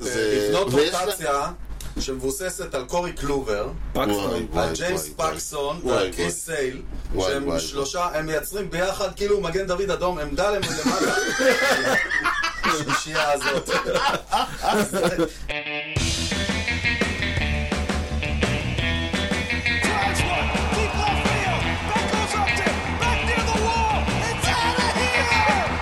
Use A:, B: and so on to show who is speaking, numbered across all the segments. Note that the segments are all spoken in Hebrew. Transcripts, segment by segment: A: אה, לבנות
B: ויש
A: רוטציה שמבוססת על קורי קלובר,
B: וואי,
C: פקסון.
B: וואי,
A: על ג'יימס
B: וואי, וואי.
A: פקסון
B: וואי,
A: ועל
B: וואי.
A: קריס סייל,
B: וואי,
A: שהם
B: וואי.
A: שלושה, הם מייצרים ביחד כאילו מגן דוד אדום, עמדה להם למטה. השישייה הזאת.
D: drives one, deep left field. That goes up to back near the wall. It's out of here.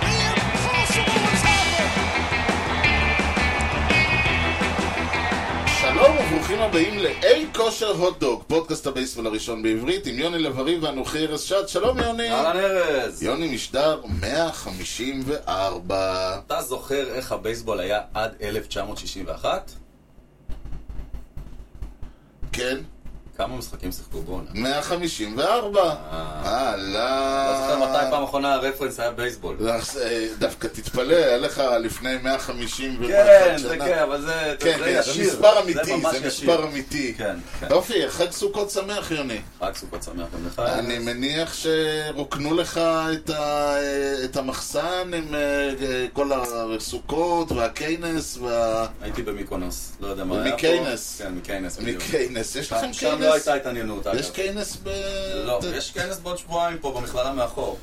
D: The impossible has happened.
B: שלום וברוכים הבאים לאי כושר הוטדוג, פודקאסט הבייסבול הראשון בעברית עם יוני לב-ארי ואנוכי ארז שעד, שלום יוני!
A: אהלן ארז.
B: יוני משדר 154
A: אתה זוכר איך הבייסבול היה עד 1961?
B: כן,
A: כמה משחקים שיחקו
B: אה.
A: בעונה?
B: 154
A: אתה אה. לא זוכר מתי פעם
B: אהלן
A: אחרונה הרפרנס היה בייסבול?
B: אז, אה, דווקא תתפלא, היה לך לפני 150 ומשהו
A: כן, זה
B: לא, שנה.
A: כן, אבל זה
B: כן,
A: זה
B: כן, זה
A: ישיר.
B: מספר אמיתי,
A: ממש
B: זה
A: ישיר.
B: מספר אמיתי.
A: כן, כן.
B: יופי, חג סוכות שמח יוני.
A: רק סוכות שמח גם לך.
B: אני מניח שרוקנו לך את, ה, את המחסן עם אה, אה, כל הסוכות והקיינס וה...
A: הייתי במיקונוס, לא יודע מה היה פה.
B: מקיינס.
A: כן, מקיינס, בדיוק.
B: מקיינס. יש לכם
A: שם- שם לא
B: קיינס?
A: הייתה התעניינות, אגב.
B: נכון, יש קיינס ב...
A: לא, יש כנס בעוד שבועיים פה במכללה מאחור.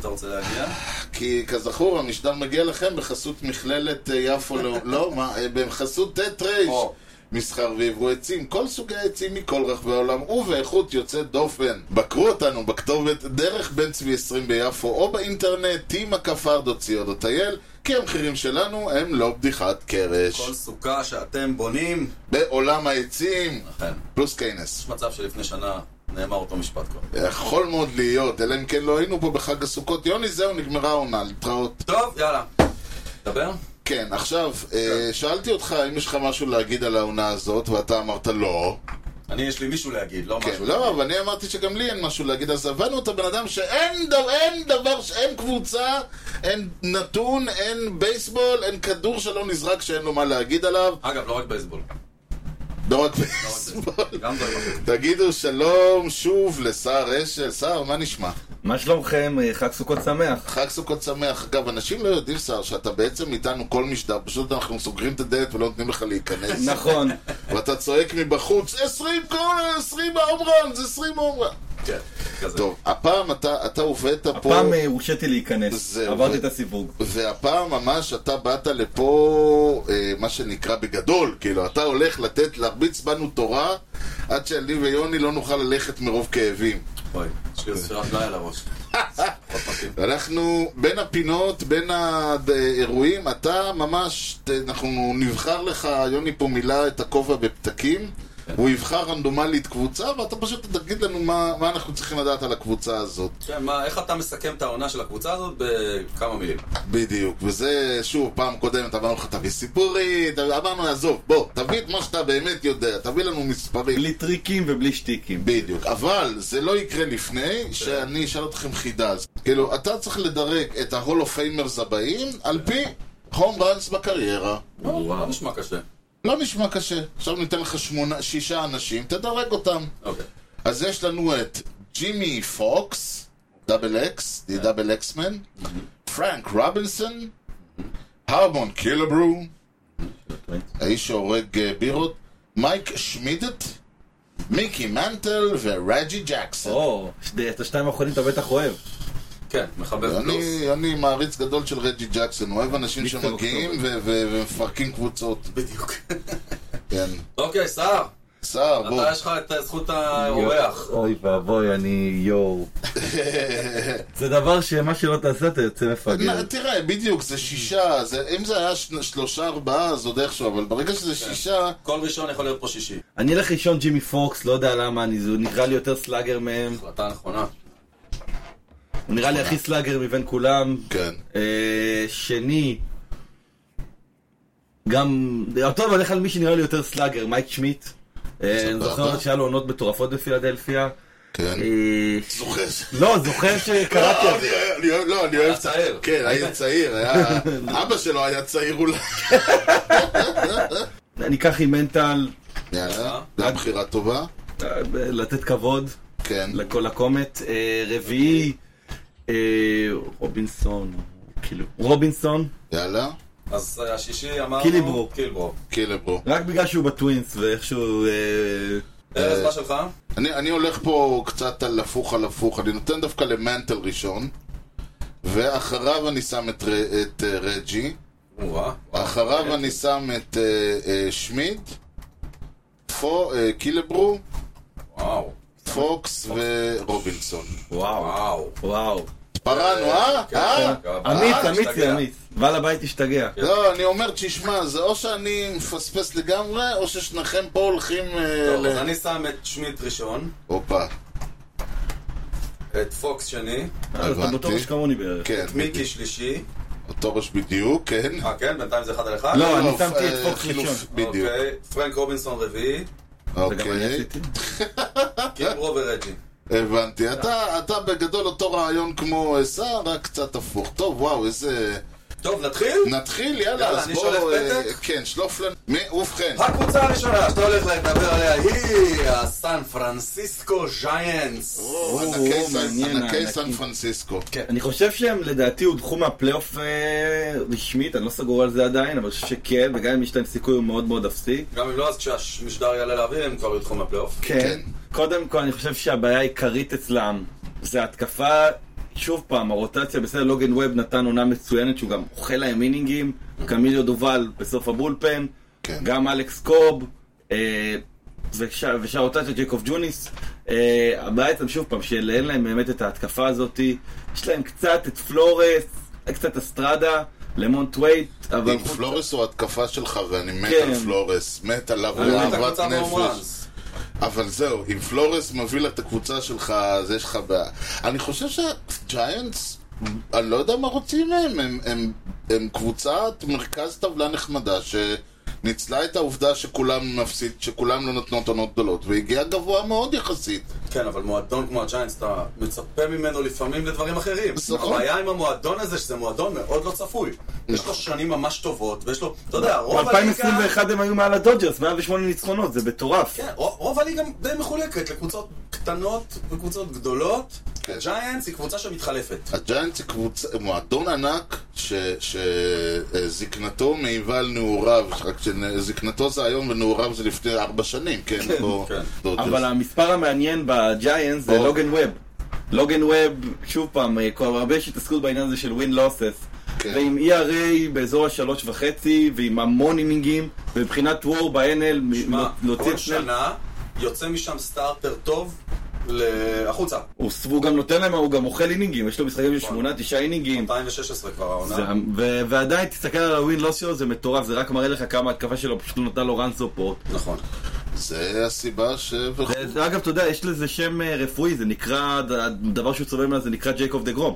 A: אתה רוצה להגיע?
B: כי כזכור, המשדר מגיע לכם בחסות מכללת אה, יפו, לא, לא, מה, אה, בחסות ט' ר',
A: או.
B: מסחר ועברו עצים, כל סוגי העצים מכל רחבי העולם ובאיכות יוצאת דופן. בקרו אותנו בכתובת דרך בן צבי 20 ביפו או באינטרנט tima.co.il כי המחירים שלנו הם לא בדיחת קרש.
A: כל סוכה שאתם בונים.
B: בעולם העצים,
A: אכן.
B: פלוס קיינס.
A: יש מצב שלפני שנה נאמר אותו משפט כבר.
B: יכול מאוד להיות, אלא אם כן לא היינו פה בחג הסוכות. יוני, זהו, נגמרה העונה, להתראות.
A: טוב, יאללה. דבר?
B: כן, עכשיו, אה, שאלתי אותך אם יש לך משהו להגיד על העונה הזאת, ואתה אמרת לא.
A: אני, יש לי מישהו להגיד, לא
B: כן,
A: משהו.
B: לא, אבל אני אמרתי שגם לי אין משהו להגיד, אז הבנו את הבן אדם שאין דבר, אין דבר, ש- אין קבוצה, אין נתון, אין בייסבול, אין כדור שלא נזרק שאין לו מה להגיד עליו,
A: אגב, לא רק בייסבול.
B: לא רק בייסבול.
A: גם דברים אחרים.
B: תגידו שלום שוב לסער אשל. סער, מה נשמע?
C: מה שלומכם? אה, חג סוכות שמח.
B: חג סוכות שמח. אגב, אנשים לא יודעים, סער, שאתה בעצם איתנו כל משדר, פשוט אנחנו סוגרים את הדלת ולא נותנים לך להיכנס.
C: נכון.
B: ואתה צועק מבחוץ, 20 קורנר, 20 הום ראנס, 20 הום ראנס.
A: כן, כזה.
B: טוב, הפעם אתה, אתה הובאת פה,
C: פעם אה, הורשיתי להיכנס.
B: זהו,
C: עברתי
B: זה-
C: את הסיווג.
B: והפעם ממש אתה באת לפה, אה, מה שנקרא בגדול, כאילו, אתה הולך לתת, להרביץ בנו תורה, עד שאני ויוני לא נוכל ללכת מרוב כאבים.
A: אוי, יש לי איזה שירת לילה על הראש. עוד מתאים.
B: אנחנו בין הפינות, בין האירועים, אתה ממש, ת- אנחנו נבחר לך, יוני פה מילא את הכובע בפתקים, הוא יבחר רנדומלית קבוצה, ואתה פשוט תגיד לנו מה, מה אנחנו צריכים לדעת על הקבוצה הזאת.
A: כן, מה, איך אתה מסכם את העונה של הקבוצה הזאת בכמה מילים?
B: בדיוק, וזה, שוב, פעם קודמת אמרנו לך, תביא סיפורית, אמרנו, עזוב, בוא, תביא את מה שאתה באמת יודע, תביא לנו מספרים.
C: בלי טריקים ובלי שטיקים.
B: בדיוק, אבל זה לא יקרה לפני שאני אשאל אתכם חידה. אז כאילו, אתה צריך לדרג את ההול אוף פיימרס הבאים על פי הום ראנס בקריירה.
A: וואו. נשמע קשה.
B: לא נשמע קשה. עכשיו ניתן לך שמונה, שישה אנשים, תדרג אותם.
A: אוקיי.
B: אז יש לנו את ג'ימי פוקס, דאבל אקס, די דאבל אקסמן, פרנק רובינסון, הרמון קילברו, האיש שהורג אה, בירות, מייק שמידט, מיקי מנטל ורג'י ג'קסון.
C: או, שתי- את השתיים האחרונים אתה בטח אוהב.
A: כן, מחבר פלוס.
B: אני, אני מעריץ גדול של רג'י ג'קסון, אוהב אנשים
C: מיסטר
B: שמגיעים ו- ו- ומפרקים קבוצות.
A: בדיוק.
B: כן.
A: אוקיי, סער,
B: סער, בוא.
A: אתה יש לך את זכות האורח.
C: אוי ואבוי, אני יואו. זה דבר שמה שלא תעשה אתה יוצא
B: נ-
C: מפגר.
B: תראה, בדיוק, זה שישה, זה, אם זה היה שני- שלושה, ארבעה, אז עוד איכשהו, אבל ברגע שזה שישה,
A: כל ראשון יכול להיות פה שישי.
C: אני אלך לישון ג'ימי פוקס, לא יודע למה, אני- הוא נראה לי יותר סלאגר מהם.
A: החלטה נכונה.
C: הוא נראה לי הכי סלאגר מבין כולם.
B: כן.
C: אה, שני, גם, טוב, אני אלך על מי שנראה לי יותר סלאגר, מייק שמיט. אה, אני זוכר שהיה לו עונות מטורפות בפילדלפיה.
B: כן.
C: אה,
B: זוכר ש...
C: לא, זוכר שקראתי על זה.
B: אני- אני אוהב- לא, אני אוהב...
A: צעיר.
B: כן, היה צעיר, היה... אבא שלו היה צעיר אולי.
C: אני אקח עם מנטל
B: יאללה, זו בחירה טובה.
C: אה, ב- לתת כבוד
B: כן.
C: לכל הקומט. אה, רביעי, אה, רובינסון, כאילו, רובינסון.
B: יאללה.
A: אז אה, השישי אמרנו...
C: קילברו.
A: קילברו.
B: קילברו.
C: רק בגלל שהוא בטווינס ואיכשהו... אה,
A: ארז, מה שלך?
B: אני, אני הולך פה קצת על הפוך על הפוך, אני נותן דווקא למנטל ראשון, ואחריו אני שם את, ר- את אה, רג'י,
A: אורה.
B: אחריו אני שם את אה, אה, שמיד, פו, אה, קילברו,
A: וואו.
B: פוקס ורובינסון.
C: וואו,
A: וואו.
C: וואו.
B: פרענו, אה?
A: כן.
B: אה?
C: אמיץ,
A: אה,
C: אמיץ,
A: השתגע.
C: אמיץ. בעל הבית השתגע.
B: לא, אני אומר, תשמע, זה או שאני מפספס לגמרי, או ששניכם פה הולכים אה,
A: טוב, אז
B: ל...
A: אני שם את שמיט ראשון,
B: הופה,
A: את פוקס שני,
C: אה, אתה
B: הבנתי.
C: בטוח שכמוני בערך.
B: כן,
A: את מיקי שלישי.
B: אותו ראש בדיוק, כן.
A: אה, כן? בינתיים זה אחד על אחד?
C: לא, אני
B: אה,
C: שמתי את
B: אה,
C: פוקס
B: חילוף,
C: ראשון.
B: בדיוק,
A: אוקיי. פרנק רובינסון רביעי,
C: זה גם אני
B: אוקיי.
C: עשיתי.
A: קילברו ורג'י.
B: הבנתי. אתה, אתה בגדול אותו רעיון כמו סער, רק קצת הפוך. טוב, וואו, איזה...
A: טוב, נתחיל?
B: נתחיל, יאללה,
A: יאללה,
B: אז
A: אני
B: בואו...
A: שולף
B: אה,
A: פתק?
B: כן, שלוף לנו. מי- ובכן,
A: הקבוצה הראשונה שאתה הולך לדבר עליה היא הסן פרנסיסקו ז'יינטס.
B: או,
C: או,
B: ענקי
C: או,
B: סן-
C: מעניין, כן,
B: ענקי
C: הענקים.
B: סן פרנסיסקו.
C: אני חושב שהם לדעתי הודחו מהפלייאוף אה, רשמית, אני לא סגור על זה עדיין, אבל אני חושב שכן, וגם אם יש להם סיכוי הוא מאוד מאוד אפסי.
A: גם אם לא, אז כשהמשדר יעלה לאוויר הם כבר ידחו מהפלייאוף.
C: כן. קודם כל, אני חושב שהבעיה העיקרית אצלם זה התקפה, שוב פעם, הרוטציה, בסדר, לוגן ווב נתן עונה מצוינת, שהוא גם אוכל להם מינינגים, קמיליו דובל בסוף הבולפן,
B: כן.
C: גם אלכס קוב, אה, וש- ושאר הרוטציה, ג'קוב ג'וניס. אה, הבעיה אצלם, שוב פעם, שאין להם באמת את ההתקפה הזאת, יש להם קצת את פלורס, קצת אסטרדה, למונט וייט, אבל...
B: עם פלורס הוא התקפה שלך, ואני מת
C: כן.
B: על פלורס, מת עליו,
A: אני רואה את
B: באהבת
A: הקבוצה
B: נפש.
A: בהומראנס.
B: אבל זהו, אם פלורס מביא לה את הקבוצה שלך, אז יש לך בעיה. אני חושב שהג'יינטס, אני לא יודע מה רוצים מהם, הם, הם, הם קבוצת מרכז טבלה נחמדה שניצלה את העובדה שכולם מפסיד, שכולם לא נותנות עונות גדולות, והגיעה גבוה מאוד יחסית.
A: כן, אבל מועדון כמו הג'יינטס, אתה מצפה ממנו לפעמים לדברים אחרים.
B: נכון.
A: הבעיה עם המועדון הזה, שזה מועדון מאוד לא צפוי.
C: נכון.
A: יש לו שנים ממש טובות, ויש לו, אתה יודע, רוב הליגה...
C: ב-2021 הם היו מעל הדודג'רס, 108 ניצחונות, זה מטורף.
A: כן, רוב רוב הליגה די מחולקת לקבוצות קטנות וקבוצות גדולות.
B: כן.
A: ג'יינטס היא קבוצה שמתחלפת.
B: הג'יינטס היא קבוצה, מועדון ענק שזקנתו מעיבה על נעוריו, רק שזקנתו זה היום ונעוריו זה לפני ארבע שנים, כן?
A: כן,
B: בוא-
A: כן.
B: דודג'רס.
C: אבל המספר המעניין בג'יינס זה
B: או.
C: לוגן ווב. לוגן ווב, שוב פעם, אה, כבר הרבה יש התעסקות בעניין הזה של ווין לוסס.
B: כן.
C: ועם ERA באזור השלוש וחצי, ועם המון אינינגים, ומבחינת וור ב-NL, מ-
A: שמע,
C: להוציא
A: כל
C: את שניהם.
A: שנה יוצא משם סטארטר טוב ל- החוצה.
C: הוא ס- והוא גם נותן להם, הוא גם אוכל אינינגים, יש לו משחקים
A: נכון.
C: של שמונה, תשעה אינינגים.
A: 2016 כבר העונה.
C: כן. זה- ו- ועדיין, תסתכל על הווין לוס שלו, זה מטורף, זה רק מראה לך כמה התקפה שלו פשוט לא נתנה לו run support.
A: נכון.
B: זה הסיבה ש...
C: זה- אגב, אתה יודע, יש לזה שם אה, רפואי, זה נקרא, הדבר שהוא סובל ממנו זה נקרא ג'ייקוב דה גרום.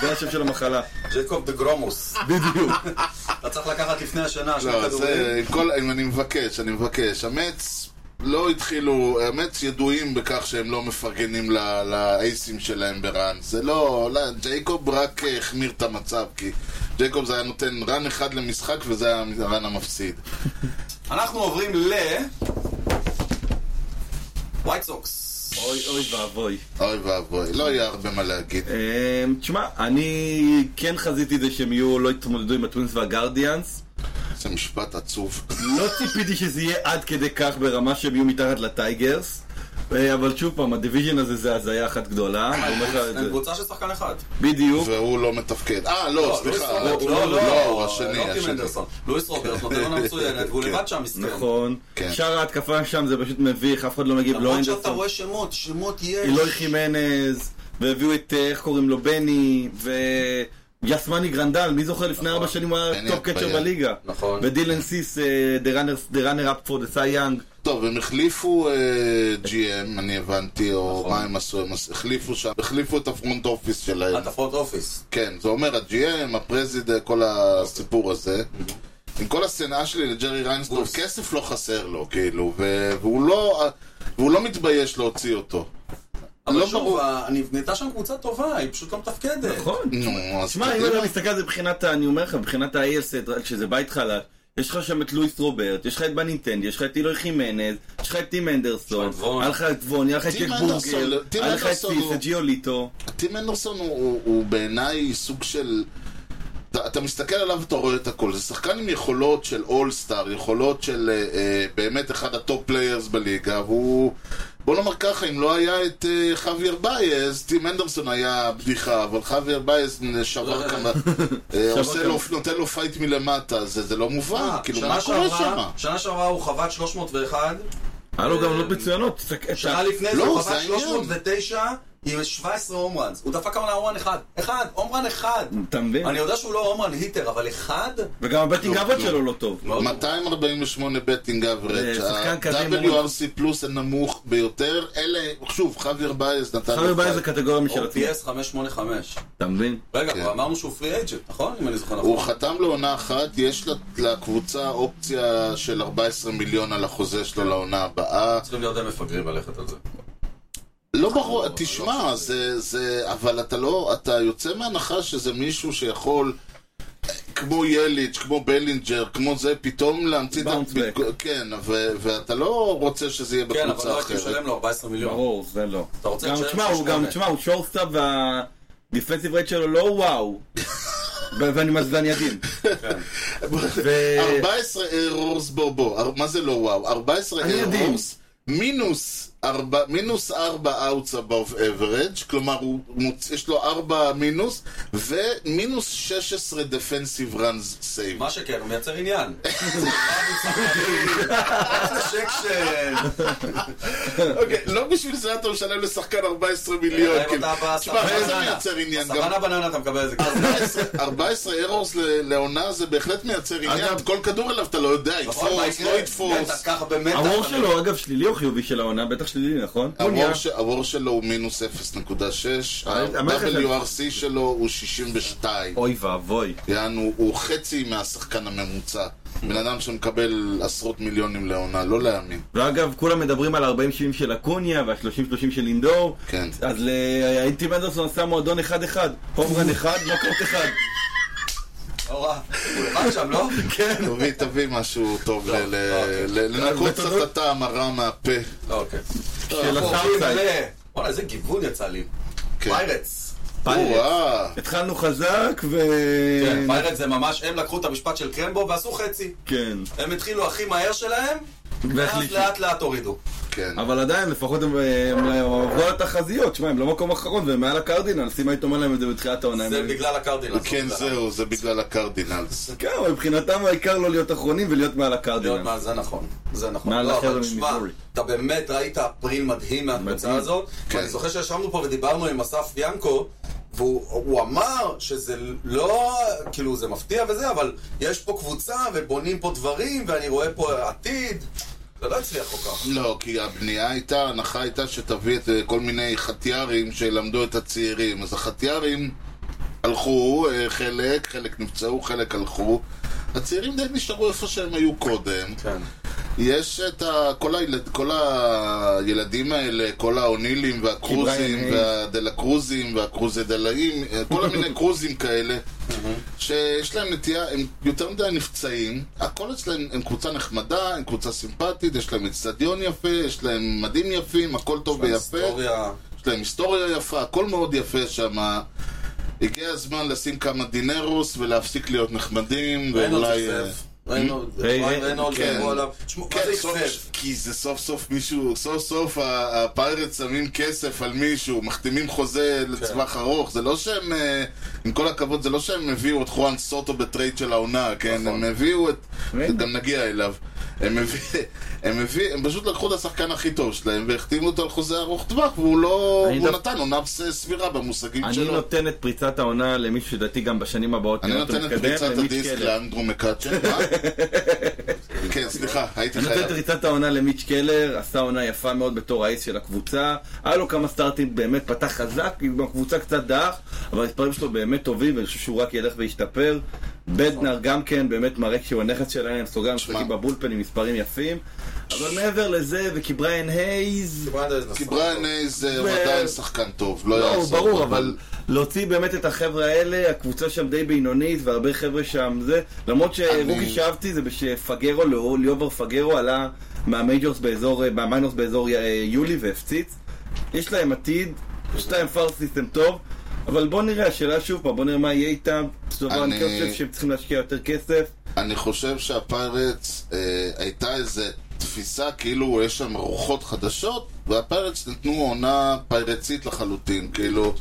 C: זה השם של המחלה.
A: ג'קוב דה גרומוס.
C: בדיוק.
A: אתה צריך לקחת לפני השנה שני
B: לא,
A: כדורים.
B: זה, עם כל, אם אני מבקש, אני מבקש. המץ לא התחילו, המץ ידועים בכך שהם לא מפרגנים ל- לאייסים שלהם בראן. זה לא, לא, ג'ייקוב רק אה, החמיר את המצב, כי ג'ייקוב זה היה נותן רן אחד למשחק וזה היה הרן המפסיד.
A: אנחנו עוברים ל... ווייט סוקס.
C: אוי אוי ואבוי.
B: אוי ואבוי, לא יהיה הרבה מה להגיד.
C: אה, תשמע, אני כן חזיתי את זה שהם יהיו, לא יתמודדו עם הטווינס והגרדיאנס.
B: זה משפט עצוב.
C: לא ציפיתי שזה יהיה עד כדי כך ברמה שהם יהיו מתחת לטייגרס. אה, אבל שוב פעם, הדיוויז'ן הזה זה הזיה אחת גדולה. אני אומר לך
B: אה,
C: את
A: הם
C: זה.
A: קבוצה של שחקן אחד.
C: בדיוק.
B: והוא לא מתפקד. אה, לא,
A: לואיס
B: סליחה.
A: רוברט,
B: לא, לא, הוא השני,
A: לא טים
B: השני.
A: אנדרסון. לואיס רוברט נותן עונה מצוינת, והוא
B: כן.
A: לבד שם מסכן.
C: נכון.
B: כן.
C: שאר ההתקפה שם זה פשוט מביך, אף אחד לא מגיב. לא
A: למרות
C: אנדרסון.
A: שאתה רואה שמות, שמות יש.
C: אלוי לא חימנז, והביאו את, אה, איך קוראים לו, בני, ויסמני גרנדל, מי זוכר לפני ארבע שנים הוא
B: נכון. בני
C: היה טופ
B: היה
C: קצ'ר
B: בעיה.
C: בליגה.
A: נכון.
C: ודילן סיס, אה, דה ראנר אפ פור דה סי יאנג.
B: טוב, הם החליפו אה, GM, אני הבנתי, או מה הם עשו, הם עשו- החליפו שם, החליפו את הפרונט אופיס שלהם.
A: אה, אתה פרונט אופיס.
B: כן, זה אומר ה-GM, הפרזיד, כל הסיפור הזה. עם כל השנאה שלי לג'רי ריינסטוב,
A: בוס.
B: כסף לא חסר לו, כאילו, ו- והוא לא- והוא לא מתבייש להוציא אותו.
A: אבל
B: לא
A: שוב,
B: ברור.
A: ה- נבנתה שם קבוצה טובה, היא פשוט לא מתפקדת.
C: נכון.
B: נו, אז כאילו, לא
C: תשמע, אם לא
B: קדימה.
C: אתה מסתכל על זה מבחינת, ה- אני אומר לך, מבחינת ה-ALC, כשזה בית חלק, יש לך שם את לואיס רוברט, יש לך את בנינטנד, יש לך את אילוי חימנז, יש לך את טים אנדרסון,
A: יש לך את וון.
C: היה לך את וון, היה לך את
B: טים
C: ג'ק
B: אנדרסון, לא,
C: בורגר,
B: טים
C: היה לך את
B: אנדרסון
C: סיס,
B: הוא-
C: את ג'יוליטו.
B: טים אנדרסון הוא- הוא הוא בעיניי סוג של... אתה, אתה מסתכל עליו ואתה רואה את הכל. זה שחקן עם יכולות של אולסטאר, יכולות של אה, אה, באמת אחד הטופ פליירס בליגה, והוא... בוא נאמר ככה, אם לא היה את אה, חוויר בייז, טים אנדרסון היה בדיחה, אבל חוויר בייז
A: לא,
B: שבר כמה... אה, עושה
C: כמה.
B: לו, נותן לו פייט מלמטה, זה, זה לא מובן,
A: אה,
B: כאילו,
A: שנה
B: מה קורה
A: שעברה-
B: שם?
A: שנה שעברה הוא חבט 301,
C: היה לו גם עונות מצוינות. תסתכל-
A: שנה לפני זה
B: לא,
A: הוא
B: זה
A: חבט
B: העניין.
A: 309 עם 17 הום ראנס. הוא דפק העונה הום ראן אחד. אחד, הום ראן אחד.
C: אתה מבין?
A: אני יודע שהוא לא הום ראן היטר, אבל אחד?
C: וגם הבטינג
B: לא,
C: אבות
B: לא.
C: שלו לא טוב.
A: מאוד
B: 248 בטינג אברג',
C: זה אה, שחקן כזה
B: ה-WRC פלוס הנמוך ביותר, אלה, שוב, חוויר בייז נתן
C: חבר
B: לו
C: בא איזה
B: פייט.
C: קטגוריה משל
A: טוב. אוקיי,
C: עצמו.
A: OPS 585.
C: אתה מבין?
A: רגע,
B: כן.
A: אבל אמרנו שהוא פרי אג'נט, נכון? אם אני זוכר נכון.
B: הוא חתם לעונה אחת, יש ל- לקבוצה אופציה של 14 מיליון על החוזה
C: כן.
B: שלו לעונה הבאה.
A: צריכים להיות די מפגרים ללכת על זה.
B: לא ברור,
A: לא,
B: תשמע, זה, זה, אבל אתה לא, אתה יוצא מהנחה שזה מישהו שיכול, כמו יליץ', כמו בלינג'ר, כמו זה, פתאום להמציא את...
C: Bounce back.
B: הביט- כן, ו, ואתה לא רוצה שזה יהיה
A: כן, אבל
B: בקבוצה
A: לא הייתי
B: אחרת.
A: משלם לו 14 מיליון.
C: ברור, זה לא.
A: אתה רוצה
C: גם
A: לשלם
C: תשמע, הוא גם,
A: 38.
C: תשמע, הוא שורסטאפ והדיפנסיב רייט שלו לא וואו. ו- ואני מזדן ידין. ו-
B: 14 ארורס, בוא בוא, אר- מה זה לא וואו? 14
C: אני יודעים.
B: ארורס, מינוס 4, מינוס 4 outs above average, כלומר הוא מוצ... יש לו 4 מינוס, ומינוס 16 defensive runs save.
A: מה שכן, הוא מייצר עניין. איזה שקשן.
B: אוקיי, לא בשביל זה אתה משלם לשחקן 14 מיליון.
A: אם
B: כאילו.
A: אה, אתה
B: תשמע,
A: בסוואנה
B: מה זה
A: בננה.
B: מייצר עניין? גם
A: בסוואנה בננה אתה מקבל כן, איזה כסף.
B: 14 ארורס ל- לעונה זה בהחלט מייצר עניין.
C: אגב-
B: כל כדור אליו אתה לא יודע,
A: נכון, מה
B: יתפוס,
A: יקרה?
B: לא יתפוס.
A: אתה ככה במתח.
C: המור
A: אתה-
C: שלו, אגב, שלילי או חיובי של העונה? בטח שלילי, נכון? קוניה.
B: הוור ש- הוור שלו הוא מינוס 0.6,
C: אבל- אבל איך
B: ה-WRC שלו הוא 62.
C: אוי ואבוי.
B: יענו, הוא חצי מהשחקן הממוצע. בן אדם שמקבל עשרות מיליונים לעונה, לא להאמין.
C: ואגב, כולם מדברים על 40-70 של אקוניה וה-30-30 של אינדור.
B: כן.
C: אז לאינטי מנדלסון עשה מועדון 1-1. הומרן 1, נוקאוט 1.
A: לא רע. הוא לבד שם, לא?
C: כן.
B: תביא, תביא משהו טוב, ל- ל- ל- לנקות קצת את
C: בתודות-
B: הטעם הרע מהפה.
A: לא, אוקיי.
C: של
A: אנחנו
C: הסאוט
A: עוברים
C: סייד.
A: ל- וואלה, איזה גיוון יצא לי.
B: כן.
A: פיירטס.
C: פיירטס.
B: או-אה.
C: התחלנו חזק ו...
A: כן, פיירטס זה ממש, הם לקחו את המשפט של קרמבו ועשו חצי.
C: כן.
A: הם התחילו הכי מהר שלהם, ואז
C: והחלישו.
A: לאט לאט הורידו.
B: כן.
C: אבל עדיין, לפחות הם הם אה, עברו על התחזיות, שמע, הם לא מקום אחרון, והם מעל הקרדינל, סימה הייתי אומר להם את זה בתחילת העונה.
A: זה
C: הם-
A: בגלל הקרדינל.
B: כן, זהו, זה בגלל הקרדינלס.
C: כן, אבל מבחינתם העיקר לא להיות אחרונים ולהיות מעל
A: להיות
C: הקרדינל.
A: מה, זה נכון, זה נכון.
C: מעל
A: לא,
C: החבר'ה
A: אבל תשמע,
C: ממיזורי.
A: אתה באמת ראית פריל מדהים מהקבוצה
C: מדהים.
A: הזאת.
B: כן.
A: אני זוכר שישבנו פה ודיברנו עם אסף ינקו, והוא הוא אמר שזה לא, כאילו זה מפתיע וזה, אבל יש פה קבוצה ובונים פה דברים, ואני רואה פה עתיד. זה לא הצליח כל כך.
B: לא, כי הבנייה הייתה, ההנחה הייתה שתביא את אה, כל מיני חטיארים שילמדו את הצעירים. אז החטיארים הלכו, אה, חלק, חלק נפצעו, חלק הלכו. הצעירים די נשארו איפה שהם היו קודם.
A: כן.
B: יש את ה... כל, הילד, כל הילדים האלה, כל האונילים והקרוזים
C: קיבריין,
B: והדלקרוזים והקרוזדלאים, אה, כל המיני קרוזים כאלה, שיש להם נטייה, הם יותר מדי נפצעים, הכל אצלהם, הם קבוצה נחמדה, הם קבוצה סימפטית, יש להם אצטדיון יפה, יש להם מדים יפים, הכל טוב
A: כן,
B: ויפה,
A: היסטוריה.
B: יש להם היסטוריה יפה, הכל מאוד יפה שם. הגיע הזמן לשים כמה דינרוס ולהפסיק להיות נחמדים,
A: ריינולד
B: ואולי... אה,
A: אכזב. ריינולד,
C: ריי-
A: ריין- ריינולד,
B: כן.
A: דיברו עליו. תשמעו, מה
B: כן,
A: זה
B: סוף-
A: אכזב?
B: כי זה סוף סוף מישהו, סוף סוף ה- הפיירטס שמים כסף על מישהו, מחתימים חוזה
C: כן.
B: לטווח ארוך, זה לא שהם, אה, עם כל הכבוד, זה לא שהם הביאו את חואן סוטו בטרייד של העונה, כן? הם הביאו את...
C: נכון. רגע.
B: גם נגיע אליו. הם הביא- הם הביא- הם פשוט לקחו את השחקן הכי טוב שלהם והחתימו אותו על חוזה ארוך טווח והוא לא...
C: אני
B: הוא
C: דו-
B: נתן עונה ס- סבירה במושגים
C: אני
B: שלו.
C: נותן את פריצת העונה למישהו שדעתי גם בשנים הבאות.
B: אני
C: לראות אותו
B: נותן את
C: מתקדם,
B: פריצת
C: למיץ'
B: הדיסק
C: קלר.
B: לאנדרו מקאצ'ן, מה? כן, סליחה, הייתי
C: אני
B: חייב.
C: נותן את ריצת העונה למיץ' קלר, עשה עונה יפה מאוד בתור האיס של הקבוצה. היה לו כמה סטארטים באמת פתח חזק, עם הקבוצה קצת דח, אבל המספרים שלו באמת טובים, ואני חושב שהוא רק ילך וישתפר. בדנר גם כן, באמת מראה כשהוא הנכס שלהם, סוגר משחקים בבולפן עם מספרים יפים. אבל מעבר לזה, וכבריין הייז...
B: כי
A: אוקיי.
B: בריין הייז אה, הוא עדיין שחקן טוב, לא
C: לא,
B: יעזור.
C: ברור, אבל להוציא באמת את החבר'ה האלה, הקבוצה שם די בינונית, והרבה חבר'ה שם זה, למרות שרוקי שאהבתי זה שפגרו, לא- ליאובר פגרו עלה מהמייג'ורס באזור, אה, מהמיינורס באזור אה, יולי והפציץ. יש להם עתיד, יש להם פאר סיסטם טוב, אבל בוא נראה, השאלה שוב פעם, בוא נראה מה יהיה איתם, של דבר אני כן
B: אני-
C: חושב שהם צריכים להשקיע יותר כסף.
B: אני חושב שהפיירטס אה, הייתה איזה תפיסה כאילו יש שם רוחות חדשות, והפיירטס נתנו עונה פיירטסית לחלוטין, כאילו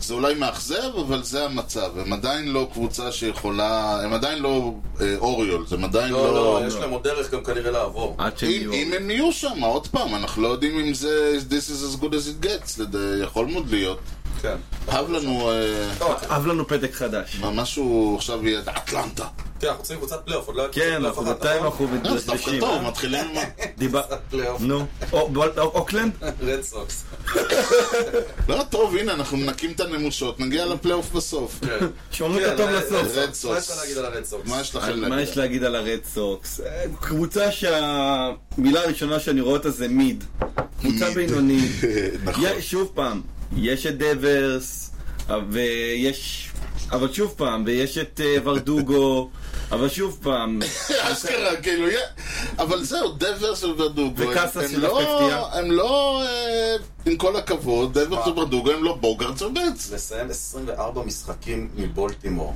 B: זה אולי מאכזב, אבל זה המצב. הם עדיין לא קבוצה שיכולה, הם עדיין לא אה, אוריולס, הם עדיין לא...
A: לא, לא, יש להם עוד דרך גם כנראה לעבור.
C: עד שהם
B: אם,
C: יהיו...
B: אם הם יהיו שם, עוד פעם, אנחנו לא יודעים אם זה This is as good as it gets, לד... יכול מאוד להיות.
A: כן.
B: אהב לנו אה,
A: טוב,
C: אהב לנו פתק חדש.
B: משהו עכשיו יהיה אטלנטה.
A: כן, אנחנו צריכים קבוצת פלייאוף, עוד לא היה קבוצת
C: כן,
A: פלייאוף
C: אנחנו
A: אחת,
C: בינתיים
A: נכון? לא,
C: אנחנו
B: אה, זה דווקא
C: מתדשדשים.
B: טוב, מתחילים...
C: דיבר...
A: פלייאוף,
C: נו, או- בול- או- אוקלנד?
A: רד סוקס.
B: לא, טוב, הנה, אנחנו מנקים את הנמושות, נגיע לפלייאוף בסוף.
A: כן.
C: שומרים את
A: כן,
C: הטוב
A: רד-
C: לסוף.
B: רד
A: מה
B: סוקס.
A: יש לך להגיד על הרד סוקס?
B: מה יש לכם
C: מה
B: להגיד?
C: יש להגיד על הרד סוקס? אה, קבוצה שהמילה הראשונה שאני רואה אותה זה מיד. קבוצה
B: מיד.
C: בינונית.
B: נכון.
C: יה- שוב פעם, יש את דברס, אה, ויש... אבל שוב פעם, ויש את אה, ברדוגו, אבל שוב פעם,
B: אשכרה, כאילו, יא- אבל זהו, דברס וברדוגו. הם-
C: וקאסס
B: הם
C: של
B: לא-
C: הפתיעה.
B: הם לא, אה, עם כל הכבוד, דברס
A: מה?
B: וברדוגו הם לא בוגרדס ובץ.
A: לסיים 24 משחקים מבולטימור.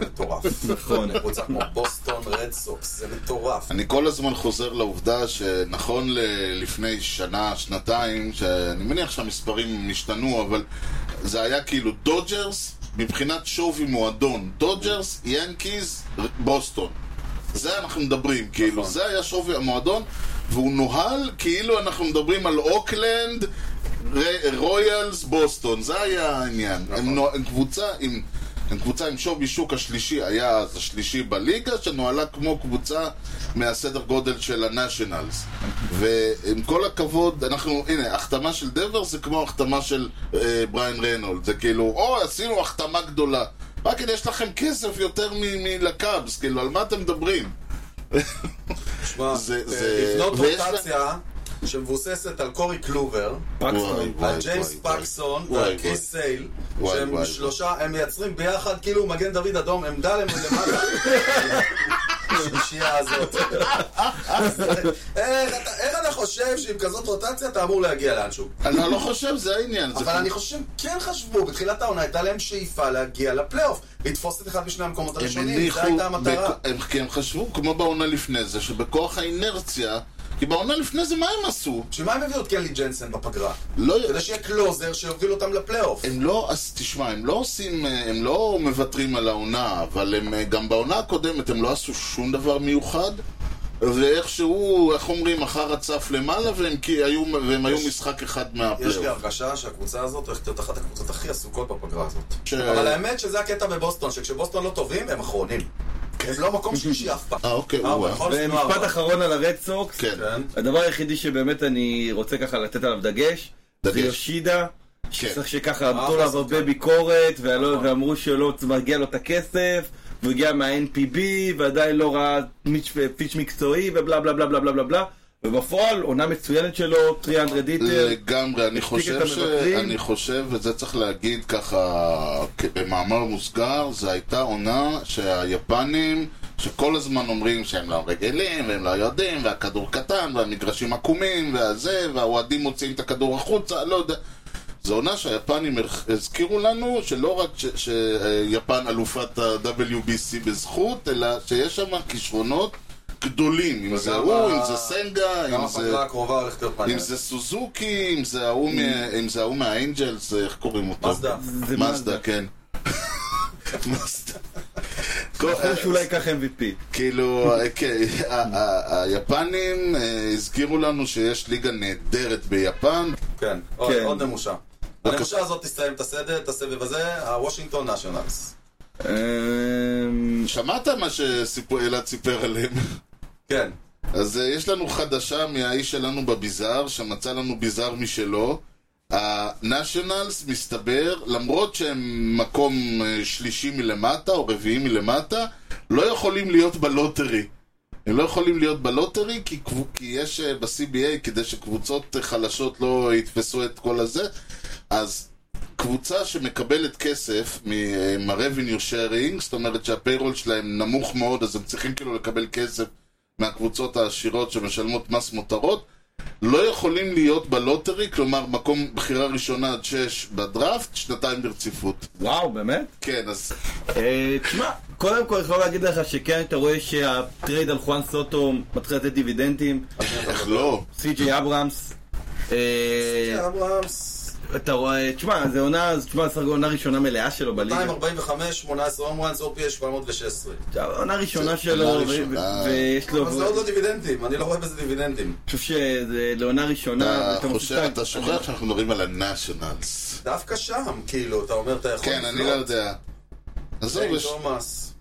A: מטורף.
C: נכון.
A: קבוצה כמו בוסטון רד סוקס, זה מטורף.
B: אני כל הזמן חוזר לעובדה שנכון ל- לפני שנה, שנתיים, שאני מניח שהמספרים השתנו, אבל זה היה כאילו דודג'רס מבחינת שווי מועדון. דודג'רס, ינקיז, בוסטון. זה אנחנו מדברים, כאילו,
A: נכון.
B: זה היה שווי המועדון, והוא נוהל כאילו אנחנו מדברים על אוקלנד, ר- רויאלס, בוסטון, זה היה העניין. הם, נו, הם קבוצה עם... הם קבוצה עם שווי שוק השלישי, היה אז השלישי בליגה, שנוהלה כמו קבוצה מהסדר גודל של הנשיונלס. ועם כל הכבוד, אנחנו, הנה, החתמה של דבר זה כמו החתמה של אה, בריין ריינולד. זה כאילו, או, עשינו החתמה גדולה. רק כדי יש לכם כסף יותר מ- מלקאבס, כאילו, על מה אתם מדברים?
A: תשמע,
B: זה-
A: אה,
B: זה-
A: לבנות
B: ויש
A: רוטציה שמבוססת על קורי קלובר,
C: פקסטון.
B: וואי,
A: על ג'יימס
B: וואי.
A: פקסון
B: וואי,
A: ועל קריס סייל,
B: וואי,
A: שהם
B: וואי.
A: שלושה, הם מייצרים ביחד כאילו מגן דוד אדום, עמדה להם למטה. השלישייה הזאת. איך אתה- איך אתה חושב שעם כזאת רוטציה אתה אמור להגיע לאנשהו?
B: אני לא חושב, זה העניין. זה כאילו-
A: אבל אני חושב שהם כן חשבו, בתחילת העונה הייתה להם שאיפה להגיע לפלייאוף, לתפוס את אחד משני המקומות
B: הם
A: הראשונים, זו
B: הניחו,
A: הייתה המטרה.
B: בכ- הם, כי הם חשבו, כמו בעונה לפני זה, שבכוח האינרציה, כי בעונה לפני זה מה הם עשו?
A: בשביל מה הם הביאו את קלי ג'נסן בפגרה?
B: לא,
A: כדי שיהיה קלוזר שיוביל אותם לפלייאוף.
B: הם לא, אז תשמע, הם לא עושים, אה, הם לא מוותרים על העונה, אבל הם אה, גם בעונה הקודמת הם לא עשו שום דבר מיוחד. ואיכשהו, איך אומרים, אחר הצף למעלה, והם, כי היו, והם היו משחק אחד
A: יש לי
B: מהפלייאוף.
A: הרגשה שהקבוצה הזאת הולכת להיות אחת הקבוצות הכי עסוקות בפגרה הזאת.
B: ש-
A: אבל האמת שזה הקטע בבוסטון, שכשבוסטון לא טובים, הם אחרונים. הם לא מקום שלישי אף פעם.
B: אה, אוקיי,
A: אה,
B: וואו.
C: Ah,
A: נכון, שנינו
C: ומשפט
A: ארבע.
C: אחרון על הרד סוקס.
B: כן.
A: כן.
C: הדבר היחידי שבאמת אני רוצה ככה לתת עליו דגש,
B: דגש.
C: זה יושידה, שצריך שככה
A: אה,
C: עמדו עליו
A: זה
C: הרבה
A: כן.
C: ביקורת, והלא-
A: נכון.
C: ואמרו שלא מגיע לו את הכסף, והוא הגיע מה-NPB, ועדיין לא ראה מיץ'- פיץ' מקצועי, ובלה בלה בלה בלה בלה בלה בלה, ובפועל עונה מצוינת שלו, טריאנד רדיטר,
B: לגמרי, אני
C: את
B: חושב ש...
C: המבקרים.
B: אני חושב, וזה צריך להגיד ככה, כ- במאמר מוסגר, זו הייתה עונה שהיפנים, שכל הזמן אומרים שהם לא רגילים, והם לא יודעים, והכדור קטן, והמגרשים עקומים, והזה, והאוהדים מוציאים את הכדור החוצה, לא יודע. זו עונה שהיפנים הרח- הזכירו לנו שלא רק שיפן אלופת ה-WBC בזכות, אלא שיש שם כישרונות גדולים, אם זה
A: וגם
B: הוא,
A: ה-
B: אם זה סנגה,
A: גם
B: אם זה...
A: הפגרה הקרובה הולכת להיות
B: אם
A: מעניינת.
B: זה סוזוקי, אם זה ההוא מה- אם זה ההוא מהאנג'לס, איך קוראים אותו?
A: מזדה.
C: זה
B: מזדה, כן. מזדה.
C: בחור שאולי ייקח MVP.
B: אה, כאילו, כן, ה- ה- היפנים אה, הזכירו לנו שיש ליגה נהדרת ביפן.
A: כן. עוד-
C: כן.
A: עוד נמושה. הנמושה הזאת תסיים את הסדר, את הסבב הזה, הוושינגטון נשיונלס.
C: אמ,
B: שמעת מה שאלעד סיפר עליהם?
A: כן.
B: אז אה, יש לנו חדשה מהאיש שלנו בביזאר, שמצא לנו ביזאר משלו. הנשיונלס מסתבר, למרות שהם מקום אה, שלישי מלמטה או רביעי מלמטה, לא יכולים להיות בלוטרי. הם לא יכולים להיות בלוטרי כי, קבו- כי יש אה, ב-CBA, כדי שקבוצות אה, חלשות לא יתפסו את כל הזה, אז קבוצה שמקבלת כסף מה-revenue sharing, זאת אומרת שהפיירול שלהם נמוך מאוד, אז הם צריכים כאילו לקבל כסף מהקבוצות העשירות שמשלמות מס מותרות, לא יכולים להיות בלוטרי, כלומר מקום בחירה ראשונה עד שש בדראפט, שנתיים ברציפות.
C: וואו, באמת?
B: כן, אז
C: אה, תשמע, קודם כל אני יכול להגיד לך שכן, אתה רואה שהטרייד על חואן סוטו מתחיל לתת דיבידנדים,
A: כן.
B: איך לא?
C: סי.ג'יי אברהמס. אה,
A: אברהמס,
C: אתה רואה, תשמע, זה עונה, זה- תשמע, סך הכל עונה ראשונה מלאה שלו בליגה.
A: 245, 18 הום ראנס, OPS 716.
C: עונה ראשונה
B: זה
C: שלו,
B: עונה
C: ו-
B: ראשונה.
C: ו- ויש לו...
A: אבל זה עוד לא דיבידנדים, אני לא רואה בזה דיבידנדים.
C: אני חושב שזה לעונה ראשונה,
B: אתה
C: ואתה
B: חושב,
C: מפסיק-
B: אה, אתה שוכח שאנחנו מדברים על הנאשונלס.
A: דווקא שם, כאילו, אתה אומר, אתה יכול...
B: כן, אני לא
A: לפנות.
B: יודע. עזוב,
A: בליין
B: יש...
A: תומאס.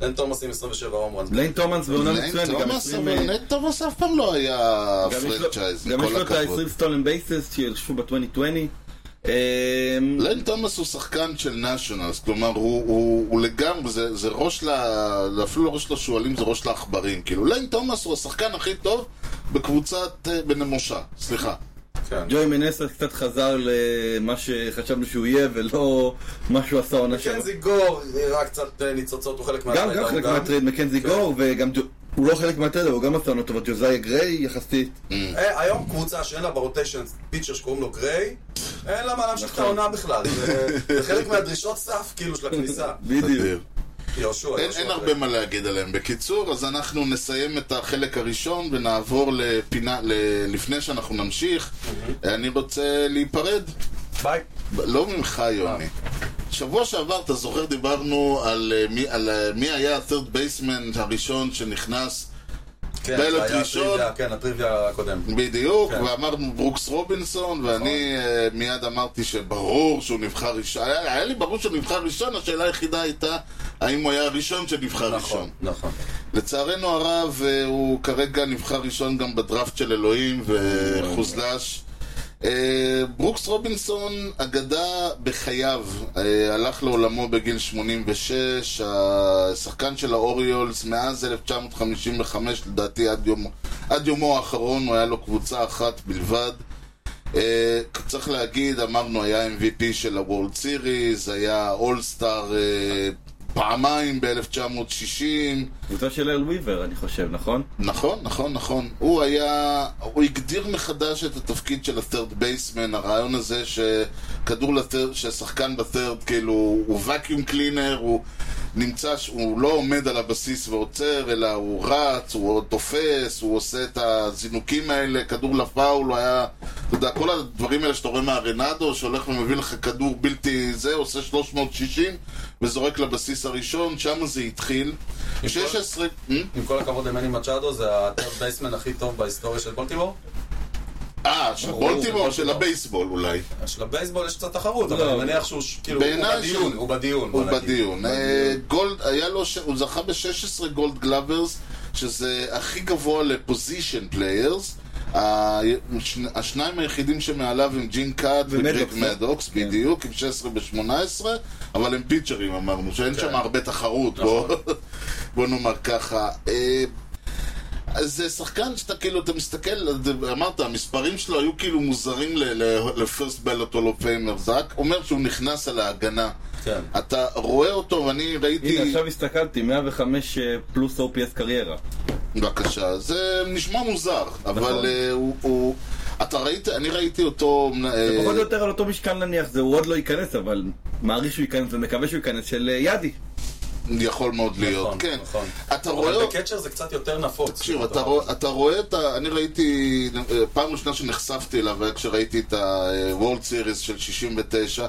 A: בליין תומאס עם 27 הום ראנס.
C: בליין תומאס בעונה
B: נט
C: מצוינת, גם
B: תומאס,
C: עשרים- אה,
B: אבל נט תומאס אף פעם לא היה
C: גם יש לו-
B: פרנצ'ייז, עם
C: גם יש
B: כל
C: לו את
B: הכבוד.
C: ה-20 סטולן בייסס שהרשו ב-2020. אמ,
B: ליין תומאס הוא שחקן של נאשונלס, כלומר הוא, הוא, הוא לגמרי, זה, זה ראש ל... אפילו לא ראש לשועלים, זה ראש לעכברים. כאילו, ליין תומאס הוא השחקן הכי טוב בקבוצת אה, בנמושה, סליחה.
A: כן.
C: ג'וי מנסה קצת חזר למה שחשבנו שהוא יהיה, ולא מה שהוא עשה עונה שלו.
A: מקנזי כן, גור הראה קצת אה, ניצוצות, הוא חלק
C: גם
A: מהטרייד
C: גם חלק
A: ההוא גם.
C: מהטרייד מקנזי
A: כן.
C: גור, וגם ג'ו- הוא לא חלק מהטרייד, אבל הוא גם עשה עונה טובה, ג'וזאיה גריי יחסית.
A: אה, היום קבוצה שאין לה ברוטיישן פיצ'ר שקוראים לו גריי, אין לה מה להמשיך את
C: נכון.
A: העונה בכלל. זה- זה חלק מהדרישות סף, כאילו, של הכניסה.
C: בדיוק.
B: אדיר.
A: יהושע,
B: אין,
A: יהושע.
B: אין הרבה מה להגיד עליהם. בקיצור, אז אנחנו נסיים את החלק הראשון ונעבור לפינה, ל... לפני שאנחנו נמשיך, אני רוצה להיפרד.
A: ביי.
B: ב- לא ממך, יוני. שבוע שעבר, אתה זוכר, דיברנו על, אה, מי, על אה, מי היה ה-third baseman הראשון שנכנס
A: כן,
B: בלוט
A: זה היה
B: ראשון.
A: הטריוויה, כן, הטריוויה הקודם.
B: בדיוק,
A: כן.
B: ואמרנו ברוקס רובינסון, ואני אה, מיד אמרתי שברור שהוא נבחר ראשון. היה, היה לי ברור שהוא נבחר ראשון, השאלה היחידה הייתה האם הוא היה הראשון שנבחר ראשון.
A: נכון, נכון.
B: לצערנו הרב, אה, הוא כרגע נבחר ראשון גם בדראפט של אלוהים וחוזלש. אה, ברוקס רובינסון, אגדה בחייו, אה, הלך לעולמו בגיל 86, השחקן של האוריולס מאז 1955, לדעתי עד, יום, עד יומו האחרון, הוא היה לו קבוצה אחת בלבד. אה, צריך להגיד, אמרנו, היה MVP של הוולד סיריס, היה אולסטאר אה, פעמיים ב-1960,
C: קבוצה של אל וויבר, אני חושב, נכון?
B: נכון, נכון, נכון. הוא היה... הוא הגדיר מחדש את התפקיד של ה-third baseman, הרעיון הזה שכדור לת'רד, ששחקן בת'רד, כאילו, הוא vacuum cleaner, הוא נמצא, ש- הוא לא עומד על הבסיס ועוצר, אלא הוא רץ, הוא תופס, הוא עושה את הזינוקים האלה, כדור לפאול, הוא היה... אתה יודע, כל הדברים האלה שאתה רואה מהרנדו, שהולך ומביא לך כדור בלתי זה, עושה 360 וזורק לבסיס הראשון, שם זה התחיל. 16... Hmm?
A: עם כל הכבוד למני מצ'אדו, זה הטרד בייסמן הכי טוב בהיסטוריה של בולטימור.
B: אה, של בולטימור,
A: ברור.
B: של הבייסבול אולי.
A: של הבייסבול יש קצת תחרות, אבל
C: לא.
A: אני מניח שהוא ש- כאילו, הוא
B: בעיניי
A: בדיון,
B: שהוא-
A: הוא בדיון.
B: הוא
A: בוא נגיד.
B: בדיון. אה, גולד, היה לו, ש- הוא זכה ב-16 גולד גלאברס, שזה הכי גבוה לפוזיישן פליירס. השניים היחידים שמעליו הם ג'ין קאט וגריג
C: ומדוקס, לא?
B: מדוקס,
C: כן.
B: בדיוק, עם 16 ו-18, אבל הם פיצ'רים אמרנו, שאין שם הרבה תחרות, בוא- בוא נאמר ככה. אה, אז זה שחקן שאתה כאילו, אתה מסתכל, אמרת, המספרים שלו היו כאילו מוזרים לפרסט בלוט הולו פיימר, זה רק אומר שהוא נכנס על ההגנה.
A: כן.
B: אתה רואה אותו, ואני ראיתי...
C: הנה, עכשיו הסתכלתי, 105 אה, פלוס OPS קריירה.
B: בבקשה. זה נשמע מוזר,
C: נכון.
B: אבל אה, הוא- הוא... אתה ראית, אני ראיתי אותו... אה,
C: פחות או יותר על אותו משקל נניח, זה הוא עוד לא ייכנס, אבל מעריך שהוא ייכנס ומקווה שהוא ייכנס, של אה, ידי.
B: יכול מאוד להיות,
A: נכון,
B: כן.
A: נכון.
B: אתה רואה...
A: אבל בקצ'ר זה קצת יותר נפוץ.
B: תקשיב, אתה, רוא, אתה רואה את ה... אני ראיתי, אה, פעם ראשונה שנחשפתי אליו היה כשראיתי את ה-World Series של 69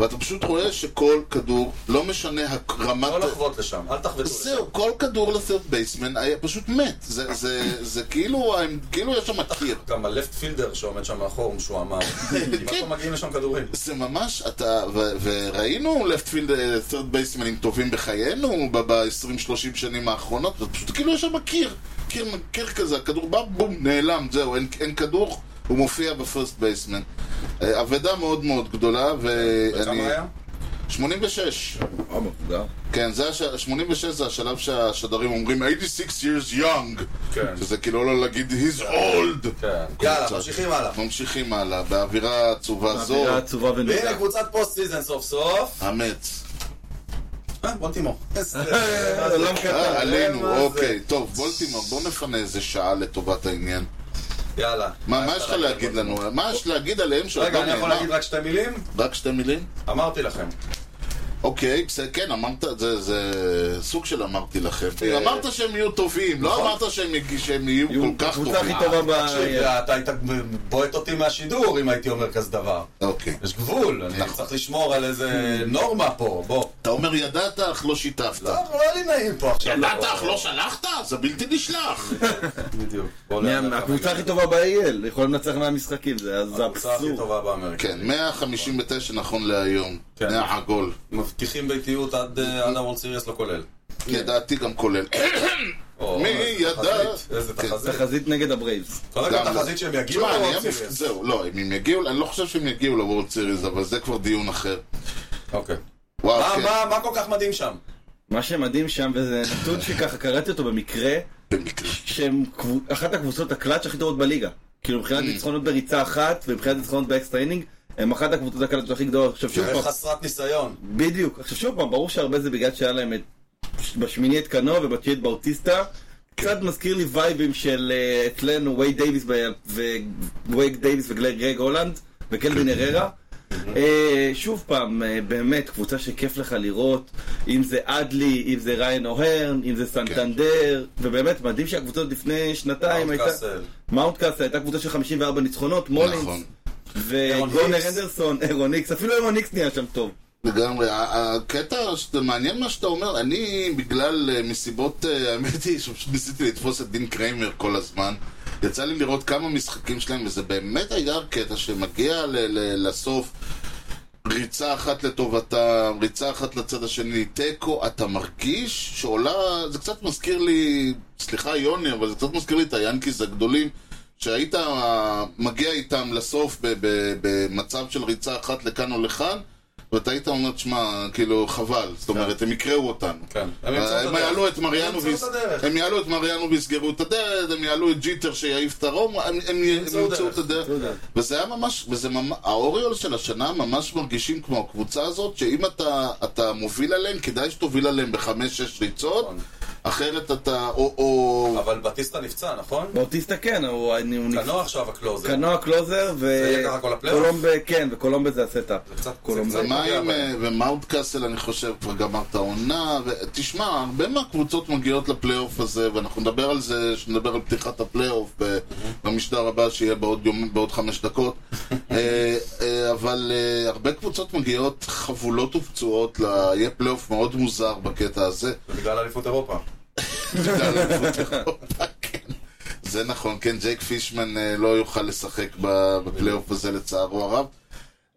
B: ואתה פשוט רואה שכל כדור, לא משנה הרמת...
A: לא לחוות לשם, אל תחבטו לשם.
B: זהו, כל כדור לת'רד בייסמן היה פשוט מת. זה, זה, זה כאילו, כאילו יש שם קיר.
A: גם הלפט פילדר שעומד שם מאחור משועמם. מאיפה מגיעים לשם כדורים?
B: זה ממש, אתה, ו, וראינו left field אה, third basemen טובים בחיינו ב-20-30 שנים האחרונות, זה פשוט כאילו יש שם קיר, קיר, קיר כזה, הכדור בא, בום, נעלם, זהו, אין, אין כדור, הוא מופיע בפרסט בייסמן. אה, אבדה מאוד מאוד גדולה, ואני...
A: וכמה היה?
B: 86.
C: אה, מבוגר.
B: כן, זה הש... 86 זה השלב שהשדרים אומרים 86 years young.
A: כן.
B: שזה כאילו לא להגיד he's old.
A: כן. יאללה, ממשיכים הלאה.
B: ממשיכים הלאה, באווירה עצובה זו.
C: אווירה עצובה ונוגה.
A: והנה קבוצת פוסט סיזן סוף סוף.
B: אמץ.
A: אה, בולטימור. איזה-
C: עולם קטן.
B: אה, עלינו,
A: מה זה?
B: אוקיי. טוב, בולטימור, בוא נפנה איזה שעה לטובת העניין.
A: יאללה. אה,
B: מה מה יש לך להגיד לנו? מה יש להגיד עליהם שעוד
A: רגע,
B: לא
A: אני יכול
B: נאמר?
A: להגיד רק שתי מילים?
B: רק שתי מילים?
A: אמרתי לכם.
B: אה, אוקיי, בסדר, כן, אמרת, זה, זה סוג של אמרתי לכם.
A: אה,
B: אמרת שהם יהיו טובים, לא
A: נכון.
B: אמרת שהם, יג- שהם יהיו כל כך
C: הקבוצה הכי
B: טובים.
C: טובה ב...
A: אה,
C: אה,
A: תקשיב, אתה היית בועט אותי מהשידור אם הייתי אומר כזה דבר.
B: אוקיי.
A: יש גבול, אני
B: נכון.
A: צריך לשמור על איזה נורמה פה, בוא.
B: אתה אומר ידעת אך לא שיתפת.
A: לא, לא היה לי נעים פה עכשיו.
B: ידעת אך לא שלחת? זה בלתי נשלח.
A: בדיוק. בוא
C: מי-
A: לאט לאט.
C: הקבוצה הכי טובה ב-AL, יכולים לנצח מהמשחקים, זה זה
A: אה, הקבוצה הכי
C: אבסורד.
A: טובה באמריקה.
B: כן, 159 נכון להיום.
A: כן.
B: זה העגול.
A: מבטיחים ביתיות עד אה, עד הוולד סיריוס לא כולל.
B: ידעתי גם כולל.
A: או,
B: מי
A: איזה
B: ידע?
A: תחזית, איזה
B: כן.
A: תחזית.
C: תחזית נגד הברייבס.
A: קודם
B: גם
A: כל
B: לא.
A: תחזית שהם יגיעו
B: תשמע, אני
A: לוולד
B: אהיה מופ-
A: סיריוס.
B: זהו, לא, אם הם יגיעו, אני לא חושב שהם יגיעו לוורלד סיריס, אבל זה כבר דיון אחר.
A: אוקיי. מה-
B: וואו, כן.
A: מה- מה כל כך מדהים שם?
C: מה שמדהים שם, וזה נתון שככה קראתי אותו במקרה,
B: במקרה.
C: שהם קבו- אחת הקבוצות הקלאץ' הכי טובות בליגה. כאילו מבחינת ניצחונות בריצה אחת, ומבחינת ניצחונות באקסטרה אינינג, הם אחת הקבוצות הקלאץ' הכי גדולות. עכשיו
B: כן.
C: שוב פעם,
A: חסרת ניסיון.
C: בדיוק. עכשיו שוב פעם, ברור שהרבה זה בגלל שהיה להם את... בשמיני את קנו ובתשיעי את באוטיסטה.
A: כן.
C: קצת מזכיר לי וייבים של אה, אצלנו וייד דייוויס ב- ו- וייד דייוויס וגרג הולנד וקלווין
A: כן.
C: הררה. אה, שוב פעם, אה, באמת, קבוצה שכיף לך לראות, אם זה אדלי, אם זה ריין אוהרן, אם זה
A: כן.
C: סנטנדר, ובאמת, מדהים שהקבוצות לפני שנתיים
A: מאונט
C: אה, הייתה...
A: קאסל.
C: מאונט קאסל הייתה קבוצה של 54 ניצחונות, מולינס,
B: נכון.
A: אירון
C: וגונר
A: היקס.
C: אנדרסון, אירון איקס, אפילו אירון איקס נהיה שם טוב.
B: לגמרי. ה- הקטע, שזה מעניין מה שאתה אומר, אני בגלל, אה, מסיבות, אה, האמת היא שפשוט ניסיתי לתפוס את דין קריימר כל הזמן. יצא לי לראות כמה משחקים שלהם, וזה באמת היה קטע שמגיע ל- ל- לסוף. ריצה אחת לטובתם, ריצה אחת לצד השני, תיקו, אתה מרגיש שעולה, זה קצת מזכיר לי, סליחה יוני, אבל זה קצת מזכיר לי את היאנקיז הגדולים, שהיית אה, מגיע איתם לסוף ב- ב- במצב של ריצה אחת לכאן או לכאן, ואתה היית אומר, תשמע, כאילו, חבל, זאת אומרת, הם יקראו אותנו.
A: כן. הם ימצאו את
B: אה, הם
A: הדרך.
B: יעלו את מריאנו
A: ימצאו את
B: ויס-
A: הדרך.
B: הם יעלו את מריאנו ויסגרו את הדלת, הם יעלו את ג'יטר שיעיף את הרום, הם הם
A: ימצאו
B: ימצאו את
A: דרך.
B: הדרך.
C: תודה.
B: וזה היה ממש, וזה ממש, האוריול של השנה ממש מרגישים כמו הקבוצה הזאת, שאם אתה, אתה מוביל עליהם, כדאי שתוביל עליהם בחמש-שש ריצות,
A: נכון.
B: אחרת אתה, או, או,
A: אבל בטיסטה נפצע, נכון?
C: באוטיסטה כן, הוא הוא נפצע.
A: קנו עכשיו הקלוזר.
C: קנו הקלוזר
A: לא- יהיה ככה כל הפלייאוף?
C: וקולומבה, כן, וקולומבה זה הסטאפ.
A: זה קצת-
C: קולומבה.
A: זה קצת-
B: ומה
A: פוגע
B: עם,
A: בהם.
B: ומאונט קאסל אני חושב כבר גמר את העונה, ותשמע, הרבה מהקבוצות מגיעות לפלייאוף הזה, ואנחנו נדבר על זה, שנדבר על פתיחת הפלייאוף ב- במשדר הבא שיהיה בעוד יום, בעוד חמש דקות, אה, אה, אבל אה, הרבה קבוצות מגיעות חבולות ופצועות, ל- יהיה פלייאוף מאוד מוזר בקטע הזה.
A: זה בגלל אליפות אירופה.
B: זה נכון, כן, ג'ייק פישמן אה, לא יוכל לשחק ב- בפלייאוף הזה לצערו הרב.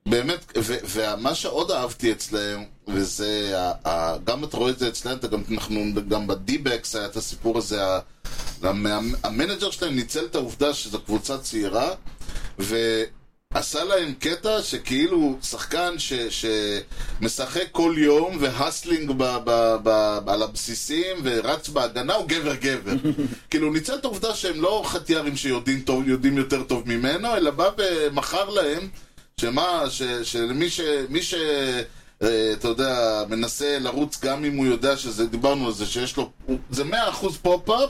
B: באמת, ומה שעוד אהבתי אצלהם, וזה, ה- ה- גם אתה רואה את זה אצלהם, אתה גם, אנחנו, גם בדיבקס היה את הסיפור הזה, ה- המ- המנג'ר שלהם ניצל את העובדה שזו קבוצה צעירה, ועשה להם קטע שכאילו שחקן ש, שמשחק כל יום והסלינג ב, ב, ב, על הבסיסים ורץ בהגנה הוא גבר גבר. כאילו הוא ניצל את העובדה שהם לא חטיארים שיודעים טוב, יודעים יותר טוב ממנו, אלא בא ומכר להם שמה, ש, שלמי ש... מי ש אה, אתה יודע, מנסה לרוץ גם אם הוא יודע שזה, דיברנו על זה, שיש לו, הוא- זה 100% פופ-אפ,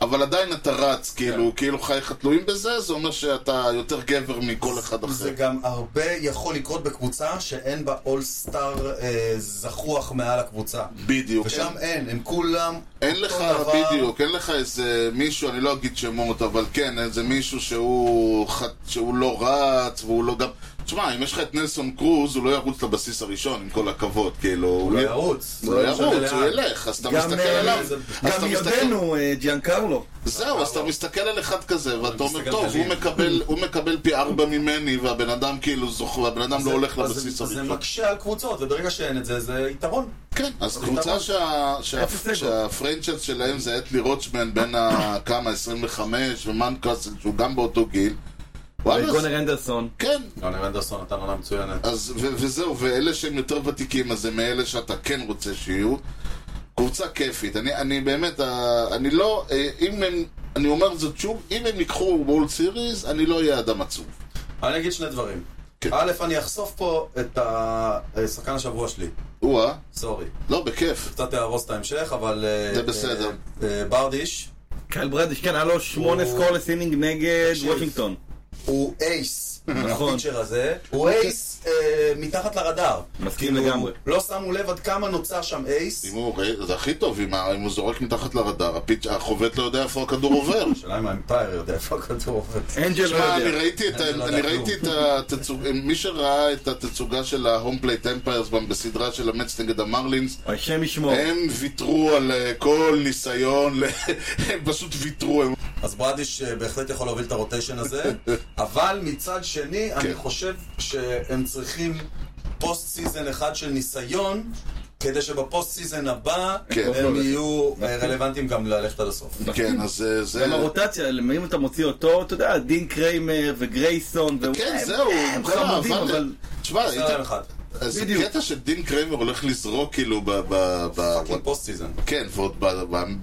B: אבל עדיין אתה
A: כן.
B: רץ, כאילו, כאילו חייך תלויים בזה, זה אומר שאתה יותר גבר מכל אחד
A: זה
B: אחר.
A: גם הרבה יכול לקרות בקבוצה שאין בה אולסטאר אה, זחוח מעל הקבוצה.
B: בדיוק.
A: ושם אין, הם כולם
B: אין לך, בדיוק, אין לך איזה מישהו, אני לא אגיד שמות, אבל כן, איזה מישהו שהוא, ח- שהוא לא רץ, והוא לא גם... תשמע, אם יש לך את נלסון קרוז, הוא לא ירוץ לבסיס הראשון, עם כל הכבוד, כאילו...
A: הוא לא ירוץ.
B: הוא לא
A: משנה
B: ירוץ, הוא
A: לאן.
B: ילך, אז אתה
C: גם,
B: מסתכל
C: אה,
B: עליו.
A: זה-
B: אז אתה
C: גם
B: מסתכל-
C: יודנו, אה, ג'יאן קרלו.
B: זהו, אז אתה מסתכל על אחד כזה, ואתה אומר,
A: מסתכל
B: טוב, הוא
A: עליו."
B: מקבל- הוא מקבל פי ארבע ממני, והבן אדם כאילו זוכר, והבן אדם לא הולך
A: אז
B: לבסיס
A: זה- זה
B: הראשון.
A: מקשה על קבוצות, וברגע שאין את זה, זה יתרון.
B: כן, אז
A: אבל
B: קבוצה
A: אתה-
B: שה-
C: אפס
B: שה-
C: אגו.
B: שהפרנצ'ייז שלהם זה אטלי רוטשמן בין ה- כמה, 25, ומנקאסל, שהוא גם באותו גיל.
A: אה,
B: וואלה, אז-
C: וגונר אנדרסון.
B: כן.
A: יוני אנדרסון נתן עונה מצוינת.
B: אז, ו- וזהו, ואלה שהם יותר ותיקים, אז זה מאלה שאתה כן רוצה שיהיו. קבוצה כיפית. אני, אני באמת, אה, אני לא, אה, אם הם, אני אומר זאת שוב, אם הם ייקחו וולד סיריס, אני לא אהיה אדם עצוב.
A: אני אגיד שני דברים.
B: כן.
A: א', אני אחשוף פה את השחקן השבוע שלי.
B: או-אה,
A: סורי.
B: לא, בכיף.
A: קצת אהרוס את ההמשך, אבל... אה,
B: זה בסדר.
A: אה, אה, ברדיש,
C: קייל ברדיש, כן, היה לו שמונה סקורלס אינינג נגד
A: תקשיב.
C: וושינגטון.
A: הוא אייס,
C: נכון.
A: הפיצ'ר הזה, הוא אייס אה, מתחת לרדאר.
C: מסכים
A: כאילו,
C: לגמרי.
A: לא שמו לב עד כמה נוצר שם אייס.
B: אם הוא ר- אה, זה הכי טוב, אם ה- אם הוא זורק מתחת לרדאר, הפיץ'- החובט לא יודע איפה הכדור עובר.
A: השאלה אם האמפייר יודע איפה הכדור עובד.
C: אנג'ל לא
B: תשמע, אני
C: יודע.
B: ראיתי את ה-
A: אני לא
B: אני
A: יודע
B: ראיתי את התצוגה, מי שראה את התצוגה של ההום פלייט אמפיירס בסדרה של המץ נגד המרלינס,
C: השם ישמור.
A: אה,
B: הם ויתרו על אה, כל ניסיון, ל- הם פשוט ויתרו. הם-
A: אז ברדיש אה, בהחלט יכול להוביל את הרוטיישן הזה, אבל מצד שני,
B: כן.
A: אני חושב שהם צריכים פוסט סיזן אחד של ניסיון, כדי שבפוסט סיזן הבא
B: כן. אוקיי.
A: הם יהיו אה, רלוונטיים גם ללכת עד הסוף.
B: כן, אז אה, זה...
C: גם הרוטציה, אם אתה מוציא אותו, אתה יודע, דין קריימר וגרייסון. ו-
B: כן,
C: הם-
B: זהו,
C: הם
B: כל
C: חמודים,
B: העבד-
C: אבל...
B: תשמע, אה,
A: זה רעיון אחד.
B: זה
C: בדיוק.
B: קטע שדין קריימר הולך לזרוק כאילו ב... ב- ב-
A: פאקינג פוסט סיזן.
B: כן, ועוד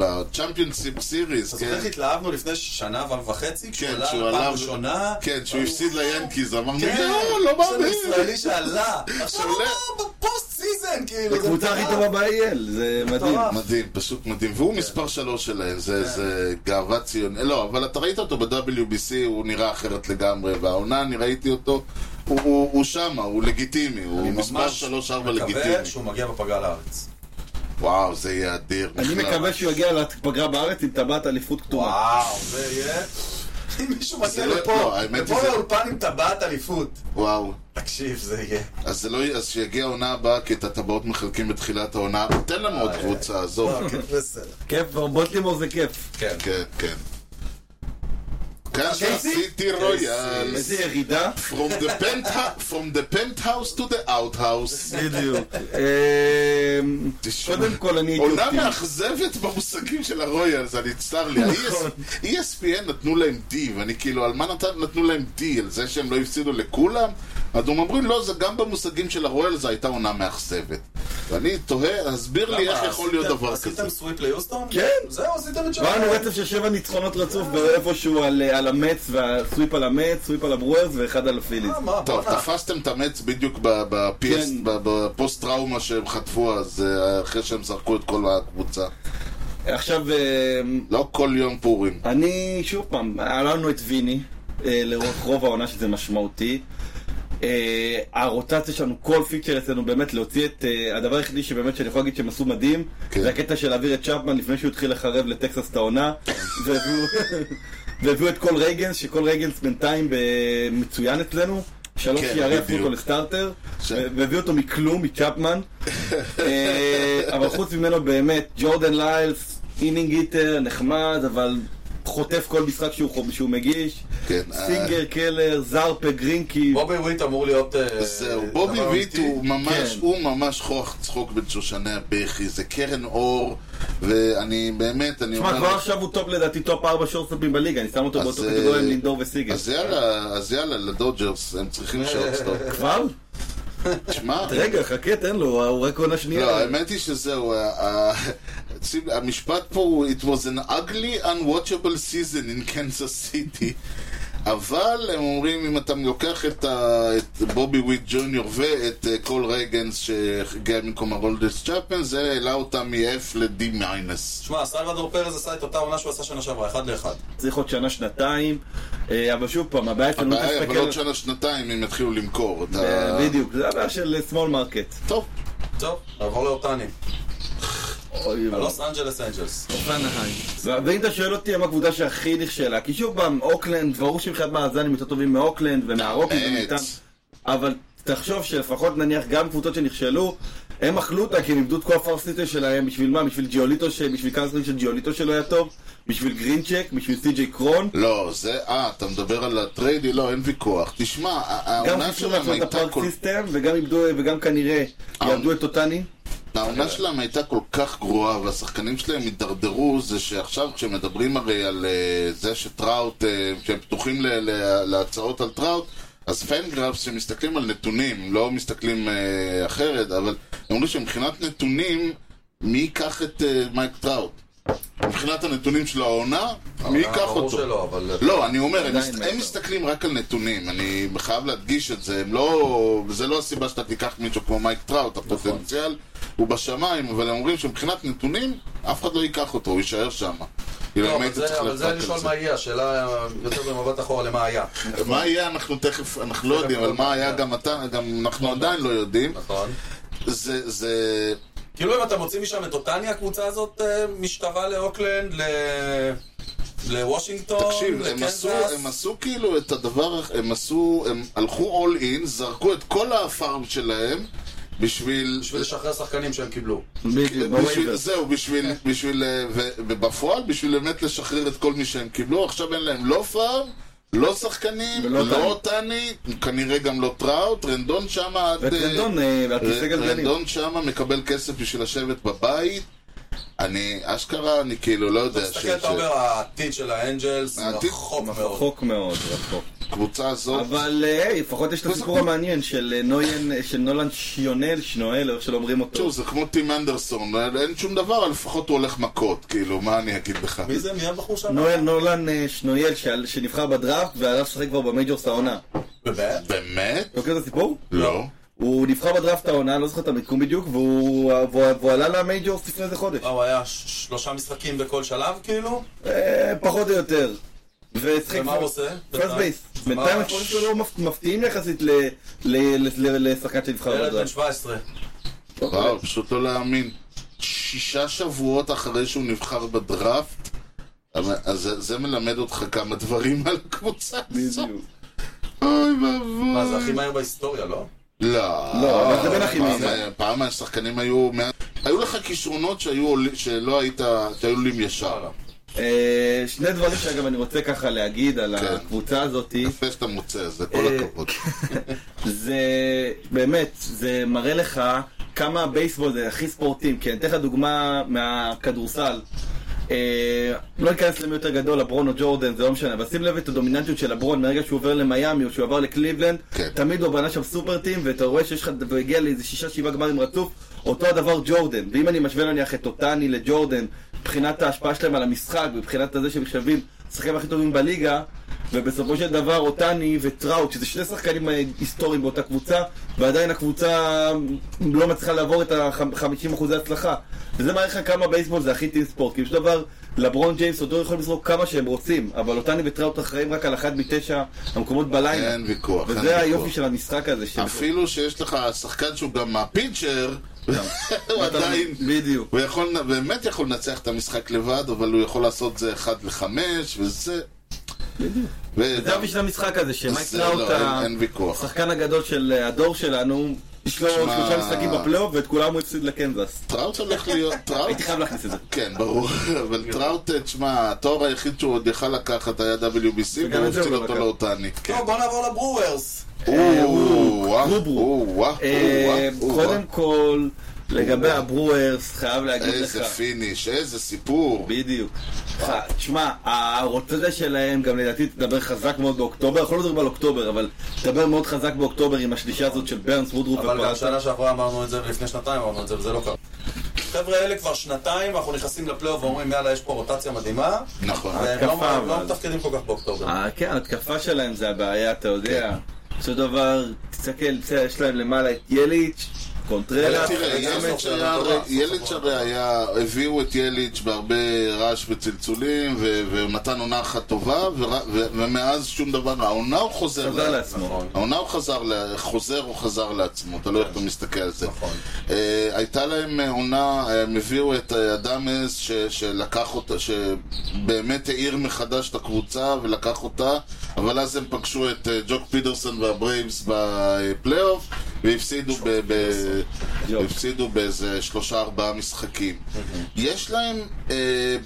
B: בצ'מפיונסיפ סיריס,
A: אתה
B: כן.
A: זוכר שהתלהבנו לפני שנה וחצי, כשהוא
B: כן,
A: עלה
B: כשהוא
A: פעם
B: עלה-
A: ראשונה?
B: כן, שהוא הפסיד ליאנקיז, אמרנו, לא,
A: כן,
B: לא
A: יש לנו
B: מאמין.
A: ישראלי שעלה. עכשיו הוא
B: עולה.
A: לא בפוסט סיזן, כאילו. זה
C: הקבוצה הכי
A: מטורף.
C: טובה ב-AL, זה מדהים.
A: מטורף.
B: מדהים, פשוט מדהים. והוא מספר שלוש שלהם, זה, זה גאווה ציונית. לא, אבל אתה ראית אותו ב-WBC, הוא נראה אחרת לגמרי, והעונה, אני ראיתי אותו, הוא, הוא, הוא שמה, הוא לגיטימי, הוא
A: אני
B: מספר
A: ממש
B: שלוש-ארבע
A: מקווה
B: לא, לגיטימי.
A: שהוא מגיע בפגרה לארץ.
B: וואו, זה יהיה אדיר.
C: אני
B: בכלל.
C: מקווה שהוא יגיע לפגרה בארץ עם טבעת אליפות כתומה.
A: וואו, זה יהיה... אם מישהו מגיע
B: לא- לא,
A: לפה,
B: האמת
A: לפה
B: היא זה-
A: לאולפן עם טבעת אליפות.
B: וואו.
A: תקשיב, זה יהיה.
B: אז זה לא יהיה, אז שיגיע העונה הבאה, כי את הטבעות מחלקים בתחילת העונה. תן לנו עוד קבוצה, עזוב.
A: לא, כן, בסדר.
C: כיף, בוטלימור זה כיף.
A: כן.
B: כן, כן. קאשה
C: קייסי?
B: סיטי רויאל.
C: איזה ירידה.
B: From the penthouse- From the penthouse to the outhouse.
C: בדיוק. אמ,
B: תשמע.
C: קודם כל אני הייתי
B: עונה
C: אופטימי.
B: מאכזבת במושגים של הרויאלס, אני צר לי.
C: נכון.
B: ה- ESPN נתנו להם D, ואני כאילו, על מה נת- נתנו להם D? על זה שהם לא הפסידו לכולם? אז הם אומרים, לא, זה גם במושגים של הרויאלס הייתה עונה מאכזבת. ואני תוהה, הסביר לי איך
A: למה,
B: יכול להיות
A: עשיתם-
B: דבר כזה.
A: כן, עשיתם סוויפ ליוסטון?
C: כן.
A: זהו, עשיתם את
C: עברנו רצף של שבע ניצחונות רצוף באיפשהו על אה, על המץ, והסוויפ על המץ, סוויפ על הברוארס ואחד על הפיליז.
A: אה, מה,
B: טוב,
A: בואנה.
B: תפסתם את המץ בדיוק ב- ב-PS
C: כן.
B: ב- בפוסט טראומה שהם חטפו אז, אה, אחרי שהם זרקו את כל הקבוצה.
C: עכשיו, אמ,
B: לא כל יום פורים.
C: אני, שוב פעם, היה לנו את ויני, אה, לאורך רוב העונה שזה משמעותי. אה, הרוטציה שלנו, כל פיצ'ר אצלנו באמת להוציא את, אה, הדבר היחידי שבאמת שאני יכול להגיד שהם עשו מדהים,
B: כן.
C: זה הקטע של להעביר את צ'פמן לפני שהוא התחיל לחרב לטקסס את העונה, והביאו- והביאו את כל רייגנס, שכל רייגנס בינתיים אה, מצוין אצלנו, שלוש
B: כן,
C: יערי הפכו
B: בדיוק.
C: אותו לסטארטר,
B: ש-
C: ו- והביאו אותו מכלום, מצ'פמן, אה, אבל חוץ ממנו באמת, ג'ורדן ליילס, אינינג איטר, נחמד, אבל חוטף כל משחק שהוא חו- שהוא מגיש.
B: כן, אה,
C: סינגר, קלר, זרפה, גרינקי.
A: בובי וויט אמור להיות... אה,
B: זהו,
A: דבר
B: בובי ויט
A: אמיתי.
B: הוא ממש,
C: כן.
B: הוא ממש כוח צחוק בין שושני הבכי, זה קרן אור, ואני באמת, אני
C: תשמע,
B: אומר...
C: כבר עכשיו הוא טופ לדעתי טופ 4 שורטסטופים בליגה, אני שם אותו
B: אז,
C: באותו
B: אה,
C: קטגוריה עם לינדור וסיגל.
B: אז יאללה, אז יאללה, לדודג'רס, הם צריכים שורטסטופ.
C: כבר?
B: תשמע,
C: רגע, חכה, תן לו, הוא רק עונה שנייה.
B: לא, האמת היא שזהו, ה- ה- שים- המשפט פה הוא It was an ugly unwatchable season in Kansas City אבל הם אומרים אם אתה לוקח את, ה, את בובי וויט ג'וניור ואת אה, קול רייגנס שהגיע במקום הרולדס צ'אפן זה העלה אותה מ-F ל-D מיינס
A: שמע, סלוודור פרז עשה את אותה עונה שהוא עשה שנה שעברה, אחד לאחד.
C: צריך עוד שנה, שנתיים, אה, אבל שוב פעם, הבעיה שלנו לא
B: הבעיה, אבל עוד
C: תסתכל...
B: שנה שנתיים הם יתחילו למכור את ה...
C: אה, בדיוק, זה הבעיה של small market.
B: טוב,
A: טוב, נעבור לאותני.
C: אוי, אוי.
A: לוס אנג'לס אנג'לס.
C: ו- ואם אתה שואל אותי, הם הקבוצה שהכי נכשלה, כי שוב פעם, אוקלנד, ברור שמבחינת מאזן הם יותר טובים מאוקלנד ומהרוקיז
B: באמת.
C: ומאיתן, אבל תחשוב שלפחות נניח גם קבוצות שנכשלו, הם אכלו אותה כי הם איבדו את כל הפרסיטר שלהם, בשביל מה? בשביל ג'יוליטו, ש- בשביל קאנסטרים של ג'יוליטו שלא היה טוב, בשביל גרינצ'ק, בשביל סי.ג'יי קרון,
B: לא, זה, אה, אתה מדבר על הטריידי? לא, אין ויכוח. תשמע, ה-
C: גם
B: העונה
C: חיסלו
B: שלהם
C: לעצמם את
B: הייתה
C: הפארק
B: כל
C: סיסטם, וגם איבדו, וגם כנראה יעבדו את טוטני.
B: העונה שלהם הייתה כל כך גרועה והשחקנים שלהם הידרדרו זה שעכשיו כשמדברים הרי על אה, זה שטראוט, אה, שהם פתוחים ל- ל- להצעות על טראוט אז פנגרפס שמסתכלים על נתונים, לא מסתכלים אה, אחרת, אבל הם אומרים שמבחינת נתונים, מי ייקח את אה, מייק טראוט? מבחינת הנתונים של העונה, מי ייקח
A: ברור
B: אותו?
A: שלא, אבל...
B: לא, אני אומר, הם,
C: עדיין
B: מסת...
C: מייק
B: הם מסתכלים רק על נתונים, אני חייב להדגיש את זה, הם לא... זה לא הסיבה שאתה תיקח מישהו כמו מייק טראוט, הפוטנציאל הוא בשמיים, אבל הם אומרים שמבחינת נתונים, אף אחד לא ייקח אותו, הוא יישאר שם. כאילו,
A: לא,
B: אם
A: אבל
B: היית
A: זה-
B: צריך
A: אבל זה
B: לדעת
A: לשאול
B: על
A: מה
B: זה.
A: יהיה, השאלה אה, יותר במבט אחורה למה היה.
B: מה יהיה, אנחנו תכף, אנחנו לא
A: תכף
B: יודעים, אבל
A: לא
B: מה היה
A: יודעים.
B: גם אתה, גם אנחנו עדיין לא יודעים.
A: נכון.
B: זה, זה...
A: כאילו אם אתה מוציא משם את אותני, הקבוצה הזאת אה, משתווה לאוקלנד, ל- לוושינגטון,
B: תקשיב, הם
A: לקנזס.
B: עשו, הם עשו כאילו את הדבר, הם עשו, הם הלכו all in, זרקו את כל הפארם שלהם בשביל...
A: בשביל לשחרר שחקנים שהם קיבלו.
C: בדיוק, כן.
B: בשביל,
C: בווייבר.
B: זהו, בשביל, בשביל, אה, ו- ובפועל, בשביל באמת לשחרר את כל מי שהם קיבלו, עכשיו אין להם לא פארם, לא שחקנים,
C: ולא
B: לא טני, כנראה גם לא טראוט, רנדון שמה עד... אה,
C: וטרנדון אה, על כיסא גלגלים.
B: רנדון שמה מקבל כסף בשביל לשבת בבית, אני, אשכרה, אני כאילו, לא יודע,
A: תסתכל, אתה אומר, העתיד של האנג'לס
B: העתיד-
A: רחוק מאוד.
C: רחוק מאוד, רחוק.
B: שהקבוצה הזאת...
C: אבל אה, היי, לפחות יש את
B: זה
C: הסיפור
B: כמו-
C: המעניין של אה, נויאן, אה, של נולן שיונל, שנואל, או איך שלא אומרים אותו.
B: תראו, זה כמו טים אנדרסון, אין שום דבר, אבל לפחות הוא הולך מכות, כאילו, מה אני אגיד לך?
A: מי זה? מי הבחור שם?
C: נויאן נולן אה, שנואל, שעל- שנבחר בדראפט, ועליו לשחק כבר במייג'ורס העונה. אתה
A: באמת?
B: באמת?
C: מכיר את הסיפור?
B: לא.
C: הוא נבחר בדראפט העונה, לא זוכר את המיקום בדיוק, והוא והוא- והוא עלה למייג'ורס לפני איזה חודש.
A: מה, הוא היה ש- שלושה משחקים בכל שלב, כאילו?
C: אה, פחות או יותר. והשחק...
A: ומה הוא עושה?
C: פרסט בייס. בינתיים הדברים שלו מפ- מפתיעים יחסית ל- ל- ל- ל- לשחקן
B: לא
C: שנבחר
A: ילד בן
C: בדראפט.
A: 17.
C: כן.
B: וואו, פשוט לא להאמין. שישה שבועות אחרי שהוא נבחר בדראפט, אבל- אז זה- זה מלמד אותך כמה דברים על הקבוצה הזאת.
C: בדיוק.
B: אוי
A: מה, זה הכי
B: ואבוי.
A: מהר בהיסטוריה, לא?
B: לא,
C: לא, אבל זה בין הכי
B: פעם-
C: מהיר.
B: פעם השחקנים היו... מאה- היו לך כישרונות שהיו עול- שלא היית... שהיו עולים ישר.
A: וואלה.
C: אה, שני דברים שאגב אני רוצה ככה להגיד על
B: כן.
C: הקבוצה הזאתי.
B: יפה שאתה מוצא, זה כל
C: אה,
B: הכבוד.
C: זה באמת, זה מראה לך כמה הבייסבול זה הכי ספורטים. כי אני אתן לך דוגמה מהכדורסל. אה, לא ניכנס למי יותר גדול, לברון או ג'ורדן, זה לא משנה, אבל שים לב את הדומיננטיות של לברון מרגע שהוא עובר למיאמי או שהוא עבר לקליבלנד,
B: כן.
C: תמיד הוא בנה שם סופר טים, ואתה רואה שיש לך, והגיע לאיזה שישה שבעה גמרים רצוף, אותו הדבר ג'ורדן, ואם אני משווה נניח את אותני לג'ורדן, מבחינת ההשפעה שלהם על המשחק, מבחינת זה שהם נחשבים השחקנים הכי טובים בליגה, ובסופו של דבר אותני וטראוט, שזה שני שחקנים אה, היסטוריים באותה קבוצה, ועדיין הקבוצה לא מצליחה לעבור את ה-50% הצלחה. וזה מראה לך כמה בייסבול זה הכי טים ספורט, כי בשביל דבר לברון ג'יימס אותו יכולים לזרוק כמה שהם רוצים, אבל אותני וטראוט אחראים רק על אחת מתשע המקומות בלילה.
B: אין ויכוח. אין
C: וזה
B: ויכוח.
C: היופי של המשחק הזה. של-
B: אפילו שיש לך שחקן שהוא גם מהפינצ'ר, הוא עדיין...
C: בדיוק.
B: הוא יכול, באמת יכול לנצח את המשחק לבד, אבל הוא יכול לעשות זה 1 ל-5, וזה... ו-
C: זה היופי של המשחק הזה, שמייק
B: זה לא,
C: טראוט,
B: אין-
C: ה-
B: אין ויכוח.
C: השחקן הגדול של אה, הדור שלנו, יש לו
B: שמע.
C: שלושה משחקים בפלייאוף ואת כולם הוא הפסיד לקנזס.
B: טראוט הולך להיות... טראוט?
C: הייתי חייב להכניס את זה.
B: כן, ברור. אבל טראוט, תשמע, התואר היחיד שהוא עוד יכל לקחת היה WBC,
C: וגם
B: והוא
C: את זה
B: הפסיד
C: הוא לא
B: אותו
C: לקח. אה,
B: לאותני. כן.
A: טוב, בוא נעבור לברוורס.
B: או-אה,
C: גוברו.
B: או-אה,
C: אה,
B: או-אה,
C: קודם כל, לגבי הברוורס, חייב להגיד לך.
B: איזה פיניש, איזה סיפור.
C: בדיוק. ח- תשמע, הרוטציה שלהם גם לדעתי תדבר חזק מאוד באוקטובר, אנחנו לא מדברים על אוקטובר, אבל תדבר מאוד חזק באוקטובר עם השלישה הזאת של ברנס, וודרוף
A: אבל גם
C: ופרס.
A: שנה שעברה אמרנו את זה, ולפני שנתיים אמרנו את זה, וזה לא קרה. חבר'ה האלה כבר שנתיים, אנחנו נכנסים לפלייאוף ואומרים, יאללה, יש פה רוטציה מדהימה.
B: נכון.
A: והם
C: התקפה,
A: לא- הם לא
C: אבל.
A: מתפקדים כל כך באוקטובר.
C: אה, כן, ההתקפה שלהם זה הבעיה, אתה יודע.
A: כן.
C: בסופו של דבר, תסתכל, בסדר, יש להם למעלה את יליץ', קונטרלה,
B: תראה, ילד שהיה- יליץ' הרי היה, הביאו את יליץ' בהרבה רעש וצלצולים, ו- ונתן עונה אחת טובה, ור- ו- ומאז שום דבר, לא- העונה הוא חוזר
C: חזר
B: לה-
A: נכון.
C: לעצמו.
B: העונה הוא חזר, ל- חוזר או חזר לעצמו, תלוי איך אתה מסתכל על זה.
A: נכון.
B: אה, הייתה להם אה, עונה, אה, הם הביאו את אה, אדמס ש- שלקח אותה, שבאמת האיר מחדש את הקבוצה ולקח אותה, אבל אז הם פגשו את אה, ג'וק פידרסון והברייבס בפלייאוף, והפסידו ב- ב-
C: ג'וק.
B: הפסידו באיזה שלושה ארבעה משחקים. יש להם... אה,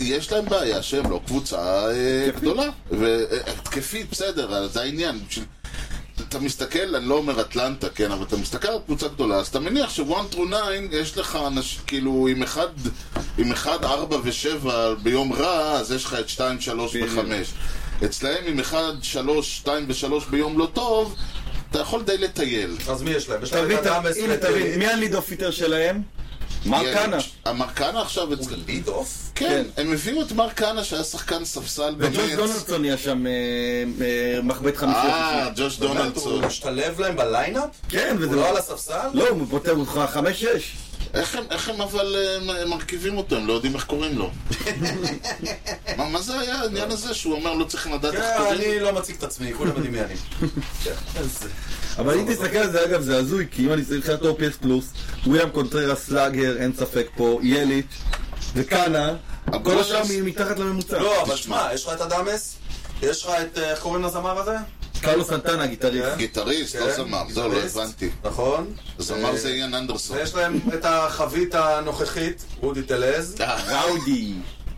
B: יש להם בעיה שהם לא קבוצה אה, גדולה. והתקפית, בסדר, אה, זה העניין. בשביל- אתה מסתכל, אני לא אומר אטלנטה, כן, אבל אתה מסתכל על קבוצה גדולה, אז אתה מניח ש-one through 9 יש לך אנשים, כאילו, עם אחד, עם אחד, ארבע ושבע ביום רע, אז יש לך את שתיים, שלוש
C: בדיוק.
B: וחמש. אצלהם עם אחד, שלוש, שתיים ושלוש ביום לא טוב, אתה יכול די לטייל.
A: אז מי יש להם? יש להם
C: תבין,
A: את אדאמס
C: הנה
A: ואת-
C: תבין, מי הליד אופיטר שלהם? מר קאנה.
B: המרקנה עכשיו אצל...
A: ליד אוף?
B: כן, הם הביאו את מרקנה שהיה שחקן ספסל
A: לא,
C: וג'וש
B: במץ.
C: דונלדסון היה שם אה, אה, מחבט חמישי.
B: אה, ג'וש
A: באמת,
B: דונלדסון.
A: הוא משתלב להם בליינאפ?
C: כן,
B: לא-
A: הוא
C: וזה...
A: לא על הספסל?
C: לא, הוא פותח אותך חמש-שש.
B: איך הם, איך הם אבל אה, מרכיבים אותו, הם לא יודעים איך קוראים לו. מה, מה זה היה העניין הזה שהוא אומר לא צריך לדעת איך
A: כן,
B: קוראים
A: אני
B: לו?
A: לא מציג את עצמי, כולם יודעים מי אני. כן, אז-
C: אבל
A: לא,
C: אם תסתכל על זה, אגב, זה הזוי, כי אם אני צריך לתת לו PS פלוס, וויליאם קונטררה סלאגר, אין ספק פה, יליץ' וקאנה, כל השאר מ- מתחת לממוצע.
A: לא, אבל שמע, יש לך את הדמס? יש לך את, אה, איך קוראים לזמר הזה?
C: קרלו סנטנה, גיטריסט.
A: כן.
B: גיטריסט, לא
A: כן,
B: זמר, זהו, לא
A: גיטריסט.
B: הבנתי.
A: נכון.
B: זמר
A: אה,
B: זה איין אנדרסון.
A: ויש להם את החבית הנוכחית, רודי טלז.
B: אה,
C: ראודי,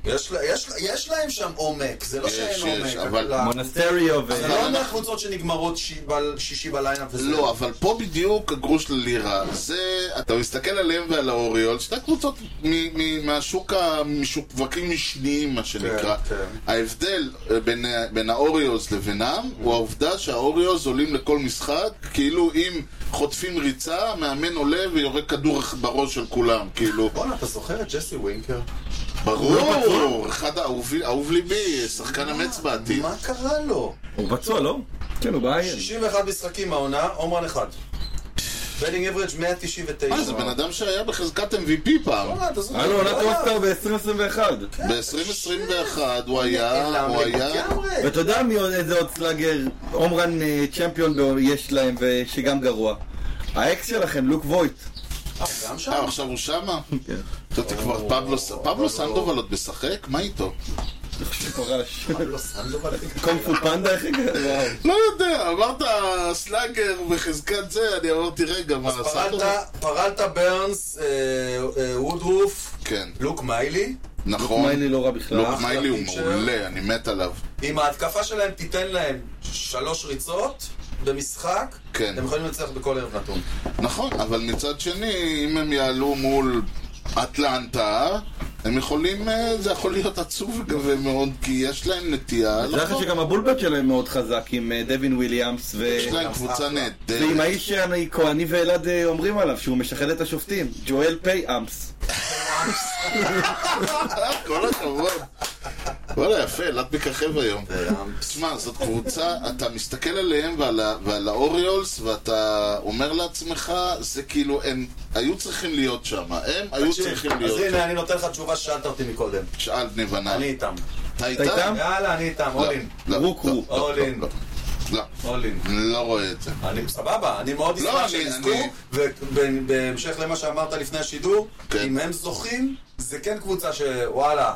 A: יש לה- יש לה- יש להם שם עומק, זה לא
B: יש,
A: שאין
B: יש,
A: עומק.
B: אבל-
A: לה-
C: מונסטריו ו...
A: זה לא מהקבוצות שנגמרות שי- בל- שישי בליינאפ וזה.
B: לא, אבל פה בדיוק הגרוש ללירה. זה, אתה מסתכל עליהם ועל האוריול, שתי קבוצות מ- מ- מהשוק, ה- משווקים משניים, מה שנקרא.
A: כן.
B: ההבדל אה, בין, ה- בין האוריולס לבינם, הוא העובדה שהאוריולס עולים לכל משחק, כאילו אם חוטפים ריצה, המאמן עולה ויורק כדור בראש של כולם, כאילו.
A: בואנה, אתה זוכר את ג'סי ווינקר? לא,
B: ברור, אחד האהוב אהוב ליבי, שחקן המץ בעתיד.
A: מה קרה לו?
C: הוא פצוע, לא? כן, הוא בעיה.
A: 61 משחקים העונה, עומרן אחד. בדינג אברג' 199.
B: מה, זה בן אדם שהיה בחזקת MVP פעם.
A: בואנה, אתה זוכר?
C: היה לו עונת
A: בואנה,
C: אוסטר ב-2021.
A: לא.
B: ב-2021 הוא היה,
A: נעלם
B: אה, הוא היה...
A: לגמרי.
C: ואתה יודע מי עוד איזה עוד סלאגר, עומרן אה, צ'מפיון ב- יש להם, ושגם גרוע. האקס שלכם, לוק וויט.
A: אה, גם שם?
B: אה, עכשיו הוא שמה?
C: כן.
B: חשבתי כבר, פבלו ס- פבלו סנדובל עוד משחק? מה איתו?
C: פרש.
A: לא, סנדובל.
C: קונג פו פנדה, איך הגעת?
B: לא יודע, אמרת סלאגר בחזקת זה, אני אמרתי רגע, מה, סנדובל?
A: פרלת- פרלת ברנס, אה, אה, וודרוף,
B: כן,
A: לוק מיילי.
B: נכון.
C: מיילי לא רע בכלל.
B: לוק מיילי הוא
A: אחלה פיצ'ר.
B: מעולה, אני מת עליו.
A: אם ההתקפה שלהם תיתן להם שלוש ריצות במשחק,
B: כן.
A: הם יכולים לנצח בכל ערב נתון.
B: נכון, אבל מצד שני, אם הם יעלו מול אטלנטה, הם יכולים, אה, זה יכול להיות עצוב גם מאוד, כי יש להם נטייה לא
C: זה אחרי
B: לחזור.
C: שגם הבולבט שלהם מאוד חזק עם אה, דווין וויליאמס ו...
B: יש להם קבוצה
C: ועם
B: נהדרת.
C: האיש שאני כה- אני ואלעד אה, אומרים עליו שהוא משחד את השופטים, ג'ואל פיי אמס.
B: כל הכבוד. וואלה, יפה, אלעד מככב היום. תשמע, זאת קבוצה, אתה מסתכל עליהם ועל, ה, ועל האוריולס, ואתה אומר לעצמך, זה כאילו, הם היו צריכים להיות שם. הם היו צריכים
A: אז
B: להיות
A: הנה,
B: שם.
A: אני נותן לך תשובה ששאלת אותי מקודם.
B: שאל בני
A: אני
B: ונאי.
A: איתם.
B: אתה
C: אתה
B: איתם?
C: איתם?
A: יאללה, אני איתם,
B: לא,
A: אולין.
B: לא,
C: רוק
B: לא,
C: רוק.
B: לא,
A: All in.
B: לא, לא,
A: אול אין.
B: לא, לא רואה את זה.
A: אני סבבה, אני מאוד
B: לא,
A: אשמח שהם
B: אני-
A: יזכו,
B: אני-
A: ובהמשך למה שאמרת לפני השידור,
B: כן.
A: אם הם זוכים, זה כן קבוצה שוואלה,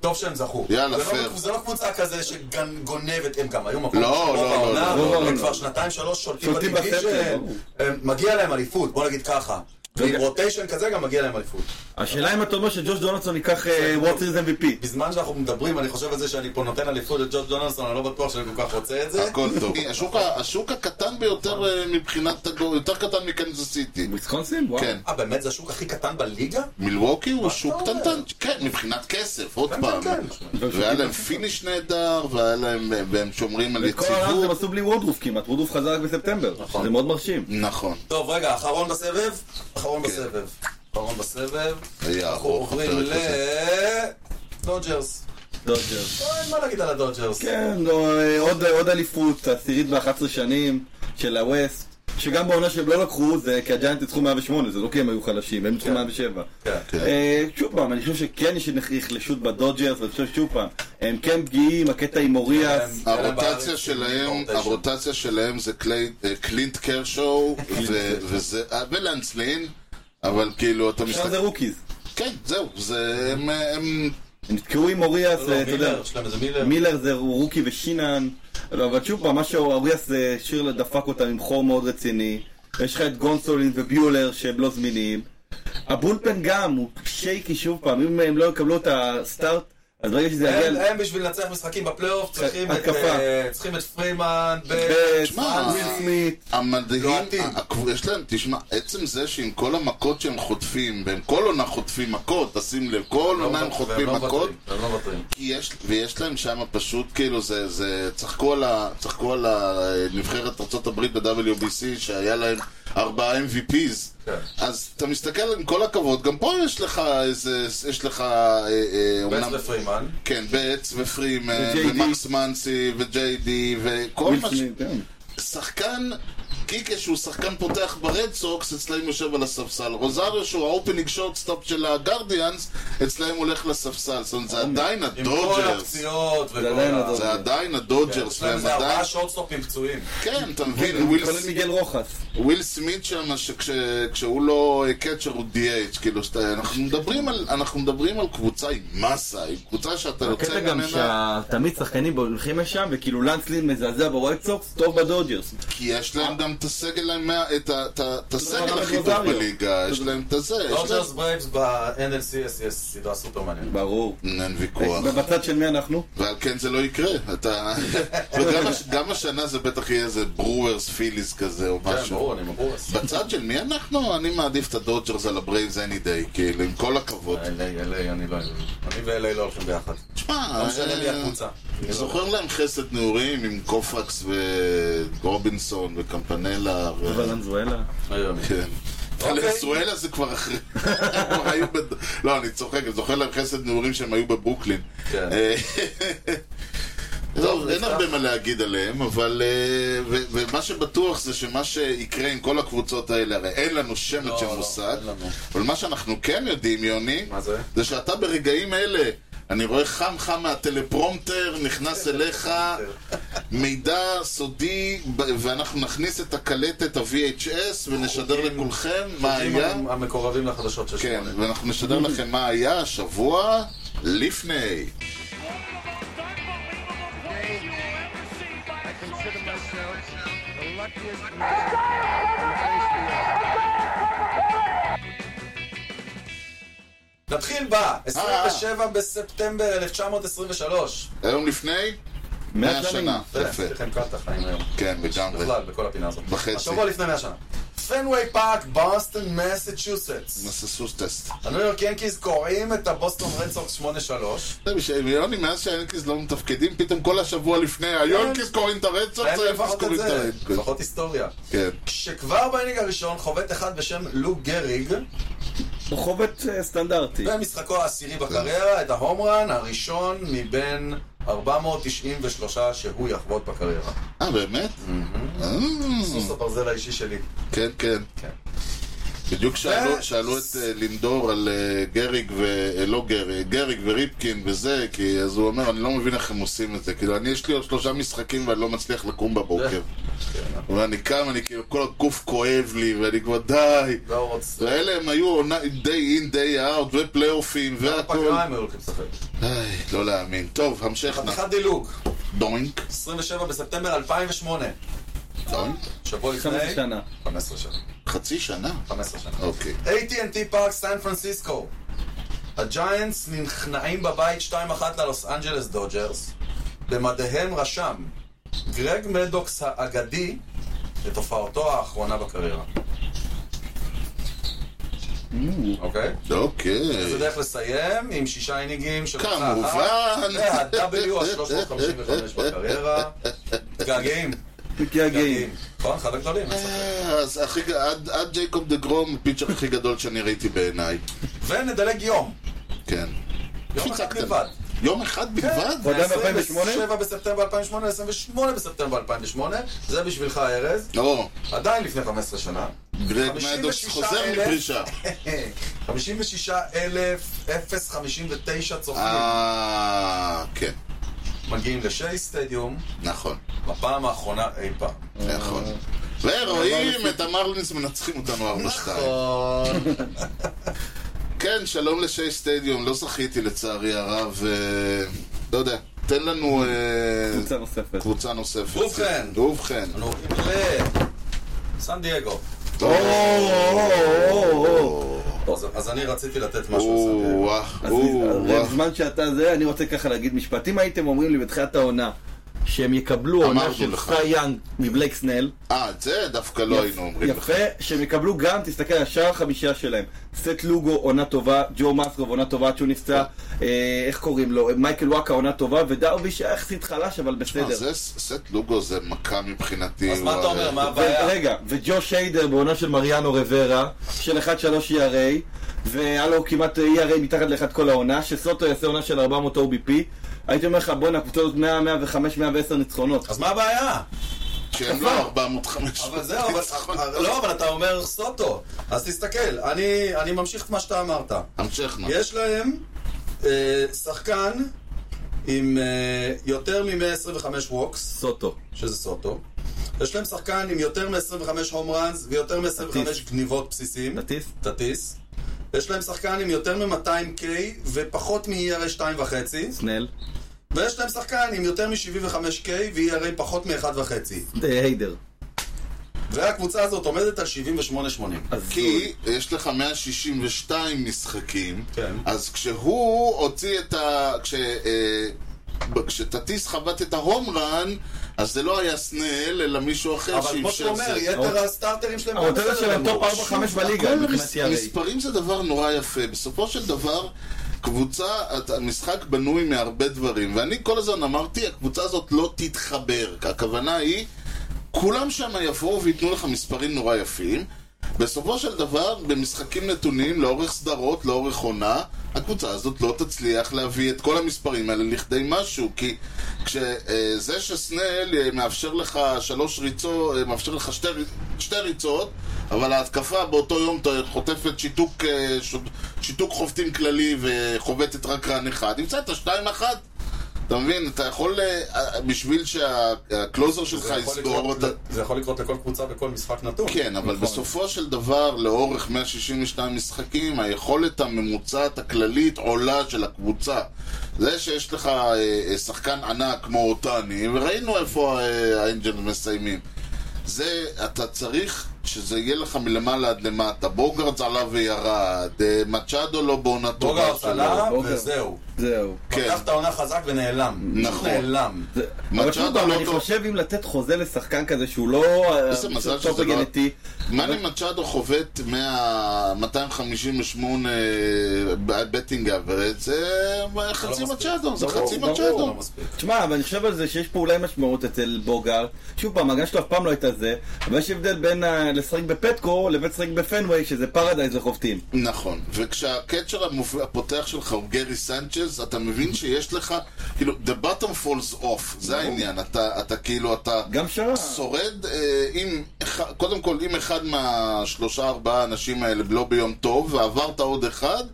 A: טוב שהם זכו.
B: יאללה,
A: זה לא-
B: פייר.
A: זה לא קבוצה כזה שגונבת, הם גם היו מקום
B: לא,
A: ראשון
B: לא, לא,
A: בעונה,
C: לא, לא,
A: הם
C: לא.
A: כבר שנתיים שלוש שולטים
C: שולטים
A: בדיוויז'ן,
C: בספטר, ברור.
A: הם- מגיע להם אליפות, בוא נגיד ככה. ועם רוטיישן כזה גם מגיע להם אליפות.
C: השאלה אם אתה אומר שג'וש דונלדסון ייקח אה, וואטסיז MVP.
A: בזמן שאנחנו מדברים, אני חושב על זה שאני פה נותן אליפות לג'ורג' דונלדסון, אני לא בטוח שאני כל כך רוצה את זה.
B: הכל טוב. השוק ה- השוק הקטן ביותר אה, מבחינת, הגו- יותר קטן מקנזס סיטי.
C: וויסקונסין? וואו.
B: כן.
A: אה, באמת זה השוק הכי קטן בליגה?
B: מילווקי הוא שוק
A: אתה אומר?
B: קטנטן, כן, מבחינת כסף, עוד
A: כן,
B: פעם.
A: כן, כן.
B: והיה להם פיניש נהדר, והיה להם, אה, והם שומרים על
C: כל העולם
B: יציבות.
C: הם עשו בלי וודרוף כמעט, וודרוף חזר רק בספטמבר.
A: נכון.
C: זה מאוד מרשים.
B: נכון.
A: טוב, רגע, אחרון בסבב? אחרון בסבב. אחרון בסבב.
B: היה
A: אנחנו
B: ארוך,
A: עוברים
B: הפרק
A: ל... דודג'רס.
C: דודג'רס.
A: לא, אין מה להגיד על הדודג'רס.
C: כן, לא, אה, עוד, עוד אליפות, עשירית ב-11 שנים של הווסט, שגם בעונה שהם לא לקחו זה כי הגיינט ניצחו 108, זה לא כי הם היו חלשים, הם ניצחו
A: כן.
C: 107.
A: כן.
C: אה, שוב פעם, אני חושב שכן יש החלשות בדודג'רס, ואני חושב שוב פעם, הם כן פגיעים, הקטע עם אוריאס,
A: כן.
B: הרוטציה שלהם,
A: פורטיישן.
B: הרוטציה שלהם זה קלי- אה, קלינט קרשו ו- וזה- אה, ולנסלין, אבל כאילו אתה
C: עכשיו אה, זה
B: מסתכל...
C: רוקיז.
B: כן, זהו, זה... הם- הם...
C: הם נתקעו עם אוריאס,
A: לא,
C: אה, אתה יודע,
A: מילר, יש להם איזה מילר.
C: מילר זה רוקי ושינן, לא, אבל שוב פעם, מה שאוריאס אה, שיר דפק אותם עם חור מאוד רציני, יש לך את גונסולין וביולר שהם לא זמינים, הבולפן גם הוא שייקי שוב פעם, אם הם לא יקבלו את הסטארט, אז ברגע שזה יגיע...
A: הם
C: ל-
A: הם בשביל לנצח משחקים בפלייאוף צריכים את,
C: התקפה.
A: אה, צריכים את פרימן ב...
B: תשמע,
C: אה, וויל סמית,
B: המדהים,
A: לא עתיד.
B: ה- הקב- יש להם, תשמע, עצם זה שעם כל המכות שהם חוטפים, והם כל עונה חוטפים מכות, תשים לב, כל
A: לא,
B: עונה הם
A: והם
B: חוטפים
A: לא
B: מכות,
A: מוותרים, הם לא מוותרים.
B: כי יש, ויש להם שם פשוט כאילו זה, זה, צחקו על, ה, צחקו על הנבחרת ארה"ב ב-WBC שהיה להם ארבעה MVPs
A: כן.
B: אז אתה מסתכל עם כל הכבוד, גם פה יש לך איזה, יש לך אה, אה,
A: בנץ
B: אומנם-
A: ופרימן.
B: כן, בץ ופרימן
C: ו-JD.
B: ומקס מנסי וג'יי די וכל
C: וויל
B: מה ש...
C: סמית, כן.
B: שחקן קיקה שהוא שחקן פותח ברד סוקס, אצלהם יושב על הספסל. רוזריו שהוא האופנינג שורטסטופ של הגרדיאנס, אצלהם הולך לספסל. זאת אומרת, זה עדיין
A: עם כל
B: הדודג'רס.
A: הפציעות וכל
C: עדיין
A: ה...
C: הדודג'רס.
B: זה עדיין הדודג'רס.
A: יש להם
B: והם
A: איזה
B: עדיין...
A: כן, ארבעה שורטסטופים פצועים.
B: כן, אתה מבין, וויל אה,
C: כולל מיגל רוחס.
B: וויל סמית שם, שכשהוא לא קצ'ר הוא DH, כאילו, שאתה- אנחנו מדברים על- אנחנו מדברים על קבוצה עם מסה, עם קבוצה שאתה
C: הקטע
B: יוצא
C: גם
B: ממנה,
C: שתמיד שחקנים הולכים לשם, וכאילו לנסלין מזעזע ברויד סוקס, טוב בדודג'רס.
B: כי יש להם גם את הסגל, להם מה- את ה- את ה- את הסגל
C: רבה
B: הכי טוב
C: לרוזריו.
B: בליגה, יש להם את הזה, יש
A: דודג'רס ברייבס ב-NLCS יש סדרה סופר מעניינת.
C: ברור.
B: להם- אין ויכוח,
C: ובצד של מי אנחנו?
B: ועל כן זה לא יקרה, אתה, וגם הש- גם השנה זה בטח יהיה איזה ברוורס פיליס כזה או
A: כן,
B: משהו.
A: ברור, אני מבורס.
B: בצד של מי אנחנו? אני מעדיף את הדודג'רס על הברייבס any day, כאילו, עם כל הכבוד.
A: אליי, אליי, אני לא... אני ואליי לא הולכים ביחד.
B: תשמע,
A: לא משנה לי
B: אה,
A: הקבוצה.
B: אני זוכר להם חסד נעורים עם קופקס ורובינסון וקמפנלה ו...
C: ולנזואלה.
A: לא,
B: כן.
A: אוקיי.
B: ולנסואלה זה כבר אחרי... כבר היו בד... לא, אני צוחק, אני זוכר להם חסד נעורים שהם היו בברוקלין.
A: כן.
B: אה, טוב,
A: טוב,
B: אין
A: נפתח.
B: הרבה מה להגיד עליהם, אבל... אה, ו- ומה שבטוח זה שמה שיקרה עם כל הקבוצות האלה, הרי אין לנו שמץ
A: לא,
B: של
A: לא,
B: מושג,
A: אין לנו.
B: אבל מה שאנחנו כן יודעים, יוני,
A: מה זה?
B: זה שאתה ברגעים אלה, אני רואה חם חם מהטלפרומטר, נכנס אליך מידע סודי, ב- ואנחנו נכניס את הקלטת ה-VHS ונשדר
A: חוקים-
B: לכולכם מה היה.
A: עם המקורבים לחדשות של
B: כן,
A: שמונה.
B: ואנחנו נשדר לכם מה היה השבוע לפני.
E: I consider myself the luckiest man
A: נתחיל
B: אה,
A: בה, 27 בספטמבר 1923.
B: היום לפני?
C: מאה
B: מאה שנה. יפה.
A: יש לכם קל את החיים היום.
B: כן, לגמרי.
A: בכלל, בכל הפינה הזאת.
B: בחצי.
A: השבוע לפני 100 שנה. פנוויי פארק, בוסטון, מסצ'וסטס.
B: נעשה סוס טסט.
A: הניו יורק ינקיז קוראים את הבוסטון רדסורס 8-3.
B: זה בשביל יוני, מאז שהיונקיז לא מתפקדים, פתאום כל השבוע לפני, היונקיז קוראים את הרצח,
A: אין
B: היונקיז
A: לפחות את
B: קוראים את
A: זה,
B: הרצח.
A: לפחות היסטוריה.
B: כן.
A: כשכבר באינינג הראשון חובט אחד בשם לו גריג,
C: הוא חובט אה, סטנדרטי.
A: במשחקו העשירי בקריירה, את ההומרן הראשון מבין 493 שהוא יחבוט בקריירה.
B: אה, באמת? אה,
A: סוס הברזל האישי שלי.
B: כן, כן.
A: כן.
B: בדיוק שאלו,
A: ו-
B: שאלו את אה, לינדור על אה, גריג ו... אה, לא גריג, גריג וריפקין וזה, כי אז הוא אומר, אני לא מבין איך הם עושים את זה. כאילו, אני יש לי עוד שלושה משחקים ואני לא מצליח לקום בבוקר.
A: כן.
B: ואני קם, אני כאילו, כל הגוף כואב לי, ואני כבר די.
A: לא רוצה.
B: ואלה הם היו עונה day in, day out, ופלייאופים, והכל.
A: בפגרה הם היו הולכים לשחק.
B: איי, לא להאמין. טוב, המשכנה.
A: חתיכת דילוג,
B: דוינק.
A: 27 בספטמבר 2008.
B: דוינק?
A: שבוע לפני...
C: 15 שנה.
A: 15 שנה.
B: חצי שנה?
A: 15 שנה.
B: אוקיי.
A: AT&T פארק סן פרנסיסקו. הג'יינטס נכנעים בבית 2-1 ללוס אנג'לס דודג'רס. במדיהם רשם גרג מדוקס האגדי את הופעתו האחרונה בקריירה.
B: Mm.
A: אוקיי? זה
B: אוקיי.
A: דרך לסיים עם שישה אינינגים של תוצאה אחת.
B: כמובן.
A: זה ה-W ה-355 בקריירה. מתגעגעים.
C: מתגעגעים.
A: מתגעגעים. נכון? אחד הגדולים. אין ספק.
B: אז הכי, ג- עד, עד ג'ייקוב דה גרום, הפיצ'ר הכי גדול שאני ראיתי בעיניי.
A: ונדלג יום.
B: כן.
A: יום
B: קפיצה
A: אחד
B: קטנה.
A: בלבד.
B: יום אחד בלבד?
C: כן. עוד היה ב-2008?
A: 27 בספטמבר 2008, 28 בספטמבר 2008, זה בשבילך ארז,
B: לא,
A: עדיין לפני 15 שנה.
B: גרג
A: 56
B: מדוקס חוזר
A: אלף.
B: מפרישה.
A: 56,059 צופים
B: אה, כן,
A: מגיעים לשי סטדיום
B: נכון,
A: בפעם האחרונה אי פעם.
B: נכון. ורואים את המרלינס מנצחים אותנו
C: נכון.
B: 4-2.
A: נכון.
B: כן, שלום לשי סטדיום, לא זכיתי לצערי הרב, אה, לא יודע, תן לנו אה,
C: קבוצה נוספת.
B: קבוצה נוספת.
A: ובכן.
B: ובכן.
A: אנו עוברים לסן דייגו. אז- אז אני רציתי לתת
C: לא
A: משהו לסן דייגו.
B: או-אה,
C: אז
B: או-אה.
C: בזמן שאתה זה, אני רוצה ככה להגיד משפט. אם הייתם אומרים לי בתחילת העונה שהם יקבלו עונה
B: אמרנו
C: של
B: לך.
C: סטי יאנג מבלייק סנל,
B: אה, את זה דווקא לא היינו אומרים לך.
C: יפה, שהם יקבלו גם, תסתכל על השאר החמישה שלהם. סט לוגו, עונה טובה, ג'ו מסקוב, עונה טובה, עד שהוא נפצע, אה, איך קוראים לו, מייקל וואקה, עונה טובה, ודרבי שהיה יחסית חלש, אבל
B: מה,
C: בסדר.
B: אה, זה ס- סט לוגו זה מכה מבחינתי.
A: אז מה אתה אומר, מה
C: ו-
A: הבעיה?
C: רגע, וג'ו שיידר בעונה של מריאנו רברה, של 1-3 ERA, והיה לו כמעט ERA מתחת לאחד כל העונה, שסוטו יעשה עונה של 400 OBP, הייתי אומר לך, בואנה, קבוצה הזאת 100, 105, 110 ניצחונות.
A: אז מה הבעיה?
B: שהם לא 400
A: אבל זהו, אבל-
B: ניצחון.
A: לא, אבל אתה אומר סוטו. אז תסתכל, אני אני ממשיך את מה שאתה אמרת.
B: המשך נו.
A: יש להם אה, שחקן עם אה, יותר מ-125 ווקס,
C: סוטו.
A: שזה סוטו. יש להם שחקן עם יותר מ-25 הום ראנס ויותר מ-25
C: תטיס.
A: גניבות בסיסים.
C: נטיס?
A: תטיס. יש להם שחקן עם יותר מ-200K ופחות מ-ERA 2.5
C: סנל?
A: ויש להם שחקן עם יותר מ-75K ו-ERA פחות מ-1.5
C: היידר.
A: והקבוצה הזאת עומדת על 78-80
C: אז
B: כי יש לך 162 משחקים,
A: כן.
B: אז כשהוא הוציא את ה... כש... אה, ב- כשטטיס חבט את ההום רן, אז זה לא היה סנאל, אלא מישהו אחר
A: אבל כמו שאתה
B: שאפשר
A: אומר,
B: זה.
A: יתר הסטארטרים שלהם גם
C: העוטרת
A: בסדר
C: שלהם
A: גמור.
C: טופ 4-5 בליגה,
B: הכל
C: מבחינת
B: מס-
C: ירי.
B: מספרים זה דבר נורא יפה. בסופו של דבר, קבוצה, את- המשחק בנוי מהרבה דברים, ואני כל הזמן אמרתי, הקבוצה הזאת לא תתחבר. הכוונה היא, כולם שם יבואו וייתנו לך מספרים נורא יפים. בסופו של דבר, במשחקים נתונים, לאורך סדרות, לאורך עונה, הקבוצה הזאת לא תצליח להביא את כל המספרים האלה לכדי משהו, כי כשזה שסנאל אה, מאפשר לך שלוש ריצות, אה, מאפשר לך שתי, ריצ- שתי ריצות, אבל ההתקפה באותו יום אתה חוטפת שיתוק, אה, ש- שיתוק חובטים כללי וחובטת רק רן אחד, ימצאת שתיים אחת. אתה מבין, אתה יכול, אה, אה, בשביל שהקלוזר שלך
A: זה יכול
B: יסגור
A: לקרות
B: אותה...
A: ל- זה יכול לקרות לכל קבוצה בכל משחק נתון נכון.
B: כן, אבל בסופו של דבר, לאורך 162 משחקים, היכולת הממוצעת הכללית עולה של הקבוצה. זה שיש לך אה, אה, שחקן ענק כמו אותני, וראינו איפה אה, האנג'ל מסיימים. זה, אתה צריך שזה יהיה לך מלמעלה עד למטה. בוגרדס עלה וירד, אה, מצ'אדו לא בעונה
A: בוגה
B: טובה שלו.
A: עלה
C: בוגר.
A: וזהו
C: זהו.
B: כן.
A: פתח את העונה חזק ונעלם
B: נכון.
A: נעלם
C: זה-
B: מצ'אדו
C: אבל שוב,
B: לא
C: אני
B: טוב.
C: חושב אם לתת חוזה לשחקן כזה שהוא לא...
B: איזה מזל שזה לא-
C: גנטי.
B: מאני מצ'אדו חובט מה- 258 אה, בטינג אברד, זה חצי
A: לא מספיק.
B: מצ'אדו, זה
A: ברור,
B: חצי
A: ברור,
B: מצ'אדו.
A: לא מספיק.
C: תשמע, אבל אני חושב על זה שיש פה אולי משמעות אצל בוגר. שוב פעם, ההגנה שלו אף פעם לא הייתה זה, אבל יש הבדל בין אה, לשחק בפטקו לבין לשחק בפנוויי, שזה פרדייז לחובטים.
B: נכון, וכשהקצ'ר המופ- הפותח שלך הוא גרי סנצ'ז, אתה מבין שיש לך, כאילו, the bottom falls off, זה העניין, אתה אתה כאילו, אתה
C: גם שרה.
B: שורד אה, עם, אחד- קודם כל, אם אחד מהשלושה ארבעה האנשים האלה לא ביום טוב, ועברת עוד אחד,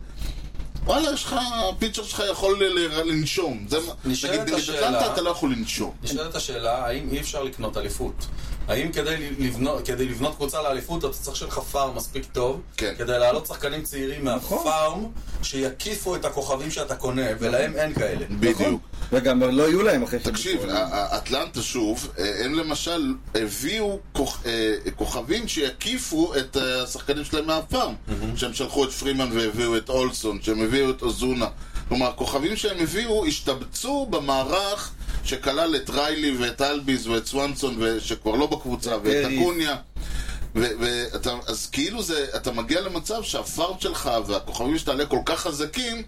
B: וואלה, יש לך, הפיצ'ר שלך יכול ל- ל- לנשום. זה מה-
A: נשאלת
B: נגיד, נגד
A: השאלה- נכון.
B: אטלנטה אתה לא יכול לנשום.
A: נשאלת השאלה, האם אי אפשר לקנות אליפות? האם כדי לבנות, כדי לבנות קבוצה לאליפות אתה צריך שיהיה לך פארם מספיק טוב?
B: כן. נכון.
A: כדי להעלות שחקנים צעירים מהפארם, שיקיפו את הכוכבים שאתה קונה, ולהם אין כאלה.
B: בדיוק.
C: וגם לא יהיו להם אחרי ש...
B: תקשיב, אה, ה- ה- אטלנטה שוב, אה, הם למשל הביאו כוכ- אה, כוכבים שיקיפו את אה, השחקנים שלהם מהפארם. שהם שלחו את פרימן והביאו את אולסון, שהם הביאו את אוזונה. כלומר, הכוכבים שהם הביאו השתבצו במערך שכלל את ריילי ואת אלביז ואת סוונסון, ו- שכבר לא בקבוצה, ואת
C: פריס.
B: אקוניה. ו- ואתה, אז כאילו זה, אתה מגיע למצב שהפארם שלך והכוכבים שאתה עולה כל כך חזקים,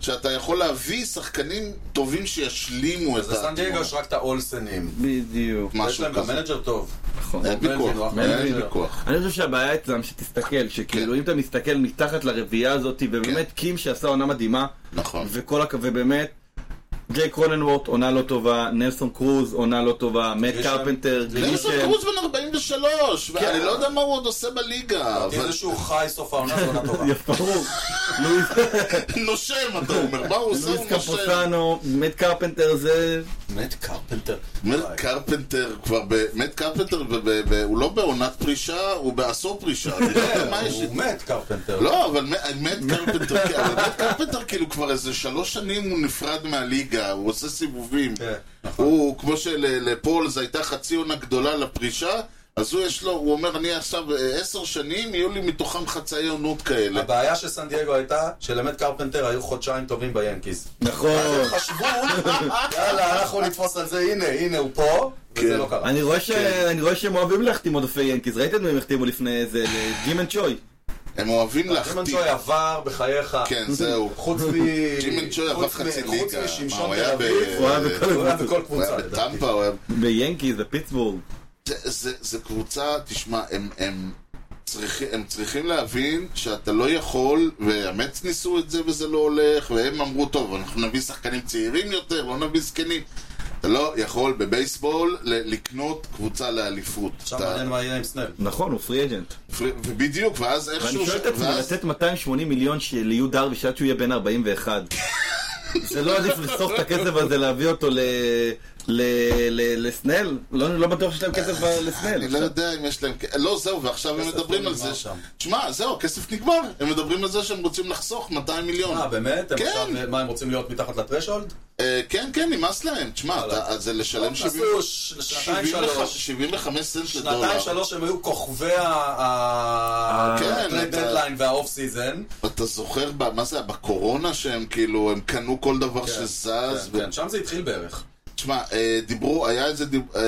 B: שאתה יכול להביא שחקנים טובים שישלימו את
A: זה סן דייגו יש רק את האולסנים.
C: בדיוק.
A: יש להם
B: נכון. משהו
A: גם
B: כזה.
A: מנג'ר טוב.
C: נכון.
B: אין ויכוח,
A: מלווין,
B: אין
A: לא.
B: ויכוח.
C: אני חושב שהבעיה אצלם שתסתכל, שכאילו
B: כן.
C: אם אתה מסתכל מתחת לרביעייה הזאת, ובאמת קים שעשה עונה מדהימה,
B: נכון.
C: וכל הכ... ובאמת, ג'ייק רוננוורט עונה לא טובה, נלסון קרוז עונה לא טובה, מאט
A: גרישם.
C: קרפנטר,
B: נלסון
C: גרישם,
B: קרוז בן 43, ואני לא יודע מה הוא עוד עושה בליגה, אבל
A: איזה שהוא חי סוף העונה זו עונה טובה.
C: יפה, ברור, לואיס
B: נושם אתה אומר, מה הוא עושה? הוא
C: לואיס
B: נושם.
C: קפוסנו, מאט קרפנטר זה...
A: מת קרפנטר.
B: מאט קרפנטר כבר, ב- מאט קרפנטר, ב- ב- ב- הוא לא בעונת פרישה, הוא בעשור פרישה, אני לא יודע מה יש לי.
A: הוא מת קרפנטר.
B: לא, אבל מ- מאט קרפנטר, כן, אבל מאט קרפנטר כאילו כבר איזה שלוש שנים הוא נפרד מהליגה, הוא עושה סיבובים.
A: כן, נכון.
B: הוא, כמו שלפול זו הייתה חצי עונה גדולה לפרישה, אז הוא יש לו, הוא אומר, אני עכשיו אה, עשר שנים, יהיו לי מתוכם חצאי עונות כאלה.
A: הבעיה של סן דייגו הייתה שלמת קרפנטר היו חודשיים טובים ביאנקיז.
C: נכון.
A: חשבו, יאללה, אנחנו נתפוס על זה, הנה, הנה הוא פה,
B: כן.
A: וזה לא קרה.
C: אני רואה ש- אני רואה שהם אוהבים להחתים עודפי ינקיז, ראיתם מי הם החתימו לפני איזה ג'ים אנד צ'וי.
B: הם אוהבים
A: סימן
B: להחטיא.
A: צוי עבר בחייך.
B: כן, זהו.
A: חוץ מ...
B: ג'ימן צ'וי עבר
A: חוץ מ-
B: חצי
A: חוץ
B: ליגה. מה, הוא
A: משמשון
B: היה
A: תל אביב.
B: ב-
C: הוא היה בכל-
A: הוא היה בכל
B: הוא
A: קבוצה.
B: היה
A: לדעתי.
B: בטמפה, הוא היה...
C: ביאנקיז, בפיטסבורג.
B: זה, זה, זה קבוצה, תשמע, הם, הם, צריכים, הם צריכים להבין שאתה לא יכול, והמץ ניסו את זה וזה לא הולך, והם אמרו, טוב, אנחנו נביא שחקנים צעירים יותר, לא נביא זקנים. אתה לא יכול בבייסבול ל- לקנות קבוצה לאליפות.
A: עכשיו
B: אתה-
A: מעניין מה יהיה עם סנאפ.
C: נכון, הוא פרי אג'נט.
B: ובדיוק, ואז איכשהו...
C: ואני שואל את עצמי,
B: ואז-
C: לתת 280 מיליון ש- ליו דרוויש עד שהוא יהיה בן 41. זה לא עדיף לחסוך את הכסף הזה, להביא אותו ל... ל- ל- לסנאל? לא לא בטוח שיש להם כסף לסנאל.
B: אני לא יודע אם יש להם... לא, זהו, ועכשיו הם
A: כסף
B: מדברים
A: לא
B: על זה.
A: נגמר שם.
B: תשמע, זהו, הכסף נגמר. הם מדברים על זה שהם רוצים לחסוך 200 מיליון.
A: אה, באמת? הם
B: כן.
A: עכשיו, מה, הם רוצים להיות מתחת לטרשולד?
B: אה, כן, כן, נמאס להם. תשמע,
A: וואלה.
B: אתה- אז זה לשלם
A: עשו
B: 70
A: ש- שנתיים,
B: 75
A: שלוש.
B: 75 סנט לדולר.
A: שנתיים, שלוש הם היו כוכבי ה-trade
B: כן, אתה-
A: deadline וה-off season.
B: אתה זוכר, ב- מה זה, היה? בקורונה שהם כאילו, הם קנו כל דבר שזז.
A: כן,
B: ו-
A: כן, שם זה התחיל בערך.
B: תשמע, אה, דיברו, היה איזה דיב... אה,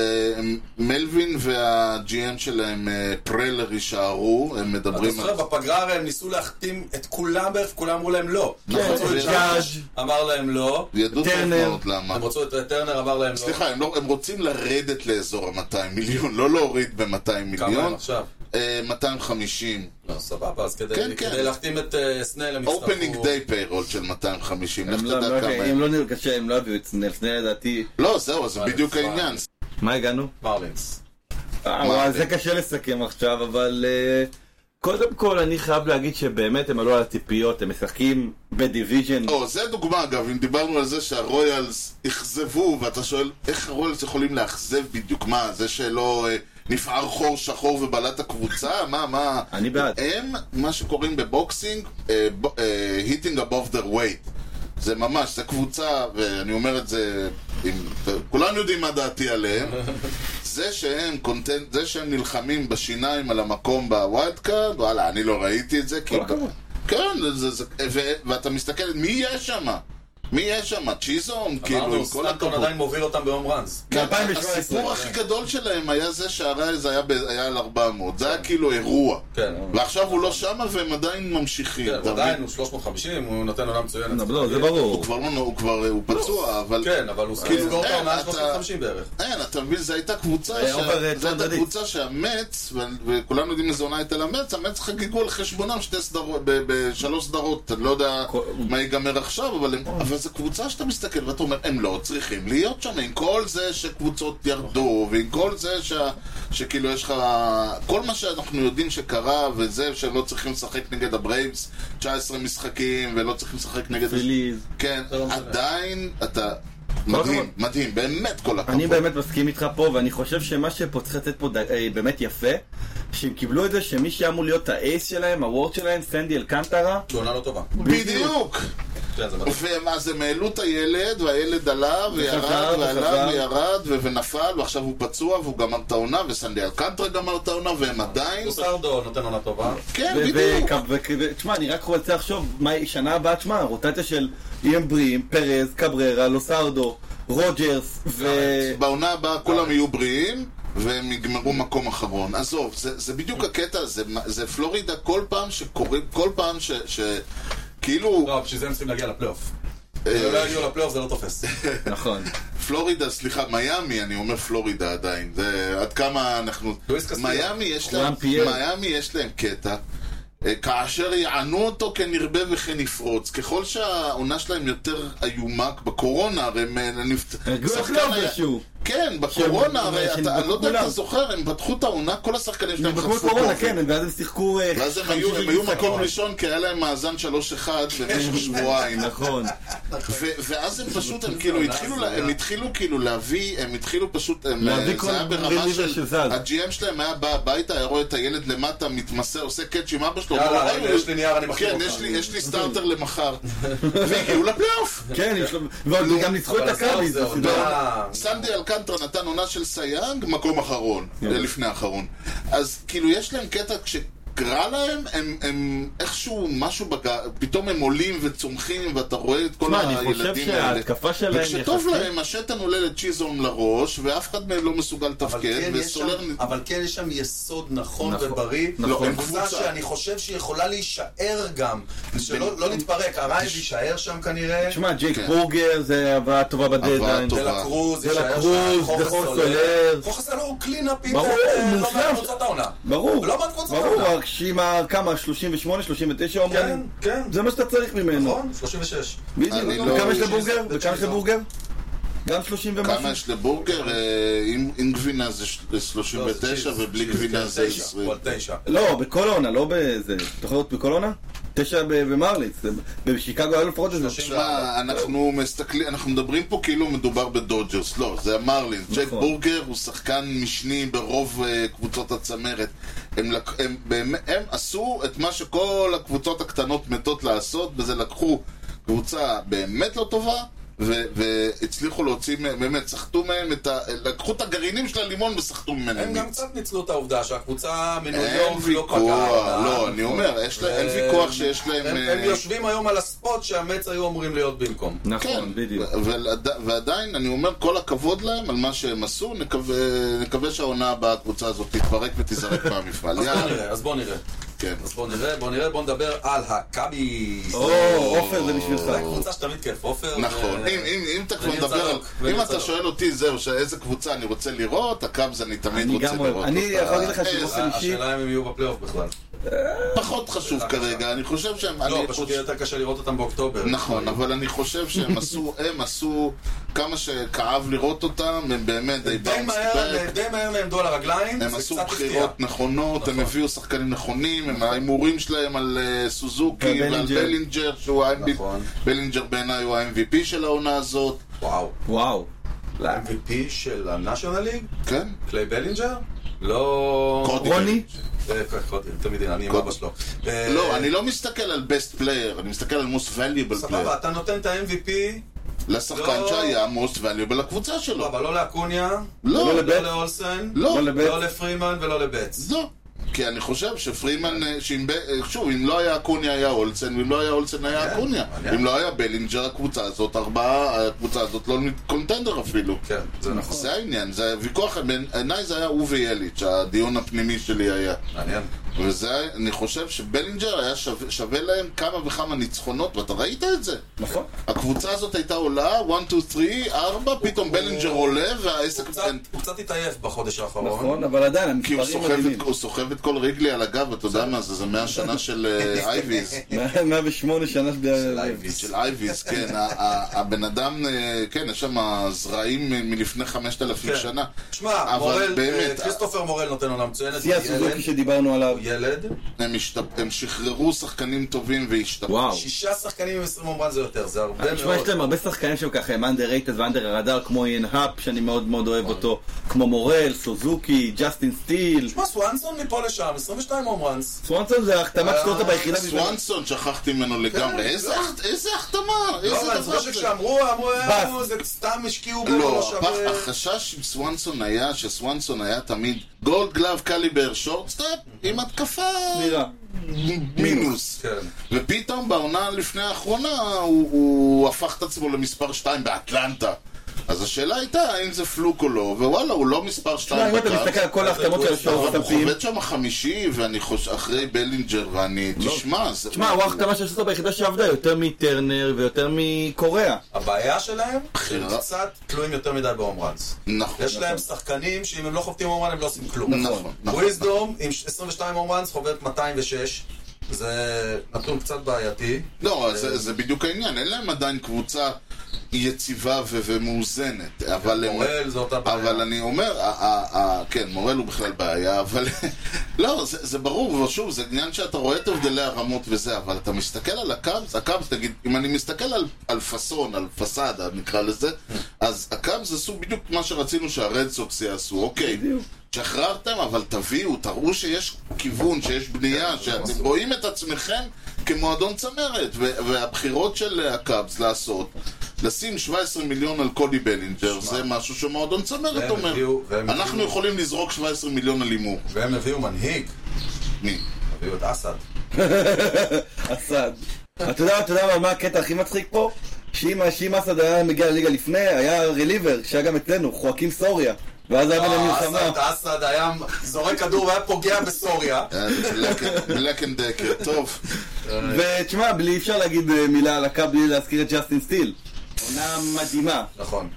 B: מלווין וה-GM שלהם, אה, פרלר, יישארו, הם
A: אתה
B: מדברים
A: זוכר,
B: על...
A: בפגרה הרי הם ניסו להחתים את כולם בערך, כולם אמרו להם לא.
B: כן,
A: הם רצו את
B: ג'אדג'.
A: ג'אדג', אמר להם לא.
B: ידעו טוב
C: טרנר.
B: מאוד למה.
A: הם רצו את טרנר, אמר להם לא.
B: סליחה, הם, לא, הם רוצים לרדת לאזור ה-200 מיליון, לא להוריד ב-200
A: כמה הם
B: מיליון.
A: עכשיו?
B: אה, 250.
A: לא, סבבה, אז כדי,
B: כן, כן.
A: כדי להחתים את אה, סנאל הם יצטרכו...
B: אופנינג דיי פיירול של 250, לך
C: הם לא-
B: תדע
C: לא-
B: כמה
C: הם
B: הם.
C: לא נרגשו, הם לא הביאו את סנאל. סנאל לדעתי...
B: לא, זהו,
A: אה,
B: זה בדיוק
A: פאנל.
B: העניין.
C: מה הגענו?
A: מרלינס.
C: אה,
B: מה
C: וואי,
B: זה?
C: זה קשה לסכם עכשיו, אבל אה, קודם כל אני חייב להגיד שבאמת הם עלו על הציפיות, הם משחקים בדיוויז'ן.
B: או, זה דוגמה אגב, אם דיברנו על זה שהרויאלס אכזבו, ואתה שואל איך הרויאלס יכולים לאכזב בדיוק, מה, זה שלא אה, נפער חור שחור ובלע את הקבוצה? מה, מה?
C: אני בעד.
B: הם, מה שקוראים בבוקסינג, אה, ב- אה, hitting above their weight. זה ממש, זה קבוצה, ואני אומר את זה, עם, כולם יודעים מה דעתי עליהם. זה שהם קונטנט, זה שהם נלחמים בשיניים על המקום בווילד קארד, וואלה, אני לא ראיתי את זה, כי...
C: כל הכבוד.
B: כן, זה, זה, ו, ואתה מסתכל, מי יש שם? מי יש שם? צ'יזום? כאילו, עם
A: אמרנו,
B: כל
A: סטנטון
B: הכבוד.
A: עדיין מוביל אותם בהום ראנס.
B: כן,
C: ב-2017,
B: הסיפור הכי
C: כן.
B: גדול שלהם היה זה שהרייז היה, ב- היה על 400, זה היה כאילו אירוע.
A: כן.
B: ועכשיו הוא לא שמה והם עדיין ממשיכים.
A: כן,
B: אתה
A: הוא עדיין
B: מבין?
A: הוא 350, הוא נותן עונה מצוינת.
C: לא, זה ברור.
B: הוא כבר לא, נו- הוא כבר, הוא פצוע, אבל...
A: כן, אבל הוא סכים
B: כאילו,
A: לסגור את
B: אין,
A: העונה
B: אתה-
A: 350 בערך.
B: אין, אתה מבין, זו הייתה קבוצה,
C: זה
B: ש...
C: אובר, אה,
B: זו הייתה
C: צדדית.
B: קבוצה שהמץ, ו... וכולנו יודעים איזה עונה הייתה למץ, המץ חגגו על חשבונם שתי סדרות, ב... בשלוש סדרות, אני לא יודע
C: כל-
B: מה ייגמר עכשיו, אבל, הם... אבל זו קבוצה שאתה מסתכל ואתה אומר, הם לא צריכים להיות שם, עם כל זה שקבוצות ירדו, ועם כל זה ש... שכאילו יש לך, כל מה שאנחנו יודעים שקרה, וזה שהם לא צריכים לשחק נגד הברייבס, 19 משחקים, ולא צריכים לשחק נגד...
C: פליז.
B: כן,
A: זה לא משנה.
B: עדיין אתה...
C: הכבוד.
B: מדהים, מדהים, באמת כל הכבוד.
C: אני באמת מסכים איתך פה, ואני חושב שמה שפה צריך לתת פה ד- אה, באמת יפה, שהם קיבלו את זה שמי שאמור להיות האייס שלהם, הוורד שלהם, סנדי אלקנטרה,
A: כי עונה לא טובה.
B: אה, בדיוק!
A: כן, זה מדהים.
B: ואז הם העלו את הילד, והילד עלה, וירד,
C: וחזר,
B: ועלה,
C: וחזר.
B: וירד, ו- ונפל, ועכשיו הוא פצוע, והוא גמר את העונה, וסנדי אלקנטרה גמר את העונה, והם עדיין...
A: פוסרדו נותן עונה טובה.
B: כן,
C: ו-
B: בדיוק.
C: ו- ו- ו- תשמע, אני רק רוצה לחשוב, מה- שנה הבאה, תשמע, רוטציה של איים בריאים, פרז, קבררה, לוסרדו, רוג'רס, ו...
B: בעונה הבאה כולם יהיו בריאים, והם יגמרו מקום אחרון. עזוב, זה, זה בדיוק הקטע, זה, זה פלורידה כל פעם שקוראים, כל פעם ש... ש... כאילו,
A: לא, בשביל זה הם צריכים להגיע לפלייאוף.
B: אה,
A: אם לא יגיעו לפלייאוף זה לא תופס.
C: נכון.
B: פלורידה, סליחה, מיאמי, אני אומר פלורידה עדיין. זה עד כמה אנחנו...
A: לואיס קסטיו.
B: מיאמי יש
C: כולם
B: להם,
C: פייל.
B: מיאמי יש להם קטע. אה, כאשר יענו אותו כן ירבה וכן יפרוץ. ככל שהעונה שלהם יותר איומה, בקורונה הרי הם... אה, נפצ-
C: הרגו את
B: שחקן
C: לוברשו.
B: כן,
C: שהם-
B: בקורונה הרי,
C: שהם
B: אתה- אני לא יודע אם אתה
C: כולם.
B: זוכר, הם פתחו את העונה, כל השחקנים שלהם
C: נדבקו
B: חטפו
C: בקורונה,
B: קורונה.
C: כן, ואז הם שיחקו... אה,
B: ואז הם
C: חמישים
B: היו- הם היו
C: משחק.
B: מקום ראשון, כי היה להם מאזן 3-1 במשך שבועיים.
C: נכון.
B: ו- ואז הם פשוט, הם
C: לא,
B: כאילו התחילו, לה- הם התחילו כאילו להביא, הם התחילו פשוט, הם,
C: להביא
B: אה,
C: כל
B: זה היה ברמה
C: רליבר
B: של,
C: שזז.
B: הג'י.אם שלהם היה בא הביתה, היה רואה את הילד למטה, מתמסר, עושה קאץ' עם אבא שלו,
A: יאללה,
B: אומר,
A: הנה,
B: "אוי,
A: יש לי נייר, אני מחתים
B: כן,
A: אותך."
B: יש לי- יש לי סטארטר למחר, והגיעו לפלייאוף.
C: כן, יש לו... והם
B: לא,
C: גם ניצחו את
A: אבל עזוב,
C: הקאביס.
A: זה עונה...
B: סנדי אלקנטרה נתן עונה של סייאנג, מקום אחרון,
C: כן.
B: אה, לפני האחרון. אז כאילו יש להם קטע כשקרה להם, הם- הם איכשהו משהו, בג- פתאום הם עולים וצומחים ואתה רואה את כל
C: תשמע, אני חושב
B: הילדים האלה.
C: שההתקפה שלהם
B: וכשטוב
C: יחסית-
B: להם, השתן עולה לצ'יזון לראש, ואף אחד מהם לא מסוגל
A: אבל
B: לתפקד,
A: כן, יש
B: וסולר...
A: שם- אבל כן יש שם יסוד נכון
C: נכון,
A: ובריא.
C: נכון.
B: לא,
A: הם קבוצה שאני חושב שיכולה להישאר גם. שלא לא נתפרק, המייב יישאר שם כנראה.
C: תשמע, ג'ייק
B: כן.
C: בורגר זה הבאה טובה בדדליין.
B: טובה.
A: דה לה קרוז,
C: דה לה
A: יישאר
C: קרוז,
A: שם, חוכס
C: דחוס
A: סולר.
C: סולר.
A: חוכס סולר הוא קלינאפי,
C: ברור, הוא
A: לא
C: מושלם.
A: מהקבוצת העונה.
C: ברור, אה,
A: לא בקבוצת
C: ברור,
A: העונה.
C: רק שעם ה- כמה, 38, 39
A: כן,
C: אומרים?
A: כן.
C: זה מה שאתה צריך ממנו.
A: נכון? 36.
C: בדיוק,
B: אני לא-
C: וכמה יש לבורגר? וכמה יש לבורגר? גם 30 ומשהו.
B: כמה יש לבורגר? אה, עם- עם גבינה זה ש- זה 39
A: לא, זה
B: ובלי
A: צ'יז,
B: גבינה זה
A: תשע, הוא
B: 20.
A: על תשע.
C: לא, בכל העונה, לא בזה. תחרות בכל העונה? תשע ב- במרליץ. בשיקגו היה לפחות איזה.
A: שלושים.
B: תשמע, אנחנו מסתכלים, אנחנו מדברים פה כאילו מדובר בדודג'רס, לא, זה המרלין. ג'ק
C: נכון.
B: בורגר הוא שחקן משני ברוב אה, קבוצות הצמרת. הם לק- הם באמת- הם עשו את מה שכל הקבוצות הקטנות מתות לעשות, וזה לקחו קבוצה באמת לא טובה. ו- והצליחו להוציא מהם, באמת, סחטו מהם את ה... לקחו את הגרעינים של הלימון וסחטו ממנו.
A: הם גם קצת ניצלו את העובדה שהקבוצה מניו
B: אין
A: יורק לא
B: ויכוח,
A: פגעה.
B: לא, אני אומר, יש לה- אין ויכוח שיש להם...
A: הם הם
B: אה,
A: יושבים היום על הספוט שהמץ היו אמורים להיות במקום.
B: כן.
C: נכון, בדיוק.
B: ו- ולעד- ועדיין, אני אומר כל הכבוד להם על מה שהם עשו, נקווה, נקווה שהעונה הבאה הקבוצה הזאת תתפרק ותיזרק מהמפעל.
A: אז בוא
B: יאללה,
A: נראה, אז בוא נראה.
B: כן.
A: אז בוא נראה, בוא נראה, בוא נדבר על הקאבי.
C: או, עופר זה בשבילך.
B: אה,
A: קבוצה שתמיד כיף, עופר.
B: נכון,
A: ו-
B: אם- אם אם אתה כבר
A: וניר
B: מדבר,
A: צדוק,
B: על- אם
A: וניר
B: אתה
A: צדוק.
B: שואל אותי, זהו, שאיזה קבוצה אני רוצה לראות, הקאבס אני תמיד
C: אני
B: רוצה
C: גם אוהב.
B: לראות.
C: אני
B: אותה.
C: יכול להגיד לך
B: אה,
C: שבאופן-
A: השאלה- השאלה אם הם יהיו בפלייאוף בכלל.
B: פחות חשוב כרגע, אני חושב שהם...
A: לא,
B: אני
A: פשוט
B: חושב-
A: יהיה יותר קשה לראות אותם באוקטובר.
B: נכון, אבל אני חושב שהם עשו, הם עשו, כמה שכאב לראות אותם, הם באמת, they
A: די
B: bounced
A: מהר,
B: back.
A: די מהר נעמדו על הרגליים,
B: הם
A: זה
B: עשו
A: קצת הפתיע.
B: בחירות נכונות, הם
A: נכון.
B: הביאו שחקנים נכונים, הם- ההימורים שלהם על אה, סוזוקי ועל
C: ובלינג'ר.
B: בלינג'ר, שהוא ה-MVP,
A: נכון.
B: בלינג'ר בעיניי הוא ה-MVP של העונה הזאת,
A: וואו.
C: וואו.
B: לא.
A: ה-MVP של ה-National League?
B: כן?
A: קליי בלינג'ר? לא...
B: קודי.
C: רוני?
A: אה, קודי, תמיד אני עם
B: קודי.
A: אבא שלו. אה,
B: לא, אני לא מסתכל על best player, אני מסתכל על most valuable
A: סבבה,
B: player,
A: אתה נותן את ה-MVP,
B: לשחקן
A: לא.
B: שהיה most valuable לקבוצה שלו.
A: אבל לא לאקוניה,
B: לא,
A: לא
C: לבט.
A: לאולסן,
B: לא,
C: לא לבט.
A: לא לפרימן ולא לבטס.
B: לא. כי אני חושב שפרימן, אה, שאם ב- אה, שוב, אם לא היה אקוניה היה אולסן, ואם לא היה אולסן היה
A: מעניין,
B: אקוניה.
A: מעניין.
B: אם לא היה בלינג'ר הקבוצה הזאת, ארבעה, הקבוצה הזאת לא קונטנדר אפילו.
A: כן, זה נכון.
B: זה העניין, זה הוויכוח, בעיניי זה היה הוא ויאליץ', הדיון הפנימי שלי היה.
A: מעניין.
B: וזה, אני חושב שבלינג'ר היה שווה, שווה להם כמה וכמה ניצחונות, ואתה ראית את זה.
C: נכון.
B: הקבוצה הזאת הייתה עולה, 1, 2, 3, 4, פתאום בלינג'ר עולה, והעסק...
A: הוא קצת- הוא קצת התעייף בחודש האחרון.
C: נכון, אבל עדיין,
B: כי הוא
C: המספרים
B: סוחב,
C: מדהימים.
B: את, הוא סוחב את כל ריגלי על הגב, אתה יודע מה זה, זה מאה שנה של אה, אייביז.
C: 108 שנה של...
A: לייביץ'.
B: של אייביז, כן, ה- ה- הבן אדם, אה, כן, יש שם זרעים אה, מלפני 5,000
A: כן.
B: שנה.
A: שמע,
B: אבל
A: מורל,
B: באמת,
A: אה, כריסטופר מורל נותן עונה מצוינת.
C: שיא
A: הוא ילד,
C: הסוזוקי שדיברנו עליו.
A: הוא ילד.
B: הם, השתפ... הם שחררו שחקנים טובים והשתפרו.
C: וואו.
A: שישה שחקנים עם 20 מומרן זה יותר, זה הרבה
B: אה,
C: תשמע, יש
A: מאוד.
C: להם הרבה שחקנים שהם ככה הם underrated ואנדר הרדאר, כמו איין האפ, שאני מאוד מאוד אוהב אותו, כמו מורל, סוזוקי, ג'סטין סטיל.
A: תשמע, סואנסון מפה לשם, 22 מומרנס.
C: סוואנסון זה ההחתמה
A: אה,
C: שלו אותה ביחידה.
B: סואנסון, שכחתי ממנו לגמרי. איזה הח- איזה החתמה?
A: לא,
B: איזה
A: אבל
B: דבר
A: זוכר
B: זה?
A: שכשאמרו, אמרו,
C: בס.
A: אמרו, זה סתם השקיעו בו,
B: לא,
A: שווה."
B: הפח- החשש עם סואנסון היה שסואנסון היה תמיד גולד גלאב קליבר שורטסטאפ עם התקפה
C: סבירה.
B: מינוס.
A: כן.
B: ופתאום בעונה לפני האחרונה הוא- הוא הפך את עצמו למספר 2 באטלנטה. אז השאלה הייתה האם זה פלוק או לא, ווואלה, הוא לא מספר 2
C: אם אתה מסתכל על כל ההחתמות של השער
B: אבל הוא
C: סטפים,
B: חובט שם חמישי, ואני חוש... אחרי בלינג'ר, ואני... תשמע, זה...
C: תשמע, הוא ההחתמה שעשו אותה ביחידה שעבדה יותר מטרנר ויותר מקוריאה.
A: הבעיה שלהם, שהם
B: בחירה.
A: קצת תלויים יותר מדי בהומרנס.
B: נכון.
A: יש להם שחקנים שאם הם לא חובטים הומרן הם לא עושים כלום.
B: נכון, נכון.
A: וויזדום עם 22 הומרנס חובט 206. זה נתון קצת בעייתי.
B: לא, זה, זה בדיוק העניין, אין להם עדיין קבוצה יציבה ו- ומאוזנת, אבל הם...
A: מורל זה אותה בעיה.
B: אבל אני אומר, ה- ה- ה- כן, מורל הוא בכלל בעיה, אבל לא, זה, זה ברור, ושוב, זה עניין שאתה רואה את הבדלי הרמות וזה, אבל אתה מסתכל על הקאבס, הקאבס, נגיד, אם אני מסתכל על, על פאסון, על פסאדה, נקרא לזה, אז הקאבס זה סוג בדיוק מה שרצינו שהרד סוקס יעשו, אוקיי. שחררתם, אבל תביאו, תראו שיש כיוון, שיש בנייה, שאתם רואים את עצמכם כמועדון צמרת, ו- והבחירות של אה, הקאבס לעשות, לשים 17 מיליון על קודי בלינג'ר, זה משהו שמועדון צמרת
A: והם
B: אומר.
A: הביאו- והם
B: אנחנו
A: הביאו-
B: יכולים לזרוק 17 מיליון על הימור.
A: והם הביאו מנהיג,
B: מי?
A: הביאו את אסד.
C: אסד. אתה יודע, אתה יודע מה- מה הקטע הכי מצחיק פה? שאם שאם אסד היה מגיע לליגה לפני, היה רליבר, שהיה גם אצלנו, חואקים סוריה. ואז היה
B: אה,
C: ביניהם מלחמה.
A: אסד, אסד היה זורק כדור והיה פוגע בסוריה.
B: אה, בלק אנד דקר, טוב.
C: ותשמע, בלי- אי אפשר להגיד אה, מילה על הקו בלי להזכיר את ג'סטין סטיל. עונה מדהימה.
A: נכון.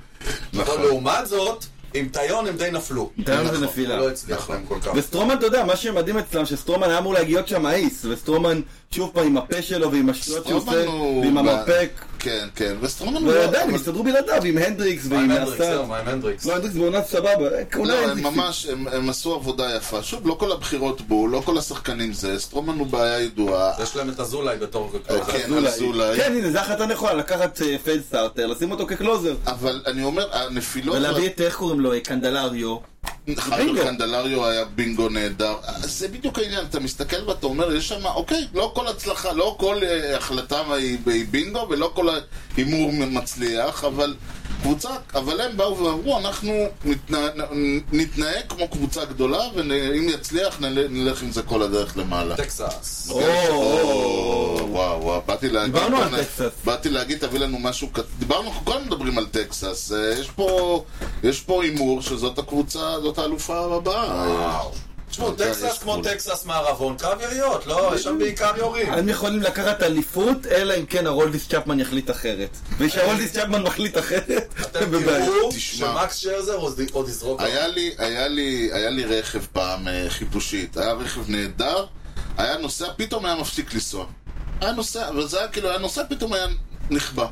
A: נכון. לעומת זאת, עם טיון הם די נפלו.
C: דיון
B: נכון,
C: זה
A: הוא
C: נפילה.
A: לא הצליח להם כל כך.
C: וסטרומן, אתה יודע, מה שמדהים אצלם, שסטרומן היה אמור להגיע להיות שם אייס, וסטרומן, שוב פעם, עם הפה שלו ועם השטויות שהוא
B: סטרומן
C: עושה,
B: הוא-
C: ועם המרפק.
B: כן, כן, וסטרומן הוא
C: אבל
B: לא...
C: עדיין, הם
B: אבל- אה,
C: הסתדרו בלעדיו עם הנדריקס ועם
A: מה עם הנדריקס?
C: הסטאר.
A: זהו, מה עם הנדריקס?
C: לא, הנדריקס בעונה סבבה. אה, אולי
B: לא, הם
C: הנדריקס-
B: ממש, הם, הם עשו עבודה יפה. שוב, לא כל הבחירות בו, לא כל השחקנים זה, סטרומן הוא בעיה ידועה.
A: יש להם את אזולאי בתור...
B: אה, כן,
C: אולי.
B: אזולאי.
C: כן, הנה, זו החלטה נכונה, לקחת אה, פייד סטארטר, לשים אותו כקלוזר.
B: אבל אני אומר, הנפילות...
C: ולהביא את, איך קוראים לו, אה, קנדלריו.
B: חייל
C: בינגו.
B: קנדלריו היה בינגו נהדר. אה, זה בדיוק העניין, אתה מסתכל ואתה אומר, יש שם, אוקיי, לא כל הצלחה, לא כל אה, החלטה היא היא בינגו ולא כל ההימור מצליח, אבל קבוצה, אבל הם באו ואמרו, אנחנו נתנה, נתנהג כמו קבוצה גדולה, ואם יצליח נל- נלך עם זה כל הדרך למעלה.
A: טקסס.
B: כן.
C: או,
B: או, וואו, וואו, באתי להגיד...
C: דיברנו על
B: בוא'נה,
C: טקסס.
B: באתי להגיד, תביא לנו משהו... קט- דיברנו, אנחנו כולנו מדברים על טקסס. אה, יש פה- יש פה הימור שזאת הקבוצה, זאת האלופה הבאה.
A: תשמעו,
B: אתה יודע,
A: טקסס
B: אוקיי, יש
A: כמו
B: גבול. אה,
A: טקסס מערבון, קרב יריות, לא? יש שם בעיקר יורים.
C: הם יכולים לקחת אליפות, אלא אם כן הרולדיס צ'פמן יחליט אחרת. וכשהרולדיס צ'פמן מחליט אחרת,
A: אתם
C: הם בבעיה.
A: תראו
B: תשמע.
A: שמקס שרזר עוד- עוד יזרוק לו.
B: היה לי, היה לי, היה לי רכב פעם אה, חיפושית, היה רכב נהדר, היה נוסע, פתאום היה מפסיק לנסוע. היה נוסע, אבל זה היה כאילו, היה נוסע, פתאום היה נכבה.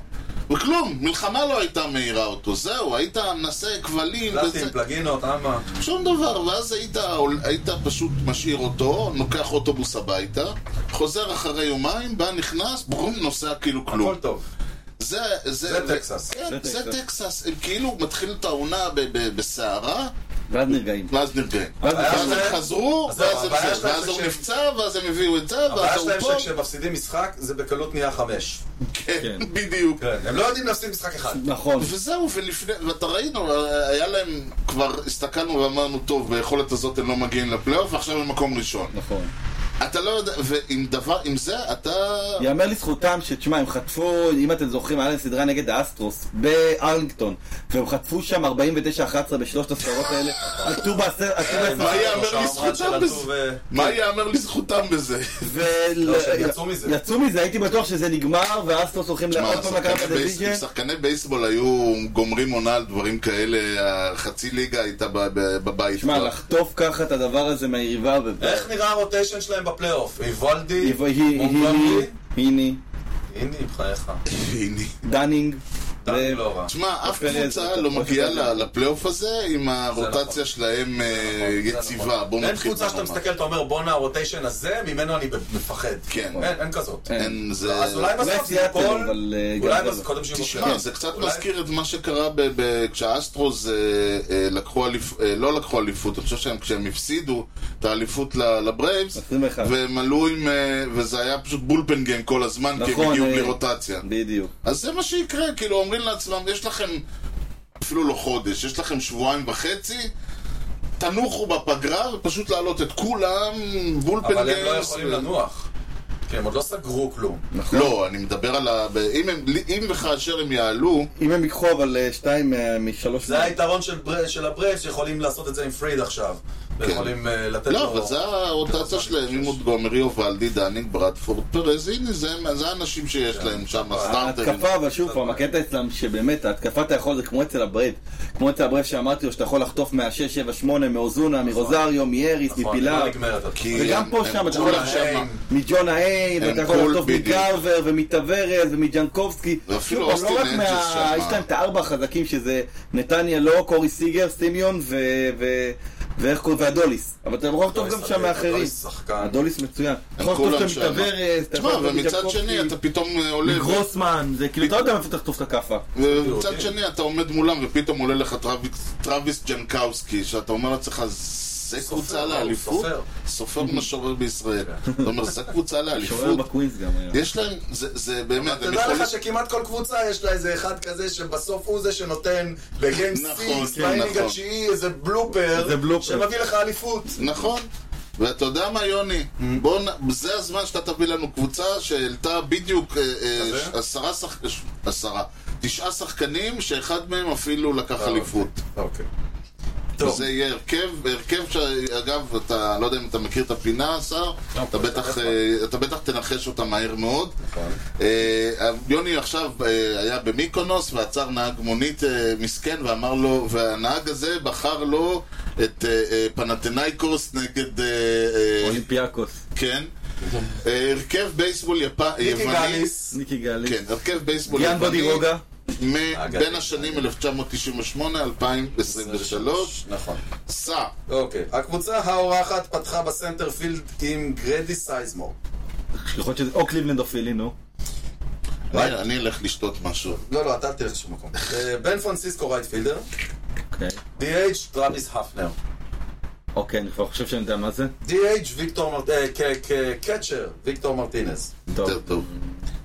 B: וכלום, מלחמה לא הייתה מעירה אותו, זהו, היית מנסה כבלים,
A: פלטים, פלגינות, אמה.
B: שום דבר, ואז היית, היית פשוט משאיר אותו, לוקח אוטובוס הביתה, חוזר אחרי יומיים, בא, נכנס, ברום, נוסע כאילו כלום.
A: הכל טוב.
B: זה, זה,
A: זה טקסס.
B: כן,
C: זה
B: זה
C: טקסס.
B: טקסס. הם כאילו מתחילים את העונה ב- ב- בסערה,
C: ואז נרגעים.
B: ואז נרגעים.
C: ואז
A: הבעיה
B: ואז
C: נרגעים.
B: הם
A: שלהם-
B: חזרו,
A: אז זהו,
B: ואז
A: הבעיה
B: הם זה,
A: שלהם
B: ואז
A: זה
B: הוא
A: שהם-
B: נפצע, ואז הם הביאו את זה,
A: הבעיה
B: ואז הוא
A: שלהם
B: פה.
A: שכשהם מפסידים משחק, זה בקלות נהיה חמש.
B: כן,
C: כן.
B: בדיוק.
A: כן, הם לא יודעים להפסיד משחק אחד.
C: נכון.
B: וזהו, ולפני, ואתה ראינו, היה להם, כבר הסתכלנו ואמרנו, טוב, ביכולת הזאת הם לא מגיעים לפלייאוף, ועכשיו הם מקום ראשון.
C: נכון.
B: אתה לא יודע, ועם דבר, עם זה אתה...
C: יאמר לזכותם שתשמע, הם חטפו, אם אתם זוכרים, היה להם סדרה נגד האסטרוס בארלינגטון, והם חטפו שם 49-11 בשלושת הסדרות האלה. עטו בעשר, עטו
B: אה,
A: אה,
B: מה
C: בעשר,
B: ייאמר לזכותם בזה?
A: כן.
B: מה ייאמר לזכותם בזה?
A: לא, שהם יצאו מזה.
C: אה, יצאו מזה, הייתי בטוח שזה נגמר, והאסטרוס הולכים
A: לא,
B: מה,
C: לעוד פעם לקחת את
B: שחקני בייס-
C: הדיוויז'ן.
B: שחקני בייסבול היו גומרים עונה על דברים כאלה, חצי ליגה הייתה ב- ב- בבית.
C: תשמע,
B: כבר.
C: לחטוף ככה את הדבר הזה מהיריבה, ו-
A: אה, איך נראה הרוטיישן שלהם בפלייאוף? איוולדי,
C: היא- היא-
A: מונטגומרי,
C: היא- היני,
A: הנה, בחייך.
B: הנה.
C: דנינג, אה,
A: דני לא רע.
B: תשמע, אף
C: פרז,
B: קבוצה
C: אתה-
B: לא
C: אתה-
B: מגיעה
C: אתה-
B: ל- לפלייאוף הזה עם
A: נכון.
B: הרוטציה שלהם אה,
A: זה
B: יציבה.
A: נכון.
B: בואו
A: אין
B: נתחיל.
A: קבוצה שאתה
B: ממש.
A: מסתכל, אתה אומר, בואנה, הרוטיישן הזה, ממנו אני מפחד.
B: כן. אה,
A: אין, אין כזאת.
C: אין.
B: אין, זה...
A: אז אולי בסוף זה
C: סיאטל,
A: ייפול,
C: אבל, אה,
A: אולי
C: גם
A: בס-
C: כזאת.
A: קודם שיהיו
B: לא. תשמע,
A: מוקלטים.
B: זה קצת
A: אולי-
B: מזכיר את מה שקרה ב- ב- כשהאסטרוס אה, אה, לקחו אליפות, לא לקחו אליפות, אני חושב שהם כשהם הפסידו את האליפות ל- לברייבס,
A: אוקיי. כן.
C: 21.
B: והם עלו עם, אה, וזה היה פשוט בולפן גיים כל הזמן, כי הם
C: נכון,
B: הגיעו
C: אה,
B: בלי רוטציה.
C: בדיוק.
B: אז זה מה שיקרה, כאילו אומרים לעצמם, יש לכם אפילו לא חודש, יש לכם שבועיים וחצי, תנוחו בפגרה ופשוט להעלות את כולם, בולפן
A: אבל הם לא
B: גיימס,
A: יכולים
B: ו-
A: לנוח. כי הם עוד לא סגרו כלום.
B: לא, אני מדבר על ה... אם הם- אם וכאשר הם יעלו,
C: אם הם ייקחו אבל אה, שתיים מה- משלוש...
A: זה היתרון של בר- של הברייב, שיכולים לעשות את זה עם פריד עכשיו. ויכולים אה, לתת לו...
B: כן. לא, אבל זה הרוטציה שלהם, עם מונטגומרי, אובלדי, דניק, ברדפורד, פרז, הנה, זה- זה האנשים שיש
A: כן.
B: להם שם,
A: אה,
B: הסטארטרים.
C: ההתקפה, אבל שוב פעם, הקטע אצלם שבאמת, ההתקפה אתה יכול, זה כמו אצל הברייב. כמו אצל הברייב שאמרתי לו, שאתה יכול לחטוף מה-6, 7, 8, מאוזונה, מרוזריו, מאריס,
A: נכון,
C: מפילה,
A: לא נגמרת.
B: כי
C: וגם
B: הם-
C: פה
B: הם
C: שם, לא אתה
B: כולם
C: יכול-
B: שם.
C: מג'ונה היין,
B: הם
C: ואתה יכול
B: כל
C: לחטוף
B: בדיוק.
C: מגרבר, ומטוורז, ומג'נקובסקי.
B: ואפילו
C: שוב פעם, לא
B: אוסטין
C: רק מה-
B: אנג'לס שם.
C: יש להם את הארבע החזקים, שזה נתניה, לא, קורי סיגר, סטימיון, ו- ו- ואיך קוראים, והדוליס. אבל אתה יכול
A: לא
C: לחטוף גם שם מאחרים.
A: אדוליס שחקן.
C: הדוליס מצוין. אתה יכול
B: כולם
C: לחטוף
B: שם.
C: שם מטוורז, אה, אתה יכול
B: תשמע,
C: לחטוף
B: ומצד שני אתה פתאום אה, עולה,
C: גרוסמן, זה כאילו, אתה לא יודע מאיפה תחטוף את הכאפה.
B: ומצד שני אתה עומד מולם ופתאום עולה לך טרוויס- טרוויס ג'נקאוסקי, שאתה אומר לעצמך, זה
A: סופר,
B: קבוצה
A: הוא
B: לאליפות?
A: סופר. כן.
B: סופר משורר בישראל. אתה אומר, זה קבוצה
C: שוער
B: לאליפות?
C: בקווינס גם היה.
B: יש להם, זה זה באמת, הם
A: תדע
B: יכולים...
A: לך שכמעט כל קבוצה יש לה איזה אחד כזה שבסוף הוא זה שנותן בגיים
B: נכון,
A: סיקס,
B: כן,
A: באינינג
B: נכון.
A: התשיעי, E, איזה בלופר,
C: איזה בלופר.
A: שמביא לך אליפות.
B: נכון. ואתה יודע מה, יוני?
C: Mm.
B: בוא נ... זה הזמן שאתה תביא לנו קבוצה שהעלתה בדיוק אה, אה,
A: כזה?
B: עשרה שחק... ש- עשרה. תשעה שחקנים שאחד מהם אפילו לקח
A: אה,
B: אליפות.
A: אוקיי. טוב,
B: וזה יהיה הרכב, הרכב שאגב, אתה לא יודע אם אתה מכיר את הפינה, השר,
A: לא, נכון.
B: אתה
A: זה
B: בטח,
A: נכון.
B: אה, אתה בטח תנחש אותה מהר מאוד. אה, יוני עכשיו אה, היה במיקונוס ועצר נהג מונית אה, מסכן ואמר לו, והנהג הזה בחר לו את פנתנאיקוס נגד אה, אה,
C: אולימפיאקוס.
B: כן, אה, הרכב בייסבול יפ-
A: ניקי
B: יווני.
A: גליס.
C: ניקי גלי,
B: כן, הרכב בייסבול
C: גיאן
B: יווני.
C: בודי רוגה,
B: מ-
A: אגדי.
B: בין השנים 1998-2023.
A: נכון.
B: סע.
A: אוקיי. הקבוצה האורחת פתחה בסנטרפילד עם גרדי סייזמור.
C: יכול להיות שזה או קליבלנד או פילי, נו.
B: אני אני אלך לשתות משהו.
A: לא, לא, אתה אל תלך לשום מקום. אה, בן פרנסיסקו רייטפילדר.
C: אוקיי.
A: DH טראביס הפנר.
C: אוקיי, אני כבר חושב שאני יודע מה זה.
A: DH ויקטור אה, מרטינז. קצ'ר ויקטור מרטינז.
C: טוב.
B: יותר טוב.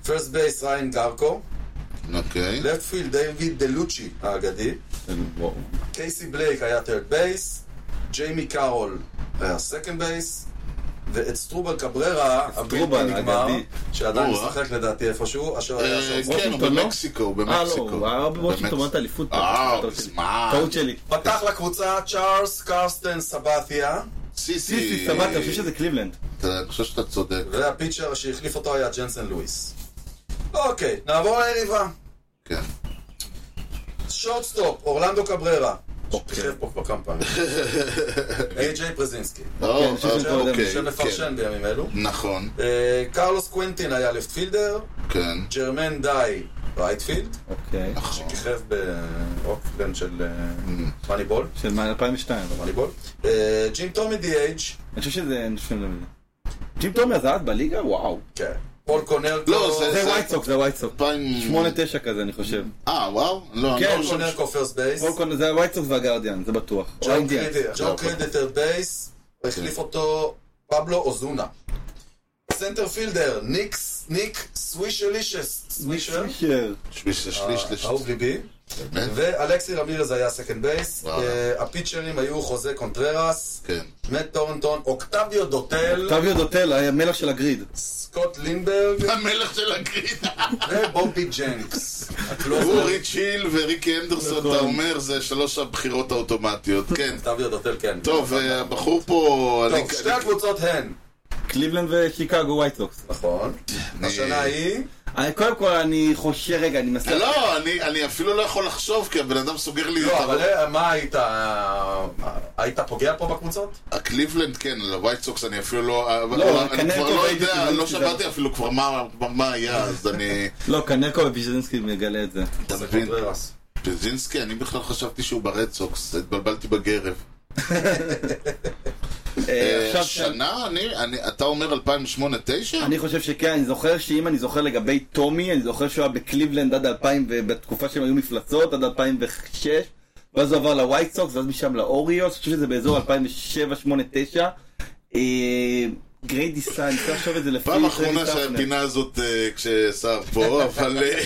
A: פרסט בייס ריין גרקו.
B: אוקיי.
A: לפט פילד דיוויד דלוצ'י האגדי.
C: וואו.
A: קייסי בלייק היה טרד בייס, ג'יימי קארול היה סקנד בייס, ואת סטרובל קבררה, הבלתי
C: סטרובל,
A: נגמר,
C: אגדי.
A: שעדיין
B: או, אה.
A: משחק לדעתי איפשהו, אשר היה
B: אה,
A: שם.
B: כן, הוא
C: וושינגטון, לא?
B: במקסיקו,
C: אה, לא, הוא
B: במקסיקו.
C: היה בוושינגטון,
B: במקס-
C: הוא עונת אליפות.
B: אה,
C: טעות שלי.
B: מזמן.
C: טעות שלי.
A: פתח לקבוצה צ'ארלס קרסטן סבתיה,
B: סיסי.
C: סיסי,
B: אה,
C: סבבה, אני חושב שזה קליבלנד.
B: אתה- אני חושב שאתה צודק.
A: והפיצ'ר שהחליף אותו היה ג'נסן לואיס. אוקיי, נעבור ליריבה.
B: כן.
A: שורטסטופ, אורלנדו קבררה.
C: אוקיי.
A: שכיב פה כבר כמה פעמים. איי-ג'יי פרזינסקי.
B: או,
C: אני חושב שזה
B: אה,
C: קודם,
B: אוקיי, כן.
A: שמפרשן בימים אלו.
B: נכון,
A: אה, קרלוס קווינטין היה לפט פילדר,
B: כן.
A: ג'רמן דאי רייטפילד,
C: אוקיי.
B: נכון.
A: כיכב באוקלנד של אה,
B: Mm.
A: מאניבול,
C: של מה, 2002. אבל.
A: מאניבול. אה, ג'ים טומי די.אייג',
C: אני חושב שזה... אני חושב שזה- ג'ים תומר זהב בליגה? וואו.
A: כן. פול קונרקו,
B: לא,
C: זה
B: זה-
C: ווייט סוקס, זה ווייט סוקס.
B: אלפיים-
C: 8-9 כזה, אני חושב.
B: אה, וואו? לא, אני
C: כן,
B: לא
A: פול
B: חושב
A: קונרקו פרסט בייס,
C: קודם כל, זה הווייט סוקס והגרדיאן, זה בטוח. או
A: ג'ון
C: האינדיאנס.
A: קרדיטר,
B: לא,
A: ג'ון
B: אוקיי.
A: קרדיטר בייס, החליף אותו פבלו אוזונה. סנטר פילדר, ניקס, ניק סווישלישס, סווישר,
C: פישר.
B: בשביל
C: אה,
B: שליש לשליש.
A: אהוב ליבי.
B: באמת?
A: ואלכסי רמירז היה סקנד בייס,
B: וואלה.
A: אה, הפיצ'רים היו חוזה קונטררס,
B: כן.
A: מאט טורנטון, אוקטביו דוטל,
C: טביו דוטל, המלך של הגריד.
A: סקוט לינברג
B: המלך של הגריד.
A: ובובי ג'נקס. הקלוזר,
B: אורי צ'יל וריקי אנדרסון,
C: נכון.
B: אתה אומר, זה שלוש הבחירות האוטומטיות. כן.
A: אוקטביו דוטל, כן.
B: טוב, אה, הבחור פה... אני-
A: טוב, שתי הקבוצות הן.
C: קליבלנד ושיקגו ווייט סוקס.
A: נכון. השנה היא...
C: אני- קודם כל, אני חושב, רגע, אני מנסה...
B: לא, אני- אני אפילו לא יכול לחשוב, כי הבן אדם סוגר לי את
A: לא, אבל
B: הראש.
A: אה, מה היית... אה, היית פוגע פה בקבוצות?
B: הקליבלנד, כן, על הווייט סוקס אני אפילו לא... אבל-
C: לא,
B: אבל אני
C: קנטו
B: כבר לא
C: והייתי
B: יודע,
C: קיבלתי
B: לא
C: שזה-
B: שמעתי אפילו כבר מה- מה היה, אז אני...
C: לא, קנרקו ופיזינסקי מגלה את זה. אה,
B: אתה
A: זה
B: מבין?
A: קונטררס.
B: פזינסקי, אני בכלל חשבתי שהוא ברד סוקס, התבלבלתי בגרב.
C: אה,
B: אה,
C: עכשיו,
B: שנה? אני- אני- אתה אומר 2008-2009?
C: אני חושב שכן, אני זוכר שאם אני זוכר לגבי טומי, אני זוכר שהוא היה בקליבלנד עד 2000, ובתקופה שהם היו מפלצות, עד 2006, ואז הוא עבר לווייט סוקס, ואז משם לאוריוס, אני חושב שזה באזור 2007, 2008, 2009. אה, גריידי סאן, אני צריך לחשוב את זה לפי...
B: פעם אחרונה
C: טרני טפנר.
B: שהפינה הזאת אה, כשסער פה, אבל אה,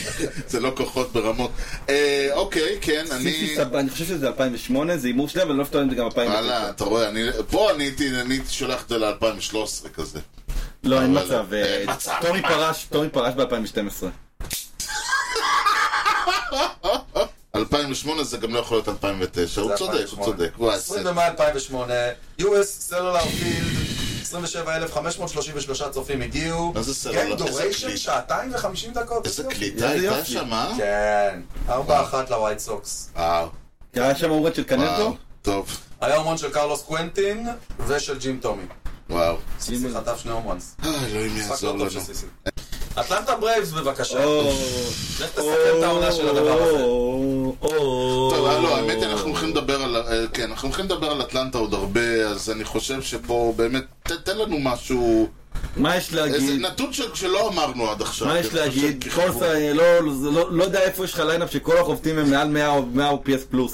B: זה לא כוחות ברמות. אה, אוקיי, כן, אני...
C: סיסי סבא, אני חושב שזה 2008, זה הימור שלי, אבל אני לא בטוח אם זה גם 2009.
B: וואלה, אתה רואה, אני- פה אני הייתי אני הייתי שולח את זה ל-2013 כזה.
C: לא, אין
B: וואלה.
C: מצב. אה,
B: אין מצב.
C: טומי פרש, טומי פרש ב-2012.
B: 2008 זה גם לא יכול להיות 2009, הוא
A: זה
B: צודק, הוא
A: 2008.
B: צודק. וואי,
A: 20
B: זה-
A: במאי 2008, US סלולר פילד, 27,533 צופים הגיעו.
B: מה זה סלולר?
A: גן
B: איזה
A: דוריישן
B: קליט.
A: שעתיים וחמישים דקות.
B: איזה
A: בדיוק.
B: קליטה
C: איזה
B: הייתה
C: יופי.
B: שם, אה?
A: כן, 4-1 לווייט סוקס.
B: וואו,
C: היה שם אורד של
B: וואו,
C: קנרקו?
B: טוב,
A: היה הומון של קרלוס קווינטין ושל ג'ים טומי.
B: וואו.
A: סיסי חטף שני הומונס.
B: אה, אלוהים
A: משחק לא
B: יעזור
A: טוב של
B: לנו.
A: סיסי. אטלנטה ברייבס בבקשה.
C: או,
A: לך תסכם את העונה של הדבר הזה.
C: או, או.
B: טוב, אה, לא, האמת היא, אנחנו הולכים לדבר על... אה, כן, אנחנו הולכים לדבר על אטלנטה עוד הרבה, אז אני חושב שפה באמת, ת- תן לנו משהו...
C: מה יש
B: איזה
C: להגיד?
B: נתון ש- שלא אמרנו עד עכשיו.
C: מה
B: אני
C: יש
B: חושב
C: להגיד?
B: שככיוון-
C: כל זה, לא- זה לא לא יודע איפה יש לך ליינאפ שכל החובטים הם מעל 100 או 100 או PS פלוס.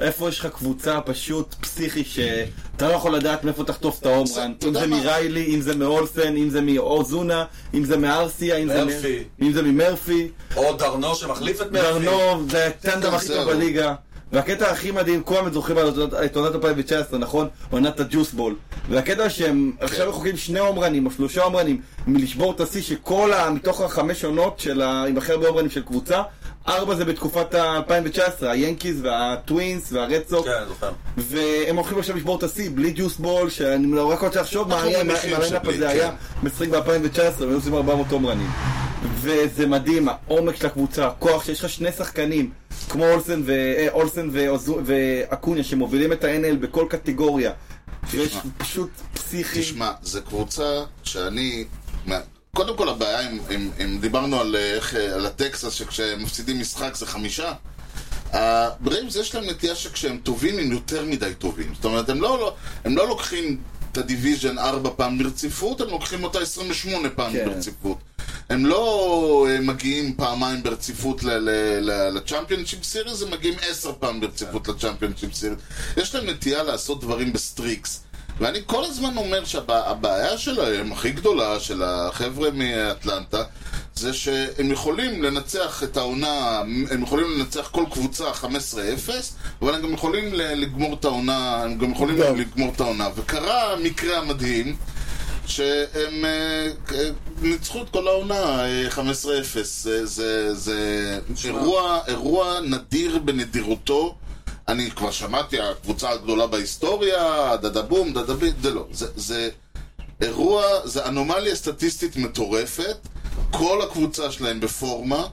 C: איפה יש לך קבוצה פשוט פסיכי שאתה לא יכול לדעת מאיפה תחטוף את ההומרן.
B: אתה
C: אם
B: יודע
C: זה
B: מה?
C: מריילי, אם זה מאולסן, אם זה מאוזונה, אם זה מארסיה, אם זה מ-
A: מרפי.
C: אם זה ממרפי.
A: או דרנו שמחליף את מרפי.
C: דרנוב, זה הטנדם הכי
B: זהו.
C: טוב בליגה. והקטע הכי מדהים, כולם זוכרים על עונת- את עונת 2019, נכון? עונת הג'וסבול. והקטע שהם עכשיו רחוקים שני הומרנים או שלושה הומרנים מלשבור את השיא שכל ה... מתוך החמש עונות של ה... עם הכי הרבה הומרנים של קבוצה, ארבע זה בתקופת ה-2019, היאנקיז והטווינס והרדסוק,
A: כן, זוכר.
C: והם הולכים עכשיו לשבור את השיא בלי ג'וסבול, שאני לא רק רוצה לחשוב מה
B: אנחנו
C: היה אם
B: מניחים
C: הליינאפ
B: שבלי,
C: הזה
B: כן.
C: היה משחק ב-2019 והיו עושים 400 תומרנים. וזה מדהים, העומק של הקבוצה, הכוח שיש לך שני שחקנים כמו אולסן, ו... אה, אולסן ואוזו... ואקוניה שמובילים את ה-NL בכל קטגוריה. שיש פשוט פסיכי.
B: תשמע, זו קבוצה שאני... מה- קודם כל הבעיה, אם, אם, אם דיברנו על, אה, איך, אה, על הטקסס, שכשהם מפסידים משחק זה חמישה, הברייבס יש להם נטייה שכשהם טובים הם יותר מדי טובים. זאת אומרת, הם לא, לא, הם לא לוקחים את הדיוויז'ן ארבע פעם ברציפות, הם לוקחים אותה 28 פעם
C: כן.
B: ברציפות. הם לא אה, מגיעים פעמיים ברציפות לצ'מפיונשיפ סיריס, הם מגיעים עשר פעם ברציפות לצ'מפיונשיפ סיריס. יש להם נטייה לעשות דברים בסטריקס. ואני כל הזמן אומר שהבעיה שלהם, הכי גדולה, של החבר'ה מאטלנטה, זה שהם יכולים לנצח את העונה, הם יכולים לנצח כל קבוצה 15-0, אבל הם גם יכולים ל- לגמור את העונה, הם גם יכולים
F: גם.
B: לגמור את העונה. וקרה המקרה המדהים, שהם אה, אה, ניצחו את כל העונה אה, 15-0. זה, זה, זה אירוע, אירוע נדיר בנדירותו. אני כבר שמעתי, הקבוצה הגדולה בהיסטוריה, דדה בום, דדה בי, זה לא. זה, זה אירוע, זה אנומליה סטטיסטית מטורפת. כל הקבוצה שלהם בפורמה.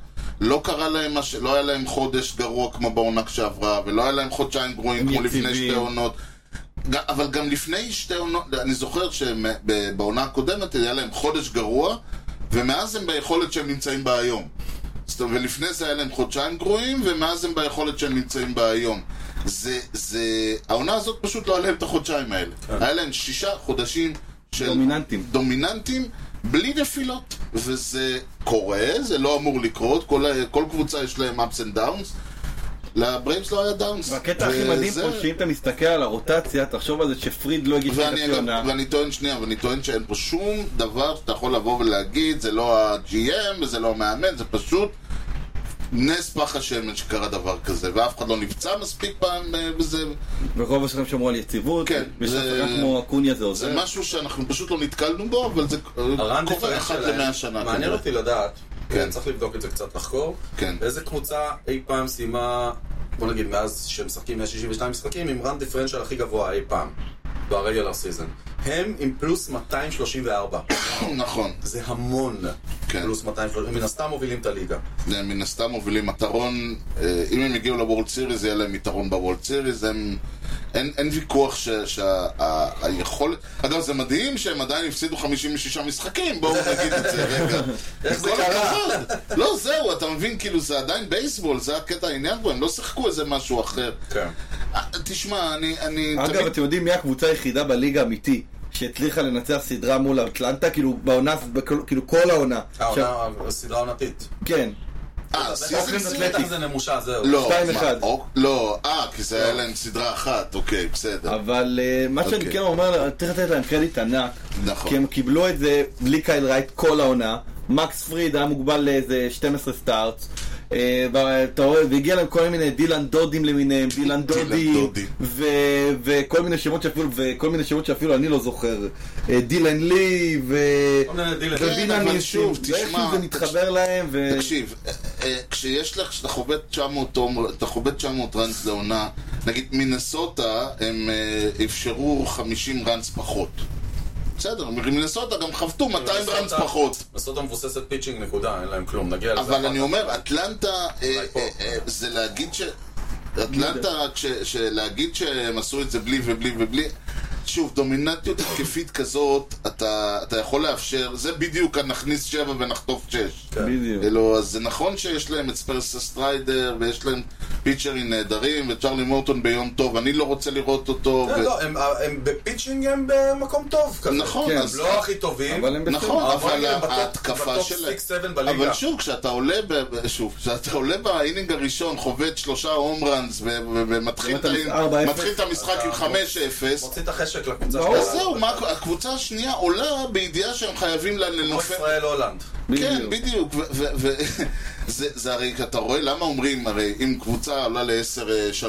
B: לא קרה להם, מה ש- לא היה להם חודש גרוע כמו בעונה שעברה, ולא היה להם חודשיים גרועים
C: הם
B: כמו לפני
C: יציבים.
B: שתי עונות. ג- אבל גם לפני שתי עונות, אני זוכר שבעונה הקודמת היה להם חודש גרוע, ומאז הם ביכולת שהם נמצאים בה היום. זאת אומרת, ולפני זה היה להם חודשיים גרועים, ומאז הם ביכולת שהם נמצאים בה היום. זה, זה, העונה הזאת פשוט לא היה להם את החודשיים האלה. היה להם שישה חודשים של...
C: כן. דומיננטים.
B: דומיננטים, בלי נפילות. וזה קורה, זה לא אמור לקרות, כל, ה- כל קבוצה יש להם ups and downs. לברייבס לא היה דאונס.
C: והקטע הכי מדהים פה, שאם אתה מסתכל על הרוטציה, תחשוב על זה שפריד לא הגיש
B: ואני,
C: חצי
B: אגב,
C: עונה.
B: ואני טוען שנייה, ואני טוען שאין פה שום דבר שאתה יכול לבוא ולהגיד, זה לא ה-GM, זה לא המאמן, זה פשוט נס פח השמן שקרה דבר כזה, ואף אחד לא נפצע מספיק פעם אה, בזה,
C: ורוב השחקנים שמרו על יציבות,
B: כן,
C: ויש
B: זה-
C: שחקן כמו אקוניה זה
B: זה
C: עוזר.
B: משהו שאנחנו פשוט לא נתקלנו בו, אבל זה אה,
A: אה. הרן
B: קורה
A: דיפרנס
B: אחת
A: שלהם,
B: למאה שנה.
A: מעניין
B: כנראה.
A: אותי לדעת,
B: כן.
A: צריך לבדוק את זה קצת, לחקור,
B: כן.
A: איזה קבוצה אי פעם סיימה, בוא נגיד מאז שהם משחקים 162 משחקים, עם רן דיפרנשל הכי גבוה אי פעם, ברגולר סיזן. הם עם פלוס 234,
B: נכון,
A: זה המון,
B: כן.
A: פלוס 234, מן הסתם מובילים את הליגה.
B: זה מן הסתם מובילים יתרון, אה, אם הם יגיעו לוורלד סיריס, יהיה להם יתרון בוורלד סיריס, הם... אין, אין ויכוח שהיכולת... אגב, זה מדהים שהם עדיין הפסידו 56 משחקים, בואו נגיד את זה רגע.
A: איך זה
B: כל
A: קרה?
B: הכבוד. לא, זהו, אתה מבין, כאילו, זה עדיין בייסבול, זה הקטע העניין פה, הם לא שיחקו איזה משהו אחר.
A: כן.
B: אה, תשמע, אני... אני
C: אגב,
B: תמיד-
C: אתם יודעים מי הקבוצה היחידה בליגה האמיתי שהצליחה לנצח סדרה מול אטלנטה, כאילו בעונה, בכל- כאילו כל העונה.
A: אה,
C: עכשיו-
A: העונה, הסדרה העונתית.
C: כן,
B: אה,
A: אוכלים
B: סיזן
A: זה
B: סיריס?
A: אוקיי, בטח זה נמושה, זהו.
B: לא,
C: שתיים
B: מה,
C: אחד.
B: אוק- לא, אה, כי זה היה להם סדרה אחת, אוקיי, בסדר.
C: אבל אה, מה שאני
B: אוקיי.
C: כן אומר, צריך לתת להם קרדיט ענק.
B: נכון.
C: כי הם קיבלו את זה בלי קייל רייט כל העונה. מקס פריד היה מוגבל לאיזה 12 סטארטס. אה, ואתה רואה, והגיע להם כל מיני דילן דודים למיניהם, דילן דודי,
B: דודי.
C: ו- וכל מיני שמות שאפילו, וכל מיני שמות שאפילו אני לא זוכר, אה, דילן לי, ו...
A: כל מיני דילן.
B: כן,
C: ובינה
B: אבל
C: ניסים,
B: שוב, תשמע,
C: ואיכשהו זה מתחבר להם, ו...
B: תקשיב, אה, אה, כשיש לך, כשאתה חובט 900 הום- אתה חובט 900 ראנס לעונה, נגיד מינסוטה, הם אה, אפשרו 50 ראנס פחות. בסדר, מינסוטה גם חבטו 200 ראנס
A: מינסוטה-
B: פחות.
A: לעשות המבוססת פיצ'ינג, נקודה, אין להם כלום, נגיע לזה.
B: אבל
A: אחר
B: אני
A: כך.
B: אומר, אטלנטה, אה,
A: פה.
B: אה, אה, זה להגיד ש... אטלנטה, כש- ש- להגיד שהם עשו את זה בלי ובלי ובלי... שוב, דומיננטיות התקפית כזאת, אתה, אתה יכול לאפשר, זה בדיוק נכניס שבע ונחטוף שש.
A: כן.
C: בדיוק.
B: אלו, אז זה נכון שיש להם את ספרסה סטריידר, ויש להם פיצ'רים נהדרים, וצ'רלי מורטון ביום טוב, אני לא רוצה לראות אותו.
A: כן, לא, הם- הם בפיצ'ינג הם במקום טוב כזה.
B: נכון,
C: כן,
B: אז...
A: הם לא הכי טובים.
C: אבל הם בסדר.
B: נכון, אבל
A: הם בטופ-
B: ההתקפה
A: בטופ
B: שלהם...
A: 6-7 בליגה.
B: אבל שוב, כשאתה עולה, ב- ב- שוב, כשאתה עולה באינינג הראשון, חובט שלושה הום ראנס, ו- ו- ומתחיל את
C: אתה
B: האינינג-
C: 4-0.
B: מתחיל את המשחק עם 5-0,
A: מוציא את החשק לקבוצה
C: ברור.
B: אז זהו, מה- הקבוצה השנייה עולה בידיעה שהם חייבים ל-
A: כמו
B: לנופף...
A: ישראל הולנד.
B: כן, בדיוק. ו- ו- ו- זה זה הרי, אתה רואה, למה אומרים, הרי אם קבוצה עולה אה, ל-10-3,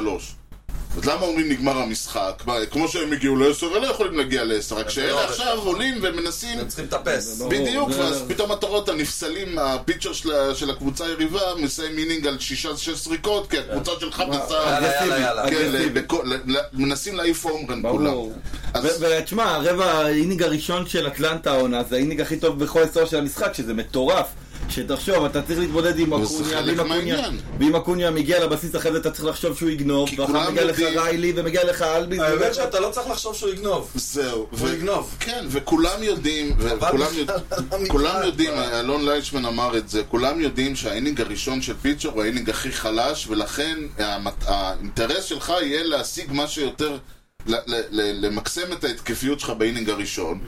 B: אז למה אומרים נגמר המשחק? מה, כמו שהם הגיעו ל-10, הם לא יכולים להגיע ל-10, רק
A: לא
B: שאלה
A: עובד
B: עכשיו עולים ומנסים...
A: הם צריכים לטפס.
C: זה ברור.
B: בדיוק,
C: זה-
B: ואז פתאום אתה רואה את הנפסלים, הפיצ'ר של ה- של הקבוצה היריבה מסיים אינינג על שישה, שש זריקות, כי הקבוצה שלך נסעה...
A: יאללה, יאללה, יאללה.
B: כן,
C: אגרסיבי.
B: ל- בכל- ל- ל- מנסים להעיף הומרן כולם.
C: ברור.
B: אז-
C: ותשמע, הרבע, האינינג הראשון של אטלנטה העונה, זה האינינג הכי טוב בכל עשור של המשחק, שזה מטורף. שתחשוב, אתה צריך להתמודד עם
B: אבל זה
C: אקוניה,
B: חלק
C: ואם אקוניה,
B: מהעניין.
C: ואם אקוניה מגיע לבסיס אחרי זה אתה צריך לחשוב שהוא יגנוב, ואחר
B: כולם
C: מגיע לך
B: יודעים-
C: ריילי, ומגיע לך אלביס,
A: האמת
C: ומגיע-
A: שאתה לא צריך לחשוב שהוא יגנוב.
B: זהו.
A: הוא יגנוב.
B: כן, וכולם יודעים, וכולם יודע-
A: בכלל,
B: כולם
A: בכלל.
B: יודעים, אלון ליישמן אמר את זה, כולם יודעים שהאינינג הראשון של פיצ'ר הוא האינינג הכי חלש, ולכן המת- האינטרס שלך יהיה להשיג מה שיותר... ל- ל- ל- למקסם את ההתקפיות שלך באינינג הראשון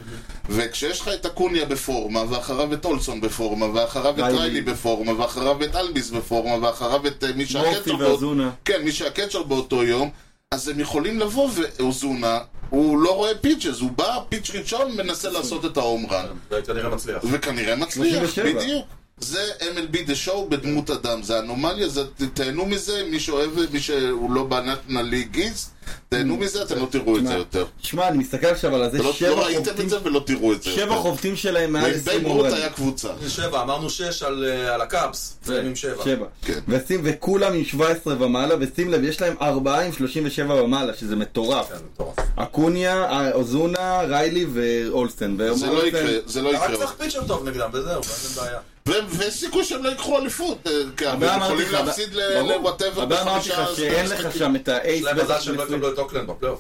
B: וכשיש לך את אקוניה בפורמה ואחריו את אולסון בפורמה ואחריו את
C: ריילי.
B: ריילי בפורמה ואחריו את אלביס בפורמה ואחריו את אה, מי
C: מורפי
B: שהקצ'ר באותו-
C: ואזונה.
B: כן, מי שהקצ'ר באותו יום, אז הם יכולים לבוא, ואוזונה, הוא לא רואה פיצ'ס, הוא בא, פיצ' ראשון, מנסה לעשות את ההומרן.
A: זה כנראה מצליח.
B: וכנראה מצליח,
C: 37.
B: בדיוק. זה MLB The Show בדמות אדם, זה אנומליה, זה, ת- תהנו מזה, מי שאוהב, מי שהוא לא בנטנה ליגיסט, תהנו מזה, אתם לא תראו את זה
C: תשמע,
B: יותר.
C: שמע, אני מסתכל עכשיו על הזה,
B: לא
C: שבע
B: לא ראיתם
C: חובטים-
B: את זה ולא תראו את זה
C: שבע
B: יותר.
C: חובטים שלהם מעל
B: בייב
C: 20
B: רות
C: מורדים.
B: היה קבוצה.
A: שבע, אמרנו שש על אה, על הקאבס, והם עם שבע.
C: שבע.
B: כן.
C: ושים, וכולם עם 17 ומעלה, ושים לב, יש להם ארבעה עם 37 ומעלה, שזה מטורף.
A: כן, מטורף.
C: אקוניה, אה, אוזונה, ריילי ואולסטן.
B: זה לא יקרה, זה לא
A: אתה רק
B: יקרה.
A: צריך פיצ'ר טוב נגדם, וזהו, ואז אין בעיה.
B: ו- ויש סיכוי שהם לא ייקחו אליפות, אה, כי הם
C: הבעיה אמרתי
B: יכולים
C: לך,
B: להפסיד
C: ברור.
B: לוואטאבר
C: הבעיה אמרתי לך שאין לך שם את האייס.
A: יש להם מזל שהם לא יקבלו את אוקלנד בפלייאוף.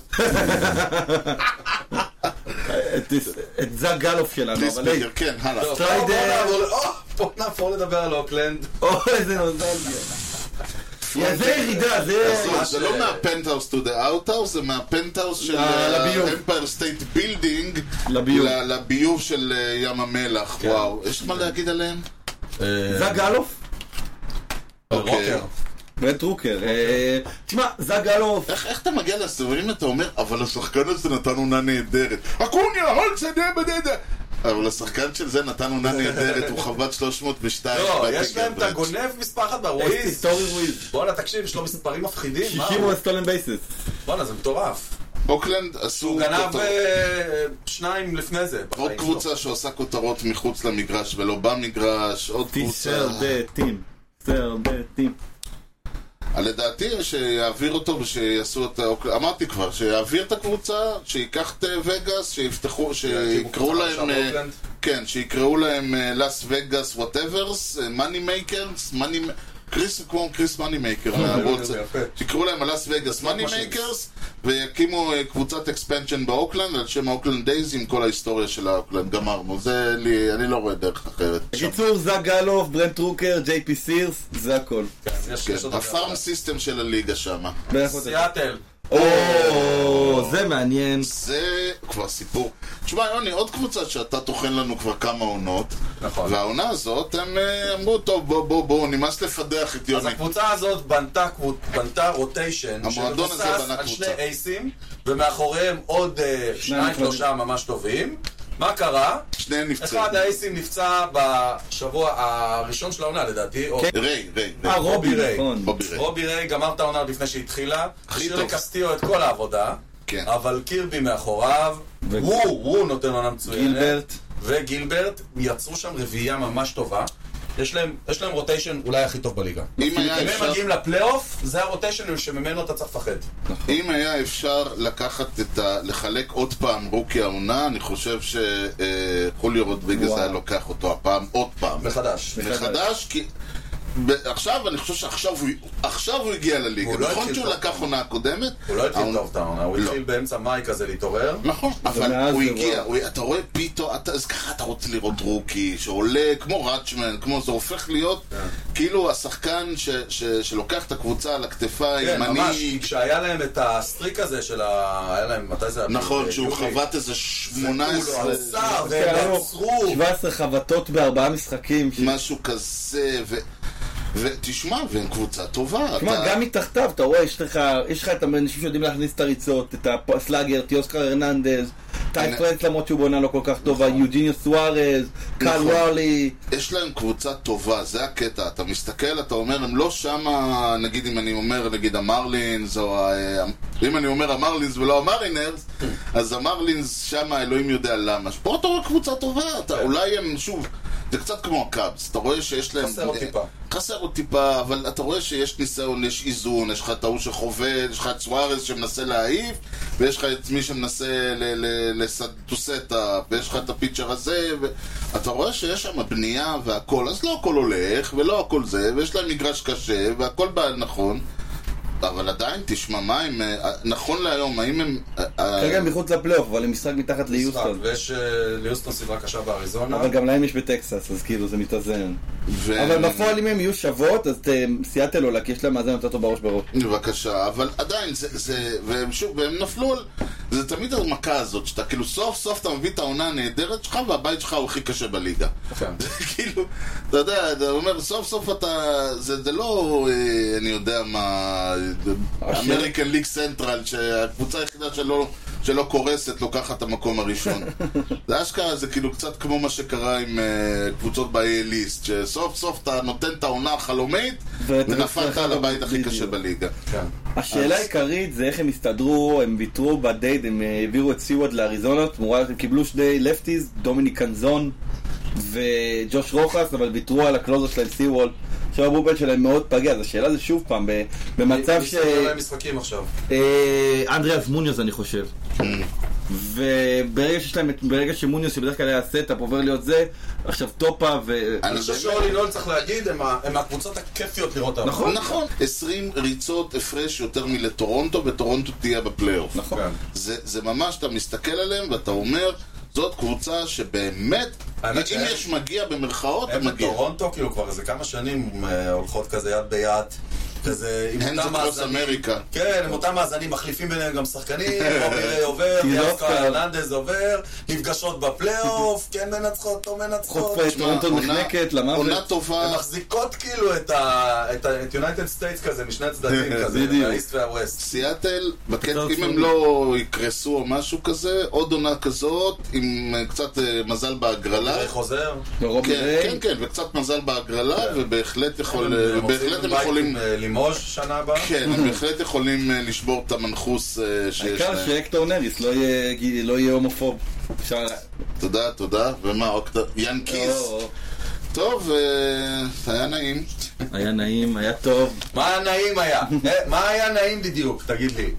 C: את- את זאג גלוף שלנו, לא, אבל היי,
B: דיספיגר, כן, הלאה.
A: טוב,
C: סטריידר.
A: בוא נעבור ל- או, בוא נעבור לדבר על אוקלנד.
C: או איזה נוזלגיה. יא, זה
B: כן.
C: ירידה, זה...
B: עזוב, זה לא מהפנטהאוס to the outhouse, זה מהפנטהאוס של אה,
C: ל- לביוב.
B: אמפייר סטייט בילדינג
C: לביוב.
B: לביוב של אה, ים המלח,
A: כן.
B: וואו. יש לך מה להגיד עליהם?
C: זאג גלוף?
B: אה, אוקיי.
A: רוקר.
C: וטרוקר. אה, תשמע, זאג גלוף.
B: איך איך אתה מגיע לסיבובים אתה אומר, אבל השחקן הזה נתן עונה נהדרת. אקוניה, הולצה, דה בדה אבל השחקן של זה נתן עונה נהדרת, הוא חבט 302.
A: לא,
B: בטינגר
A: יש להם את
B: ברדס.
A: הגונב מספר אחת והרואיז.
C: סטורי וויז.
A: בואנה, תקשיב, יש לו מספרים
B: אה,
A: מפחידים. מה
C: 60
A: הוא?
C: הוא סטולן בייסס.
A: בואנה, זה מטורף.
B: אוקלנד עשו...
A: הוא גנב
B: כותרות.
A: אה, שניים לפני זה.
B: עוד
A: בחיים שלו.
B: קבוצה שעושה כותרות מחוץ למגרש ולא במגרש, עוד קבוצה...
C: טיסר דה טים. טיסר דה טים.
B: אה, לדעתי שיעביר אותו ושיעשו את ה... אוקיי, אמרתי כבר, שיעביר את הקבוצה, שייקח את אה, וגאס, שיפתחו, שיקראו
A: קבוצה
B: להם...
A: עכשיו
B: אה,
A: באוקלנד.
B: כן, שיקראו להם אה, לאס וגאס וואטאברס, מאני מייקרס, מאני... קריס כמו קריס מאני מייקר מהרוץ,
A: יפה.
B: שיקראו להם הלאס וגאס מאני
A: משהו.
B: מייקרס ויקימו אה, קבוצת אקספנשן באוקלנד על שם האוקלנד דייז עם כל ההיסטוריה של האוקלנד, גמרנו, זה לי, אני לא רואה דרך אחרת.
C: בקיצור, זאג גלוף, ברנד טרוקר, ג'יי פי סירס, זה הכל. לא
A: יש-
B: כן,
A: יש עוד הרבה.
B: הפארם סיסטם של הליגה שמה.
C: בערך עוד-
A: סיאטל.
C: או, זה מעניין.
B: זה כבר סיפור. תשמע, יוני, עוד קבוצה שאתה טוחן לנו כבר כמה עונות,
A: נכון.
B: והעונה הזאת, הם אה, אמרו, טוב, בוא, בוא, בוא, נמאס לפדח את
A: אז
B: יוני.
A: הקבוצה הזאת בנתה, קבוצ- בנתה רוטיישן
B: המועדון הזה
A: שמבוסס
B: בנה
A: על
B: קבוצה.
A: שני אייסים ומאחוריהם עוד אה, שניים
C: נפרדים.
A: שלושה ממש טובים מה קרה?
B: שניהם
A: אחד
B: נפצעו.
A: האייסים נפצע בשבוע הראשון של העונה לדעתי
B: כן.
A: או-
B: ריי, ריי,
C: אה,
B: ריי.
C: רובי,
A: ריי.
C: נכון.
B: בובי ריי.
A: רובי ריי גמר את העונה עוד לפני שהתחילה השאיר
B: טוב.
A: לקסטיו את כל העבודה
B: כן.
A: אבל קירבי מאחוריו
C: ו-
A: הוא, הוא נותן עונה מצוינת
C: גילברט.
A: וגילברט יצרו שם רביעייה ממש טובה יש להם יש להם רוטיישן אולי הכי טוב בליגה
B: אם היה
A: אם הם
B: אפשר...
A: אוקיי, מגיעים לפלייאוף, זה הרוטיישן שממנו אתה צריך לפחד.
B: אם היה אפשר לקחת את ה... לחלק עוד פעם רוקי העונה, אני חושב שחוליו רודריגז
C: וואו.
B: היה לוקח אותו הפעם עוד פעם.
A: מחדש.
B: מחדש, כי... ב- עכשיו, אני חושב שעכשיו הוא, עכשיו הוא הגיע לליגה.
A: הוא לא
B: נכון
A: התחיל
B: שהוא
A: טוב.
B: לקח עונה קודמת.
A: הוא לא התחיל
B: העונה-
A: טוב את העונה, הוא
B: לא.
A: התחיל באמצע מאי כזה להתעורר.
B: נכון, אבל
C: ומאז
B: הוא
C: זה
B: הגיע,
C: וואו.
B: הוא- אתה רואה פתאום, אתה- אז ככה אתה רוצה לראות רוקי שעולה כמו ראצ'מן, כמו זה הופך להיות
C: כן.
B: כאילו השחקן ש- ש- שלוקח את הקבוצה על הכתפיים,
A: כן, ממש,
B: אני...
A: כשהיה להם את הסטריק הזה של ה... היה להם, מתי זה היה?
C: אה,
B: נכון, שהוא
A: ביולי.
B: חבט כן, איזה
C: כאילו
A: הוא לא
B: 18,
A: עצר,
C: זה
A: והם
C: ארוך.
A: עצרו.
C: 17 כן, חבטות בארבעה משחקים. ש-
B: משהו כזה, ו... ותשמע, והם קבוצה טובה.
C: תשמע,
B: אתה-
C: גם מתחתיו, אתה רואה, יש לך יש לך את האנשים שיודעים להכניס את הריצות, את הסלאגר, את יוסקר הרננדז,
B: אני-
C: טייק פרנס למרות שהוא בעונה לא כל כך טובה, יוג'יניו סוארז, קל
B: נכון.
C: וואלי.
B: יש להם קבוצה טובה, זה הקטע. אתה מסתכל, אתה אומר, הם לא שמה, נגיד אם אני אומר, נגיד המרלינס, או ה- אה, אם אני אומר המרלינס ולא המרינרס,
A: כן.
B: אז המרלינס שמה, אלוהים יודע למה. פה אתה רואה קבוצה טובה, אתה, אולי הם, שוב, זה קצת כמו הקאבס, אתה רואה שיש להם...
A: חסר עוד טיפה.
B: חסר עוד טיפה, אבל אתה רואה שיש ניסיון, יש איזון, יש לך את ההוא שחובד, יש לך את סוארז שמנסה להעיף, ויש לך את מי שמנסה לסטוסטה, ויש לך את הפיצ'ר הזה, ואתה רואה שיש שם בנייה והכל, אז לא הכל הולך, ולא הכל זה, ויש להם מגרש קשה, והכל בא נכון. אבל עדיין, תשמע, מה אם... אה, נכון להיום, האם הם... אה, אה,
C: כרגע הם מחוץ לפלייאוף, אבל הם משחק מתחת ליוסטון.
A: ויש אה, ליוסטון סדרה קשה באריזונה.
C: אבל גם להם יש בטקסס, אז כאילו זה מתאזן.
B: ו-
C: אבל בפועל אם הם יהיו שוות, אז אה, סיאטל עולה, כי יש להם מאזן יותר טוב בראש בראש.
B: בבקשה, אבל עדיין זה, זה, והם שוב, והם נפלו על, זה תמיד המכה הזאת, שאתה כאילו סוף סוף אתה מביא את העונה הנהדרת שלך והבית שלך הוא הכי קשה בליגה.
A: כן.
B: זה כאילו, אתה יודע, אתה אומר, סוף סוף אתה, זה, זה לא, אה, אני יודע מה,
C: אשר.
B: אמריקן ליג סנטרל, שהקבוצה היחידה שלא, שלא קורסת לוקחת את המקום הראשון. זה אשכרה, זה כאילו קצת כמו מה שקרה עם אה, קבוצות ב-A-ליסט, שסוף סוף אתה נותן את העונה החלומית,
C: ואתה
B: ונפלת
C: מצליח
B: על הבית הכי
C: בדיוק.
B: קשה בליגה.
A: כן.
C: השאלה
B: אז-
C: העיקרית זה איך הם הסתדרו, הם ויתרו בדייט, הם אה, העבירו את סיווד לאריזונה, תמורת, הם קיבלו שני לפטיז, דומיניק קנזון וג'וש רוחס, אבל ויתרו על הקלוזר שלהם סיוול. עכשיו הבובל שלהם מאוד פגע, אז השאלה זה שוב פעם, ב- במצב
A: מי
C: ש...
A: מסתכל על משחקים עכשיו.
C: אה, אנדריאס מוניוס אני חושב. וברגע שיש להם את... ברגע שמוניוס שבדרך כלל היה הסטאפ עובר להיות זה, עכשיו טופה ו...
B: אני
A: אני חושב
B: באמת-
A: שאולי נול צריך להגיד, הם ה- הם מהקבוצות הכיפיות לראות אותם.
C: נכון.
B: נכון, 20 ריצות הפרש יותר מלטורונטו, וטורונטו תהיה בפלייאוף.
C: נכון.
A: כן.
B: זה, זה ממש, אתה מסתכל עליהם ואתה אומר, זאת קבוצה שבאמת, אם
A: האמת שהם-
B: יש מגיע במרכאות,
A: הם
B: הם מגיע.
A: בטורונטו כאילו כבר איזה כמה שנים אה, הולכות כזה יד ביד. כזה עם
B: הן זה
A: אותם
B: קרוס
A: מאזנים.
B: אמריקה.
A: כן, הם אותם מאזנים מחליפים ביניהם גם שחקנים, אובירי עובר,
C: כי זה
A: דיאס
C: אוסקר.
A: פרננדז עובר, נפגשות בפלייאוף, כן מנצחות, לא מנצחות.
C: חוטפי
B: תשמע,
C: טורונטו
B: עונה-
C: נחנקת למוות.
B: עונה
A: הן
B: טובה,
A: מחזיקות כאילו את ה- את ה- את יונייטד סטייטס כזה משני הצדדים כזה,
C: בדיוק.
A: האיסט והווסט.
B: סיאטל, בקטע,
C: תוצאות
B: אם הם
C: צמודות.
B: לא יקרסו או משהו כזה, עוד עונה כזאת, עם אה, קצת אה, מזל בהגרלה.
A: זה חוזר.
C: ורובי
B: כן,
C: ריי.
B: כן, כן, וקצת מזל בהגרלה, ובהחלט יכול-
A: כן. הם
B: ובהחלט אה, הם
A: בית
B: יכולים...
A: עם, אה, לימוז' שנה הבאה.
B: כן, הם בהחלט יכולים אה, לשבור את המנחוס אה, שיש
C: העיקר
B: להם.
C: שהקטור נריס לא יהיה גי- לא יהיה הומופוב. אפשר... לא,
B: תודה, תודה. ומה, עוד קצת? ינקיס?
C: או,
B: טוב, אה, היה נעים.
C: היה נעים, היה טוב.
A: מה נעים היה? אה, מה היה נעים בדיוק? תגיד לי.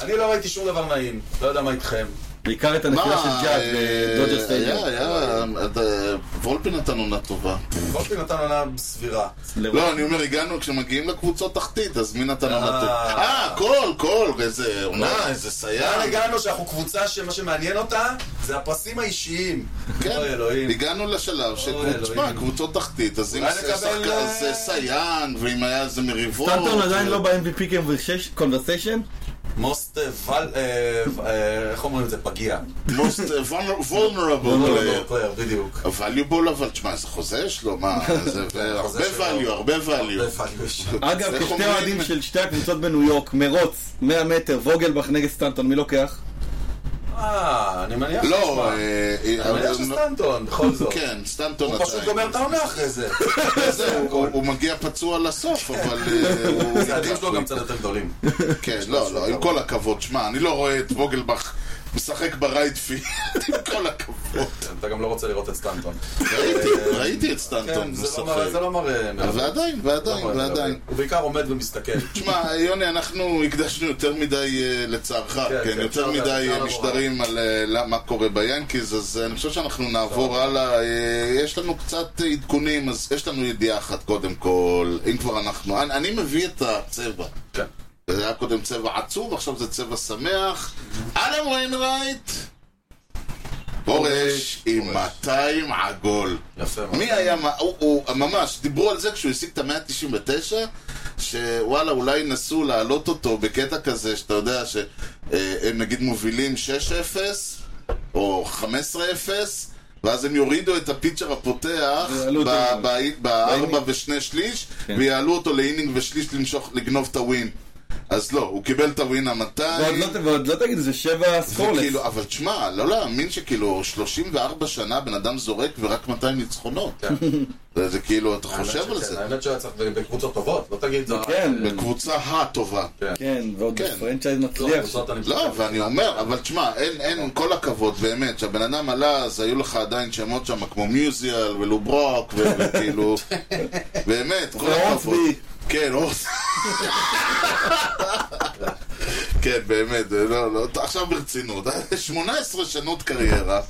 A: אני לא ראיתי שום דבר נעים, לא יודע מה איתכם.
C: בעיקר את הנפילה
B: מה,
C: של ג'אד
B: אה,
C: בדודג'ר סטיידיום.
B: היה, היה, אה, וולפי נתן עונה טובה.
A: וולפי נתן עונה סבירה.
C: לראות.
B: לא, אני אומר, הגענו, כשמגיעים לקבוצות תחתית, אז מי נתן עונה
A: אה.
B: טובה? אה, קול, קול, איזה עונה, אה, איזה
A: לאן
B: סייג.
A: הגענו שאנחנו קבוצה שמה שמעניין אותה זה הפרסים האישיים.
B: כן,
A: אוי אלוהים.
B: הגענו לשלב ש...
A: אלוהים.
B: תשמע, קבוצות תחתית, אז אם
A: אולי
B: זה
A: נקבל,
B: שחקן,
A: אה,
B: אז זה סייען, ואם היה איזה מריבות...
C: סטנטון עדיין
B: אה,
C: לא ב-MVP קונברסיישן?
A: מוסט ול... אה, אה, איך אומרים את זה? פגיע.
B: most אה, vulner- vulnerable
A: לא,
B: player.
A: לא, פלייר, בדיוק.
B: valuable, אבל תשמע, איזה חוזה יש לו, מה, זה הרבה
A: חוזה שלו.
B: value, הרבה
A: זה
B: value.
A: פלייר.
C: אגב,
B: איך
C: כשתי
B: אומרים?
C: אוהדים של שתי הקבוצות בניו יורק, מרוץ, 100 מטר, ווגלבך נגד סטנטון, מי לוקח?
A: אה, אני מניח
B: לא,
A: שסטנטון.
B: אה, אה,
A: אני מניח
B: אבל-
A: שסטנטון, בכל זאת.
B: כן, אה, סטנטון
A: הוא פשוט
B: עדיין.
A: גומר את העונה אחרי זה.
B: זהו, הוא- הוא מגיע פצוע לסוף, אבל אה, הוא...
A: הצעדים שלו גם קצת יותר גדולים.
B: כן, לא, לא, עם כל הכבוד, שמע, אני לא רואה את ווגלבך משחק ברייטפילד, עם כל הכבוד.
A: אתה גם לא רוצה לראות את סטנטון.
B: ראיתי, ראיתי את סטנטון
A: כן, זה לא
B: משחק.
A: מראה- זה לא מראה... מלמד.
B: ועדיין,
A: לא
B: ועדיין,
A: מראה
B: ועדיין.
A: מלמד. הוא בעיקר עומד ומסתכל.
B: תשמע, יוני, אנחנו הקדשנו יותר מדי אה, לצערך,
A: כן,
B: כן,
A: כן,
B: יותר
A: אפשר
B: מדי
A: לעבור
B: אה, משדרים על אה, למה- מה קורה ביאנקיז, אז אה, אני חושב שאנחנו נעבור הלאה. אה, יש לנו קצת אה, עדכונים, אז יש לנו ידיעה אחת קודם כל, אם כבר אנחנו... אני- אני מביא את הצבע.
A: כן.
B: זה היה קודם צבע עצוב, עכשיו זה צבע שמח. אלן ויינרייט! פורש עם 200 עגול.
A: יפה מאוד.
B: מי היה, מה- הוא, הוא ממש, דיברו על זה כשהוא השיג את המאה ה-99, שוואלה, אולי נסו להעלות אותו בקטע כזה, שאתה יודע, שהם נגיד מובילים 6-0, או 15-0, ואז הם יורידו את הפיצ'ר הפותח
C: ויעלו אותו.
B: ב- ב- בארבע
C: באינינג.
B: ושני שליש,
C: כן.
B: ויעלו אותו לאינינג ושליש למשוך, לגנוב את הווין. אז לא, הוא קיבל את הווין ה-200.
C: ועוד לא- ועוד לא תגיד, זה שבע סקורלס.
B: וכאילו, אבל תשמע, לא להאמין שכאילו 34 שנה בן אדם זורק ורק 200 ניצחונות.
A: כן.
B: זה זה כאילו, אתה
A: האמת
B: חושב על
A: שכן,
B: זה.
A: האמת שהיה צריך בקבוצות טובות, לא תגיד... זה-
C: כן,
B: בקבוצה הטובה.
C: כן, ועוד
B: כן.
C: פרנצ'ייז
A: לא,
C: מצליח.
A: קבוצות אני
B: לא,
A: חושב-
B: ואני אומר, אבל תשמע, אין, אין, עם כל הכבוד, באמת, שהבן אדם עלה, אז היו לך עדיין שמות שם כמו מיוזיאל ולוברוק, ו- וכאילו, באמת, כל הכבוד.
C: ואורסבי.
B: כן, אורס... כן, באמת, זה לא, לא, עכשיו ברצינות, 18 שנות קריירה,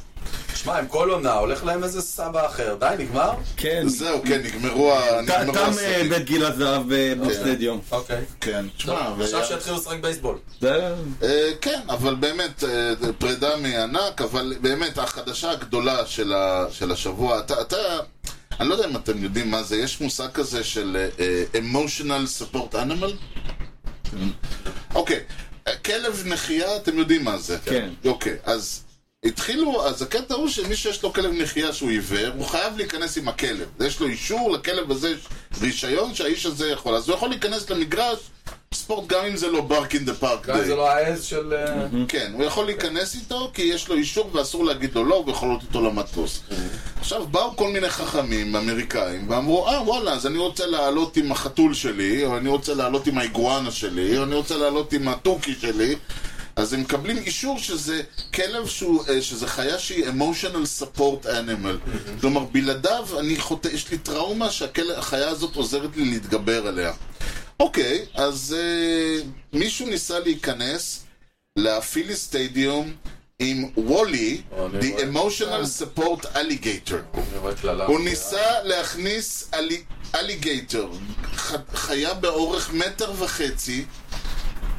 A: שמע, עם כל עונה הולך להם איזה סבא אחר. די, נגמר?
C: כן.
B: זהו, כן, נגמרו ה...
C: ת-
B: נגמרו
C: תם אה,
B: הסרטים.
C: בית גיל הזהב ב- בסטדיום.
A: אוקיי.
B: כן,
A: טוב,
B: תשמע,
A: עכשיו
B: והיה-
A: שיתחילו לשחק בייסבול.
C: זה-
B: אה, כן, אבל באמת, אה, פרידה מענק, אבל באמת, החדשה הגדולה של, ה, של השבוע, אתה, אתה, אני לא יודע אם אתם יודעים מה זה, יש מושג כזה של אה, emotional support animal? אוקיי, אה, כלב נחייה, אתם יודעים מה זה.
C: כן.
B: אוקיי, אז התחילו, אז הקטע הוא שמי שיש לו כלב נחייה שהוא עיוור, הוא חייב להיכנס עם הכלב. יש לו אישור, לכלב הזה יש רישיון שהאיש הזה יכול. אז הוא יכול להיכנס למגרש ספורט גם אם זה לא ברק אין דה פארק.
A: גם אם זה לא העז של... אה,
B: כן, הוא יכול להיכנס איתו כי יש לו אישור ואסור להגיד לו לא, הוא יכול לעלות איתו למטוס. עכשיו באו כל מיני חכמים אמריקאים ואמרו, אה וואלה, אז אני רוצה לעלות עם החתול שלי, או אני רוצה לעלות עם האיגואנה שלי, או אני רוצה לעלות עם הטורקי שלי. אז הם מקבלים אישור שזה כלב שהוא, אה, שזה חיה שהיא emotional support animal. כלומר, בלעדיו אני חוטא, יש לי טראומה שהחיה הזאת עוזרת לי להתגבר עליה. אוקיי, אז אה, מישהו ניסה להיכנס להפילי סטדיום עם וולי,
A: או, אני
B: The
A: רואה.
B: Emotional Support Alligator.
A: אני רואה קללה.
B: הוא ניסה להכניס אלי- אליגייטור, ח- חיה באורך מטר וחצי,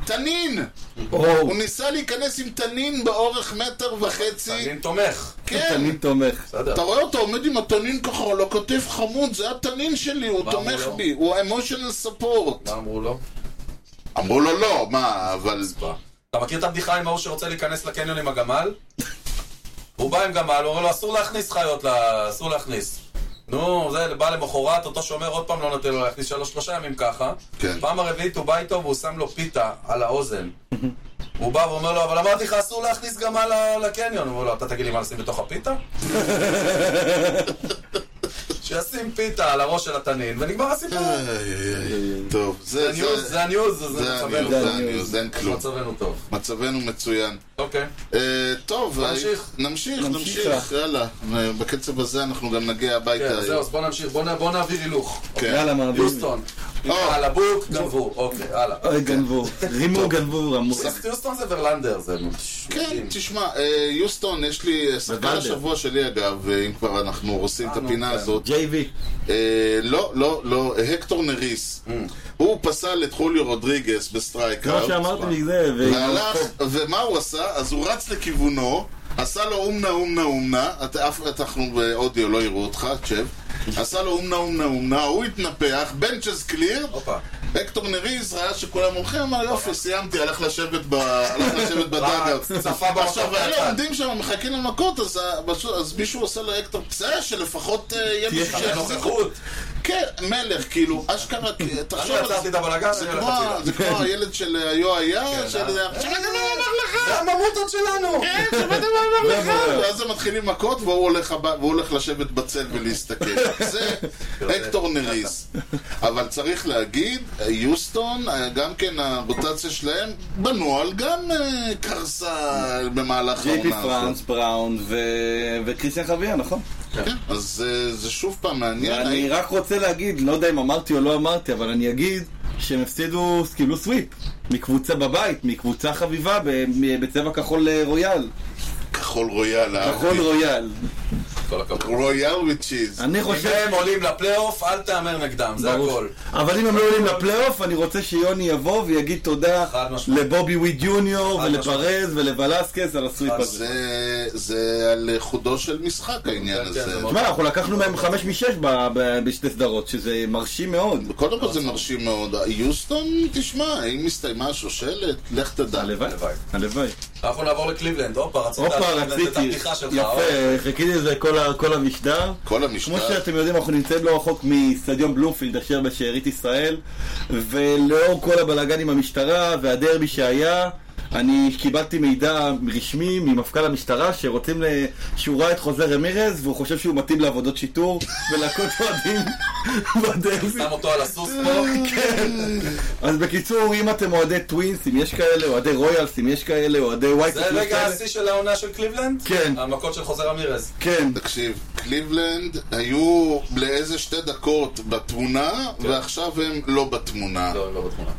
B: תנין!
C: וואו,
B: הוא ניסה להיכנס עם תנין באורך מטר וחצי,
A: אני תומך.
B: כן!
C: אני תומך.
A: בסדר.
B: אתה רואה אותו עומד עם התנין ככה, על הכתף חמוד, זה התנין שלי, הוא
A: מה
B: תומך
A: אמרו לו?
B: בי, הוא ה-emotional support.
A: מה אמרו לו?
B: אמרו לו לא, מה, אבל...
A: בא. אתה מכיר את הבדיחה עם ההוא שרוצה להיכנס לקניון עם הגמל? הוא בא עם גמל, הוא אומר לו, אסור להכניס חיות, ל- אסור להכניס. נו, זה בא למחרת, אותו שומר עוד פעם לא נותן לו להכניס שלוש, שלושה ימים ככה.
B: כן.
A: פעם הרביעית הוא בא איתו והוא שם לו פיתה על האוזן. הוא בא ואומר לו, אבל אמרתי לך, אסור להכניס גמל ל- לקניון. הוא אומר לו, אתה תגיד לי מה לשים בתוך הפיתה? שישים פיתה על הראש של התנין, ונגמר הסיפור.
B: איי, איי, איי. טוב,
A: זה
B: אה, זה
A: הניוז,
B: זה
A: זה הניוז, זה
B: זה
A: מצבנו
B: הניוז,
A: טוב.
B: זה הניוז, אין כלום.
A: מצבנו טוב.
B: מצבנו מצוין.
A: אוקיי.
B: אה, טוב,
A: נמשיך.
B: אה, נמשיך,
C: נמשיך.
B: נמשיך, יאללה. אה, בקצב הזה אנחנו גם נגיע
A: כן,
B: הביתה.
A: זהו, אז בוא נמשיך, בוא נ- בוא נעביר הילוך.
B: כן.
C: יאללה, מעביר.
A: יוסטון,
B: אה.
A: על הבוק, גנבו, אוקיי, הלאה.
C: אוי, גנבו. רימו, גנבו, רמו.
A: יוסטון זה ורלנדר, זה...
B: כן,
A: מדהים.
B: תשמע, אה, יוסטון, יש לי, שחקן
C: בוודאי.
B: השבוע שלי אגב, אה, אם כבר אנחנו עושים את
A: אה, נו,
B: הפינה
A: כן.
B: הזאת,
C: ג'יי וי.
B: אה, לא, לא, לא, הקטור נריס.
A: אה.
B: הוא פסל את חוליו רודריגס
C: כמו
B: בסטרייקאוט.
C: שאמרתי מזה,
B: והלך, ומה הוא עשה? אז הוא רץ לכיוונו, עשה לו אומנה אומנה אומנה, אתה אף אנחנו באודיו לא יראו אותך, תשב. עשה לו אומנה אומנה אומנה, הוא התנפח, בנצ'ס קליר,
A: הופה.
B: הקטור נריז ראה שכולם הולכים, אמר יופי, סיימתי, הלך לשבת ב- הלך לשבת בדאגה.
A: צפה במכות
B: עכשיו,
A: מהצד.
B: אלה עומדים שם, מחכים למכות, אז ה- בסוף- אז מישהו עושה לו הקטור, בסדר, שלפחות אה, יהיה מישהו
A: תהיה
B: שיחזיק אותו.
A: נוכחות.
B: כן, מלך, כאילו, אשכרה,
A: אני
B: תחשוב על
A: עצרתי
B: זה.
A: את הבלגן,
B: זה
A: אני הולך
B: כמו-
A: הצידה.
B: זה כמו הילד של היו היה, של...
A: אה.
B: "עכשיו אני לא אומר לך,
A: זה הממוטות שלנו!
B: כן, שבאת לא אומר לך."
C: לא.
B: ואז הם מתחילים מכות והוא הולך הבא- והוא הולך לשבת בצל ולהסתכל. זה הקטור נריס. אבל צריך להגיד, יוסטון, גם כן הרוטציה שלהם, בנוהל גם אה, קרסה במהלך
C: ג'יי פי
A: נכון,
B: העונה הזאת.
C: פרנס, בראון ו- וקריסטיאן חביה, נכון?
B: כן, אז אה, זה שוב פעם מעניין.
C: אני רק רוצה להגיד, לא יודע אם אמרתי או לא אמרתי, אבל אני אגיד שהם הפסידו, כאילו סוויפ. מקבוצה בבית, מקבוצה חביבה ב- מ- בצבע כחול אה, רויאל.
B: כחול רויאל,
C: כחול
B: אהבתי.
A: אוקיי.
C: רויאל.
A: כל הכבוד.
B: רויאל וצ'יז.
C: אני
A: אם
C: חושב...
A: הם עולים לפלייאוף, אל תהמר נגדם, זה
C: ברור.
A: הכל.
C: אבל אם הם לא עולים לפלייאוף, אני רוצה שיוני יבוא ויגיד תודה
A: חד משמעית.
C: לבובי ווי ג'וניור
A: חד
C: ולפרז ולוולסקס על הסוויפ
A: חד
C: הזה.
B: זה, זה על חודו של משחק העניין
A: כן, כן,
B: הזה.
A: זה מאוד-
C: תשמע, אנחנו לקחנו מהם חמש משש ב- ב- בשתי סדרות, שזה מרשים מאוד.
B: קודם כל זה מרשים מאוד. יוסטון, תשמע, אם הסתיימה השושלת, לך תדע.
C: הלוואי.
A: הלוואי.
C: הלוואי.
A: אנחנו נעבור לקליבלנד, הופה, רצית
C: הופה,
A: לעשות את
C: רציתי,
A: הבדיחה שלך. אוקיי.
C: יפה, חיכיתי לזה כל ה- כל המשדר.
B: כל
C: כמו
B: המשטר.
C: שאתם יודעים, אנחנו נמצאים לא רחוק מאיצטדיון בלומפילד אשר בשארית ישראל, ולאור כל הבלאגן עם המשטרה והדרבי שהיה, אני קיבלתי מידע רשמי ממפכ"ל המשטרה שרוצים, ל... שהוא ראה את חוזה רמירז והוא חושב שהוא מתאים לעבודות שיטור ולהקות אוהדים בדרבי.
A: שם אותו על הסוס פה.
C: כן. אז בקיצור, אם אתם אוהדי טווינס, אם יש כאלה, אוהדי רויאלס, אם יש כאלה, אוהדי ווייט,
A: זה רגע השיא של העונה של קליבלנד?
C: כן.
A: המכות של חוזר אמירז.
C: כן.
B: תקשיב, קליבלנד היו לאיזה שתי דקות בתמונה, ועכשיו הם לא בתמונה.
A: כן. לא, הם לא בתמונה.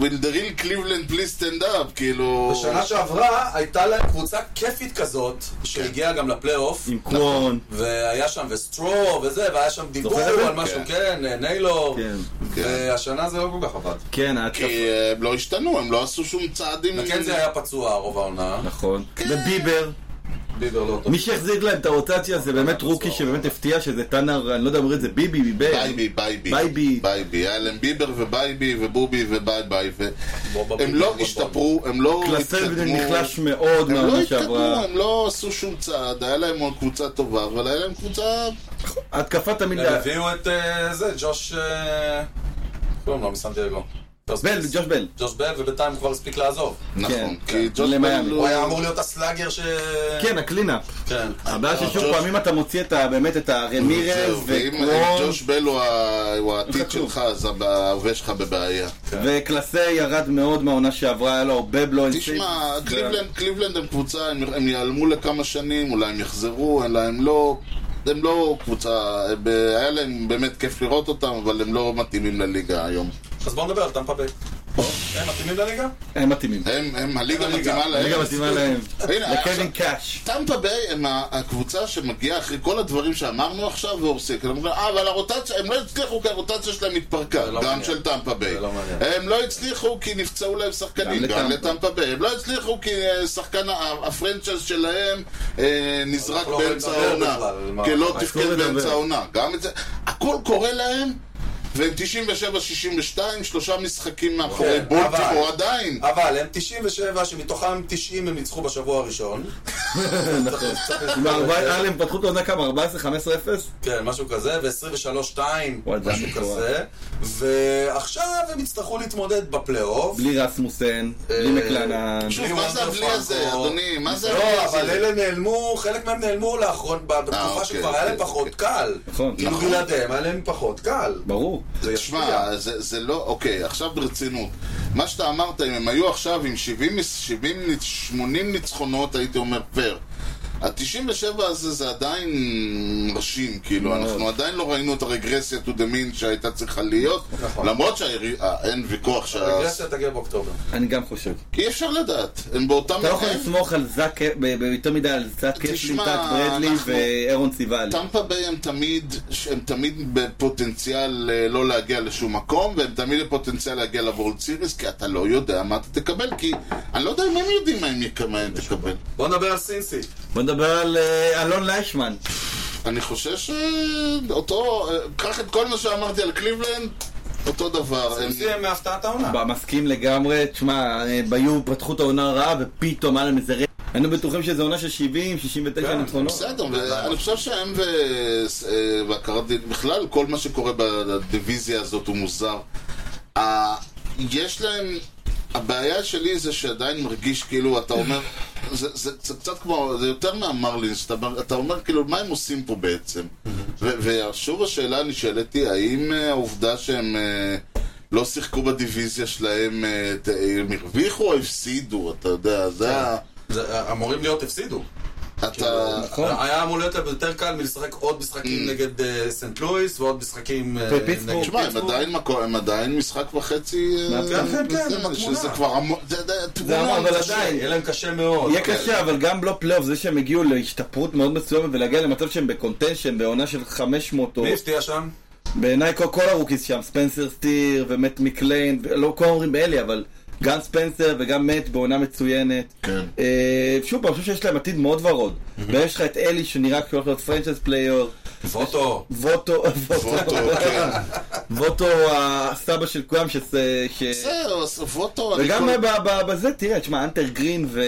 B: וילדריל קליבלנד פליס סטנד אפ, כאילו...
A: בשנה שעברה הייתה להם קבוצה כיפית כזאת, שהגיעה גם לפלייאוף,
C: עם קרון.
B: נכון.
A: והיה שם וסטרו וזה, והיה שם דיבור
C: זוכר את זה?
A: על משהו, כן, ניילור,
C: כן.
A: והשנה זה לא כל כך עבד.
C: כן, ההתקפה.
B: כי אה, הם לא השתנו, הם לא עשו שום צעדים...
A: מקנזי היה פצוע רוב העונה,
C: נכון.
B: כן.
C: וביבר.
A: ביבר לא טוב.
C: מי שהחזיק להם את הרוטציה זה באמת
B: אה,
C: רוקי שבאמת הפתיע שזה טאנר, אני לא יודע אם אומרים את זה ביבי, ביבר.
B: בייבי, בייבי.
C: בייבי.
B: בייבי. היה להם ביבר ובייבי ובובי וביי ביי. ו-
A: בוא, בוא,
B: הם
A: בוא,
B: לא
A: בוא, בוא.
B: השתפרו, הם לא
C: קלסל
B: התקדמו.
C: נחלש מאוד
B: הם לא
C: מהעונה
B: התקדמו,
C: שעברה.
B: הם לא עשו שום צעד, היה להם עוד קבוצה טובה, אבל היה להם קבוצה...
A: כן,
C: התקפה תמיד...
A: הם הביאו את אה, זה, ג'וש... אה, כלום לא, מסן דייגו.
C: בל, ג'וש בל.
A: ג'וש בל, ובינתיים הוא כבר הספיק לעזוב.
B: נכון,
C: כן.
B: כי ג'וש
C: למיאמי.
B: בן לא-
A: הוא היה אמור להיות הסלאגר ש...
C: כן, הקלינאפ.
A: כן.
C: הבעיה ששוב
B: אה, ג'וש-
C: פעמים אתה מוציא את ה... באמת את הרמירז
B: זהו, ואם אם
C: וקרון
B: ג'וש בל הוא ה- הוא העתיד
C: כלום.
B: שלך, אז ההווה שלך בבעיה.
C: וקלסה ירד מאוד מהעונה שעברה, היה לו הרבה בלואנסים.
B: תשמע, קליבלנד, קליבלנד הם קבוצה, הם, הם ייעלמו לכמה שנים, אולי הם יחזרו, אלא הם לא... הם לא קבוצה, ב- היה להם באמת כיף לראות אותם, אבל הם לא מתאימים לליגה היום.
A: אז בואו נדבר על טמפה ביי. הם מתאימים לליגה?
C: הם מתאימים.
B: הם, הם הליגה
A: הליגה.
B: מתאימה להם.
C: רגע מתאימה להם.
B: אה, הנה,
C: לקווין
B: עכשיו-
C: קאש.
B: טמפה ביי הם ה- הקבוצה שמגיעה אחרי כל הדברים שאמרנו עכשיו והורסים. כי הם אומרים, אה, אבל הרוטציה, הם לא הצליחו כי הרוטציה שלהם התפרקה,
A: זה לא
B: גם
A: מעניין.
B: של טמפה ביי.
A: זה לא מעניין.
B: הם לא הצליחו כי נפצעו להם שחקנים,
C: גם
B: גם
C: לטמפה.
B: לטמפה ביי. הם לא הצליחו כי אה, שחקן, ה- הפרנצ'ייז שלהם אה, נזרק
A: אנחנו לא
B: באמצע
A: יכולים לדבר
B: העונה.
A: בכלל, מה-
B: כי לא
A: אסור
B: תפקד
C: לדבר.
B: באמצע העונה. גם את זה, הכל קורה להם. והם 97-62, שלושה משחקים מאחורי
A: כן,
B: בולטימור
A: אבל-
B: עדיין.
A: אבל הם 97, שמתוכם 90 הם ניצחו בשבוע הראשון.
C: נכון. עם הארבע- אה, הם פתחו את העונה כמה? 14-15-0?
A: כן, משהו כזה, ו-23-2,
C: וואי, זה
A: משהו
C: מטורף.
A: כזה. ועכשיו הם יצטרכו להתמודד בפלייאוף.
C: בלי רסמוסן, בלי
A: אה,
C: מקלנן.
B: שוב, מה זה הבלי הזה,
A: פרנקו.
B: אדוני? מה זה הבלי
A: לא,
B: הזה?
A: אבל אלה נעלמו, חלק מהם נעלמו לאחרון, בתקופה
B: אוקיי,
A: שכבר היה להם
B: אוקיי,
A: פחות
B: אוקיי.
A: קל.
C: נכון.
A: כאילו
B: נכון.
A: בלעדיהם היה להם פחות קל.
C: ברור.
A: זה ישפיע.
B: תשמע, זה, זה לא, אוקיי, עכשיו ברצינות. מה שאתה אמרת, אם הם היו עכשיו עם 70, 70 ניצ- 80 ניצחונות, הייתי אומר פר. ה-97 הזה זה עדיין מרשים, כאילו,
C: מאוד.
B: אנחנו עדיין לא ראינו את הרגרסיה to the mean שהייתה צריכה להיות,
A: נכון.
B: למרות שאין ויכוח שה...
A: הרגרסיה תגיע באוקטובר.
C: אני גם חושב.
B: אי אפשר לדעת, הם באותם...
C: אתה לא יכול
B: הם-
C: לסמוך על זאק, ב- ב- יותר מדי על זאק קפלין,
B: תשמע,
C: טאק ברדלי
B: אנחנו-
C: ואירון סיבל.
B: טמפה ביי הם תמיד, הם תמיד בפוטנציאל אה, לא להגיע לשום מקום, והם תמיד בפוטנציאל להגיע לוורלד סיריס, כי אתה לא יודע מה אתה תקבל, כי אני לא יודע אם הם יודעים מה הם יקבל, מה הם תקבל.
A: בוא נדבר על סינסי.
C: בוא נדבר על אה, אלון ליישמן.
B: אני חושש שאותו, אה, קח את כל מה שאמרתי על קליבלנד, אותו דבר. הם-
A: סינסי הם מהפתעת העונה.
C: ב- מסכים לגמרי, תשמע, אה, ביו, פתחו את העונה רעה ופתאום היה להם איזה רגע. היינו בטוחים שזו עונה של 70, 69
A: כן,
C: ניצחונות.
B: בסדר, ואני חושב שהם ו- אה, והקרדין, בכלל כל מה שקורה בדיוויזיה הזאת הוא מוזר. ה- יש להם, הבעיה שלי זה שעדיין מרגיש כאילו, אתה אומר, זה, זה, זה קצת כמו, זה יותר מהמרלינס, אתה, אומר- אתה אומר כאילו, מה הם עושים פה בעצם? ו- ושוב השאלה הנשאלת היא, האם אה, העובדה שהם אה, לא שיחקו בדיוויזיה שלהם, אה, ת- הם הרוויחו או הפסידו, אתה יודע, זה ה...
A: זה- אה, אמורים להיות הפסידו.
B: אתה...
C: נכון. Mm.
A: היה אמור להיות להם יותר קל מלשחק עוד משחקים נגד אה, סנט לואיס ועוד משחקים אה,
C: ופיטסבורג.
A: נגד
B: תשמע, הם עדיין מקו- הם עדיין משחק וחצי... אה,
C: כן,
A: כן, כן,
B: זה-
A: הם בתמונה.
B: שזה כבר המון... זה- זה
C: המון,
B: תמונה.
C: אבל
B: קשה.
C: עדיין.
A: יהיה להם קשה מאוד.
B: אוקיי.
A: אוקיי.
C: יהיה קשה, אבל גם לא פלייאוף, זה שהם הגיעו להשתפרות מאוד מסוימת ולהגיע למצב שהם בקונטנשן, בעונה של 500 או...
A: מי הפתיע שם?
C: בעיניי כל, כל הרוקיס שם, ספנסר סטיר ומט מקליין, לא כל אומרים באלי, אבל גם ספנסר וגם מט בעונה מצוינת.
B: כן.
C: אה, שוב פעם, אני חושב שיש להם עתיד מאוד ורוד. ויש לך את אלי שנראה כאילו הולך להיות פרנצ'ס פלייר,
A: פוטו.
C: ווטו, ווטו,
B: פוטו, כן.
C: ווטו הסבא של כולם, ש... ש...
B: בסדר, אז ווטו... אני
C: וגם
B: כל-
C: ב- ב- בזה, תראה, תשמע, אנטר גרין ו...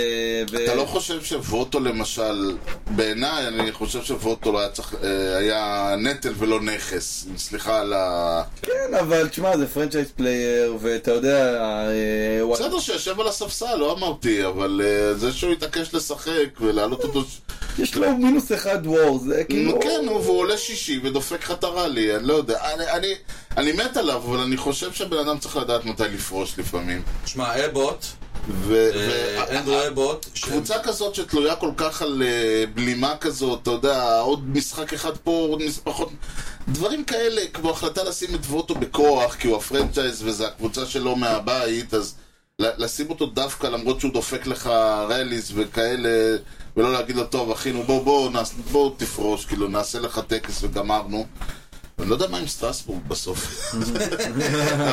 C: ו-
B: אתה לא חושב שווטו למשל, בעיניי אני חושב שווטו לא היה צריך, אה, היה נטל ולא נכס, סליחה על ה...
C: כן, אבל תשמע, זה פרנצ'ייז פלייר, ואתה יודע... אה, וואי-
B: בסדר שיושב על הספסל, לא אמרתי, אבל אה, זה שהוא התעקש לשחק ולהעלות אותו... ש-
C: יש לו מינוס אחד וור, זה כאילו...
B: נו, כן, נו, והוא עולה שישי ודופק לך את הרלי, אני לא יודע. אני- אני- אני מת עליו, אבל אני חושב שבן אדם צריך לדעת מתי לפרוש לפעמים.
A: שמע, אבוט,
B: ו-
A: אה,
B: ו-
A: אנדרו אבוט,
B: קבוצה כזאת שתלויה כל כך על אה, בלימה כזאת, אתה יודע, עוד משחק אחד פה, עוד מש- פחות... דברים כאלה, כמו החלטה לשים את ווטו בכוח, כי הוא הפרנצ'ייז וזו הקבוצה שלו מהבית, אז ל- לשים אותו דווקא למרות שהוא דופק לך רליס וכאלה, ולא להגיד לו, טוב, אחינו, בוא, בוא, נעש, בוא תפרוש, כאילו, נעשה לך טקס וגמרנו. אני לא יודע מה עם סטרסבורג בסוף,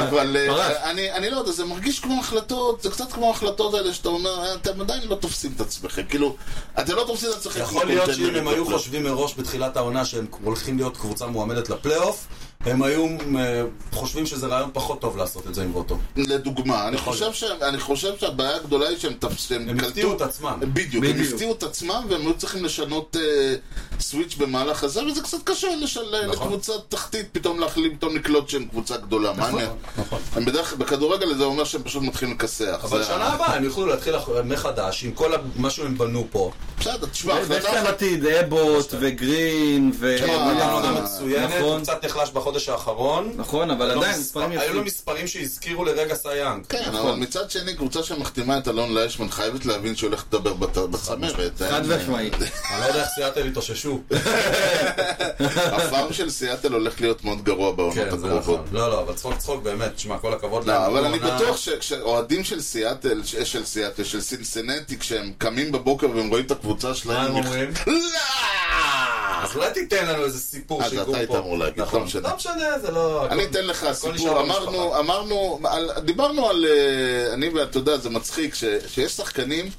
B: אבל אה,
C: פרש.
B: אני, אני לא יודע, זה מרגיש כמו החלטות, זה קצת כמו ההחלטות האלה שאתה אומר, "אה, אתם עדיין לא תופסים את עצמכם, כאילו, אתם לא תופסים את עצמכם.
A: יכול להיות שאם הם היו חושבים מראש בתחילת העונה שהם הולכים להיות קבוצה מועמדת לפלייאוף, הם היו אה, חושבים שזה רעיון פחות טוב לעשות את זה עם ווטו.
B: לדוגמה, אני
A: יכול
B: חושב,
A: להיות.
B: שהם, אני חושב שהבעיה הגדולה היא שהם תפס- שהם
A: הם הפתיעו את עצמם.
B: בדיוק, הם
C: בדיוק.
B: הפתיעו את עצמם והם היו צריכים לשנות אה, סוויץ' במהלך הזה, וזה קצת קשה לשל...
A: נכון.
B: לקבוצה תחתית פתאום להחליט, פתאום לקלוט שהם קבוצה גדולה. מה
A: נכון,
B: אני-
A: נכון.
B: הם בדרך כלל, בכדורגל זה אומר שהם פשוט מתחילים לכסח.
A: אבל
B: זה-
A: שנה הבאה הם יוכלו להתחיל אח- מחדש עם כל ה- מה שהם בנו פה.
B: בסדר, תשמע,
C: ויש
B: החלטה
C: להם
B: אחת-
C: עתיד, אבוט וגרין ו...
B: כן,
A: הוא נתן
B: אה,
A: עונה מצוינת,
C: נכון.
A: הוא קצת נחלש בחודש האחרון.
C: נכון,
B: לא
C: אבל
A: היו לו
C: עדיין,
A: מספר-
C: מספרים
B: אה,
A: היו לו
C: יפים.
A: מספרים שהזכירו לרגע סייאנג.
B: כן, אבל
A: נכון.
B: מצד שני, קבוצה שמחתימה את אלון לאשמן חייבת להבין שהיא הולכת לדבר בת- בצמרת.
C: חד
B: אין-
C: משמעית.
A: אני לא יודע איך סיאטל התאוששו.
B: כן, הפארם של סיאטל הולך להיות מאוד גרוע בעונות
A: כן, זה נכון.
B: הקרובות.
A: לא, לא, אבל צחוק צחוק באמת, שמע, כל הכבוד
B: לא, אבל
A: עונה-
B: אני בטוח שכשאוהדים של סיאטל, ש- אה, של סיאטל, של סינסנטי, כשהם קמים בבוקר והם רואים את הקבוצה שלהם, לא!
A: מה הם
B: נכ-
A: אומרים?
B: לא!
A: אז אולי תיתן לנו איזה סיפור
B: אז
A: שיקום פה.
B: אתה היית אמור להגיד,
A: נכון.
B: לא משנה.
A: לא משנה, זה לא...
B: אני
A: הכל-
B: אתן לך
A: הכל נשאר
B: סיפור,
A: במשפחה.
B: אמרנו, אמרנו, על- דיברנו על, אה, אני ואתה יודע, זה מצחיק, ש- שיש שחקנים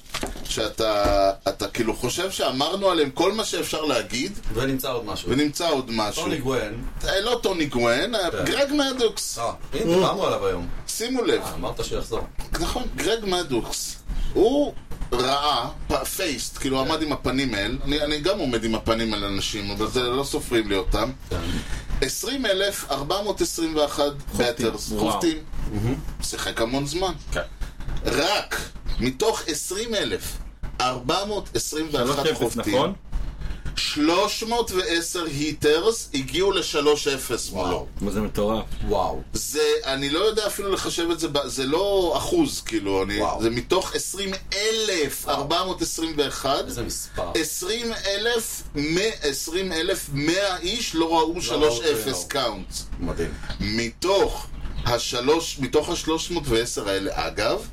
B: שאתה אתה כאילו חושב שאמרנו עליהם כל מה שאפשר להגיד,
A: ונמצא עוד משהו.
B: ונמצא עוד משהו.
A: טוני גוון.
B: אה, לא טוני גוון, אה,
A: כן.
B: גרג מדוקס,
A: אה, הנה, דיברנו עליו היום.
B: שימו לב,
A: אה, אמרת שיחזור.
B: נכון, גרג מדוקס, הוא ראה, פייסט, כאילו
C: כן.
B: עמד עם הפנים אל, אני, אני גם עומד עם הפנים אל אנשים, אבל זה לא סופרים לי אותם,
C: כן.
B: 20,421 בטרס,
C: וואו.
B: חובטים, שיחק המון זמן,
A: כן.
B: רק מתוך 20,421
C: 3-0,
B: חובטים,
C: נכון?
B: 310 היטרס הגיעו ל-3-0 מולו.
C: מה זה מטורף.
A: וואו.
B: זה, אני לא יודע אפילו לחשב את זה, ב- זה לא אחוז, כאילו, אני,
A: וואו.
B: זה מתוך 20,421,
A: איזה מספר.
B: 20,100 איש לא ראו
A: ראו.
B: 3-0 קאונטס.
A: מדהים.
B: מתוך השלוש, מתוך השלוש מאות ועשר האלה, אגב,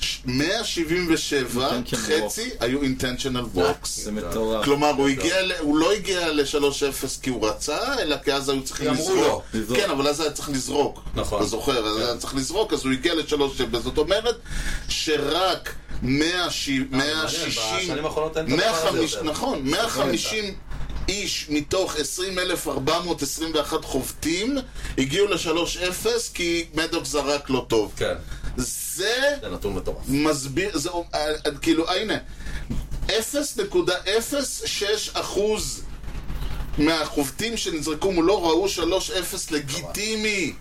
B: ש- 177
C: Intentional
B: חצי היו intentional
C: זה
B: walks.
C: מטורף.
B: כלומר, הוא, הגיע ל... הוא לא הגיע ל-3-0 כי הוא רצה, אלא כי אז היו צריכים
A: כי אמרו
B: לזרוק.
A: לו,
C: לזרוק.
B: כן, אבל אז היה צריך לזרוק.
A: נכון.
B: אתה זוכר, אז היה צריך לזרוק, אז הוא הגיע ל-3-0. זאת אומרת שרק 160...
A: אה, בשנים האחרונות אין את הדבר הזה
B: 150,
A: יותר.
B: נכון, 150 איש מתוך 20,421 חובטים הגיעו ל-3-0 כי מדוק זרק לא טוב.
A: כן.
B: זה
A: זה נתון מטורף.
B: מסביר, זה אומ- אה, אה, כאילו, אה, הנה, 0.06 אחוז מהחובטים שנזרקו מולו ראו 3-0 לגיטימי.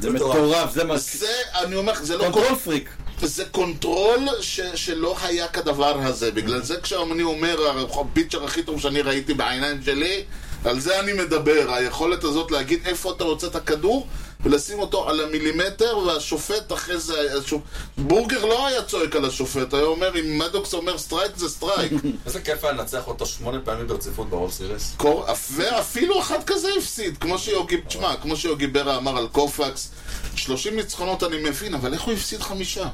C: זה מטורף, זה מה...
B: זה, אני אומר לך, זה לא
C: קונטרול פריק.
B: זה קונטרול ש, שלא היה כדבר הזה. בגלל זה כשאני אומר, הפיצ'ר הכי טוב שאני ראיתי בעיניים שלי, על זה אני מדבר. היכולת הזאת להגיד איפה אתה רוצה את הכדור, ולשים אותו על המילימטר, והשופט אחרי זה... היה- השופ... בורגר לא היה צועק על השופט, היה אומר, אם מדוקס אומר סטרייק זה סטרייק.
A: איזה כיף היה לנצח אותו שמונה פעמים ברציפות ברול סיריס.
B: קור... ואפילו אחד כזה הפסיד, כמו שיוגי, תשמע, כמו שיוגי ברה אמר על קופקס, 30 ניצחונות אני מבין, אבל איך הוא הפסיד חמישה?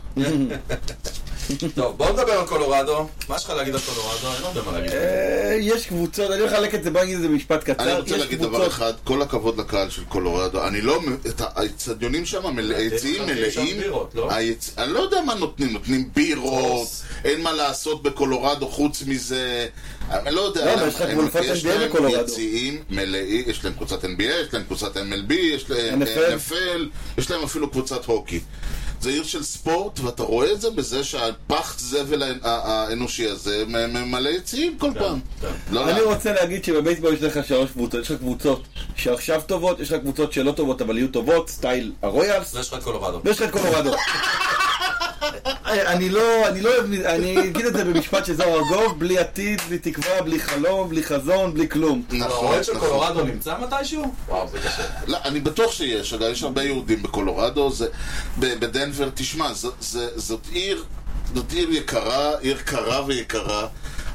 A: טוב, בואו נדבר על קולורדו. מה יש לך להגיד על קולורדו? אין הרבה מה להגיד.
C: אה, יש קבוצות, אני אחלק את זה, בוא נגיד את זה במשפט קצר.
B: אני רוצה
C: יש
B: להגיד
C: קבוצות-
B: דבר אחד, כל הכבוד לקהל של קולורדו, אני לא, את האצטדיונים שם, מלא- היציעים
A: חלקים
B: מלאים,
A: שם בירות, לא?
B: היצ- אני לא יודע מה נותנים, נותנים בירות,
A: כוס.
B: אין מה לעשות בקולורדו חוץ מזה, אני לא יודע,
C: לא,
B: הם-
C: אבל יש לך
B: הם-
C: קבוצת
B: יש
C: NBA
B: להם
C: בקולורדו.
B: יציעים מלאים, יש להם קבוצת NBA, יש להם קבוצת MLB, יש להם
C: NFL.
B: NFL, יש להם אפילו קבוצת הוקי. זה עיר של ספורט, ואתה רואה את זה בזה שהפח זבל האנ- ה- האנושי הזה מ- ממלא יציעים כל פעם. לא
C: כן, אני
B: לא.
C: רוצה להגיד שבבייסבול יש לך שלוש קבוצות, יש לך קבוצות שעכשיו טובות, יש לך קבוצות שלא טובות אבל יהיו טובות, סטייל הרויאלס,
A: אז לא, יש לך את קולורדו.
C: ויש לך את קולורדו. אני לא, אני לא אוהב, אני אגיד את זה במשפט של זוהר ארגוב, בלי עתיד, בלי תקווה, בלי חלום, בלי חזון, בלי כלום.
B: נכון,
A: האוהד של קולורדו נמצא מתישהו? וואו, זה קשה.
B: לא, אני בטוח שיש, אגב, יש הרבה יהודים בקולורדו, זה, ב- בדנבר, תשמע, ז, זה, זאת עיר, זאת עיר יקרה, עיר קרה ויקרה,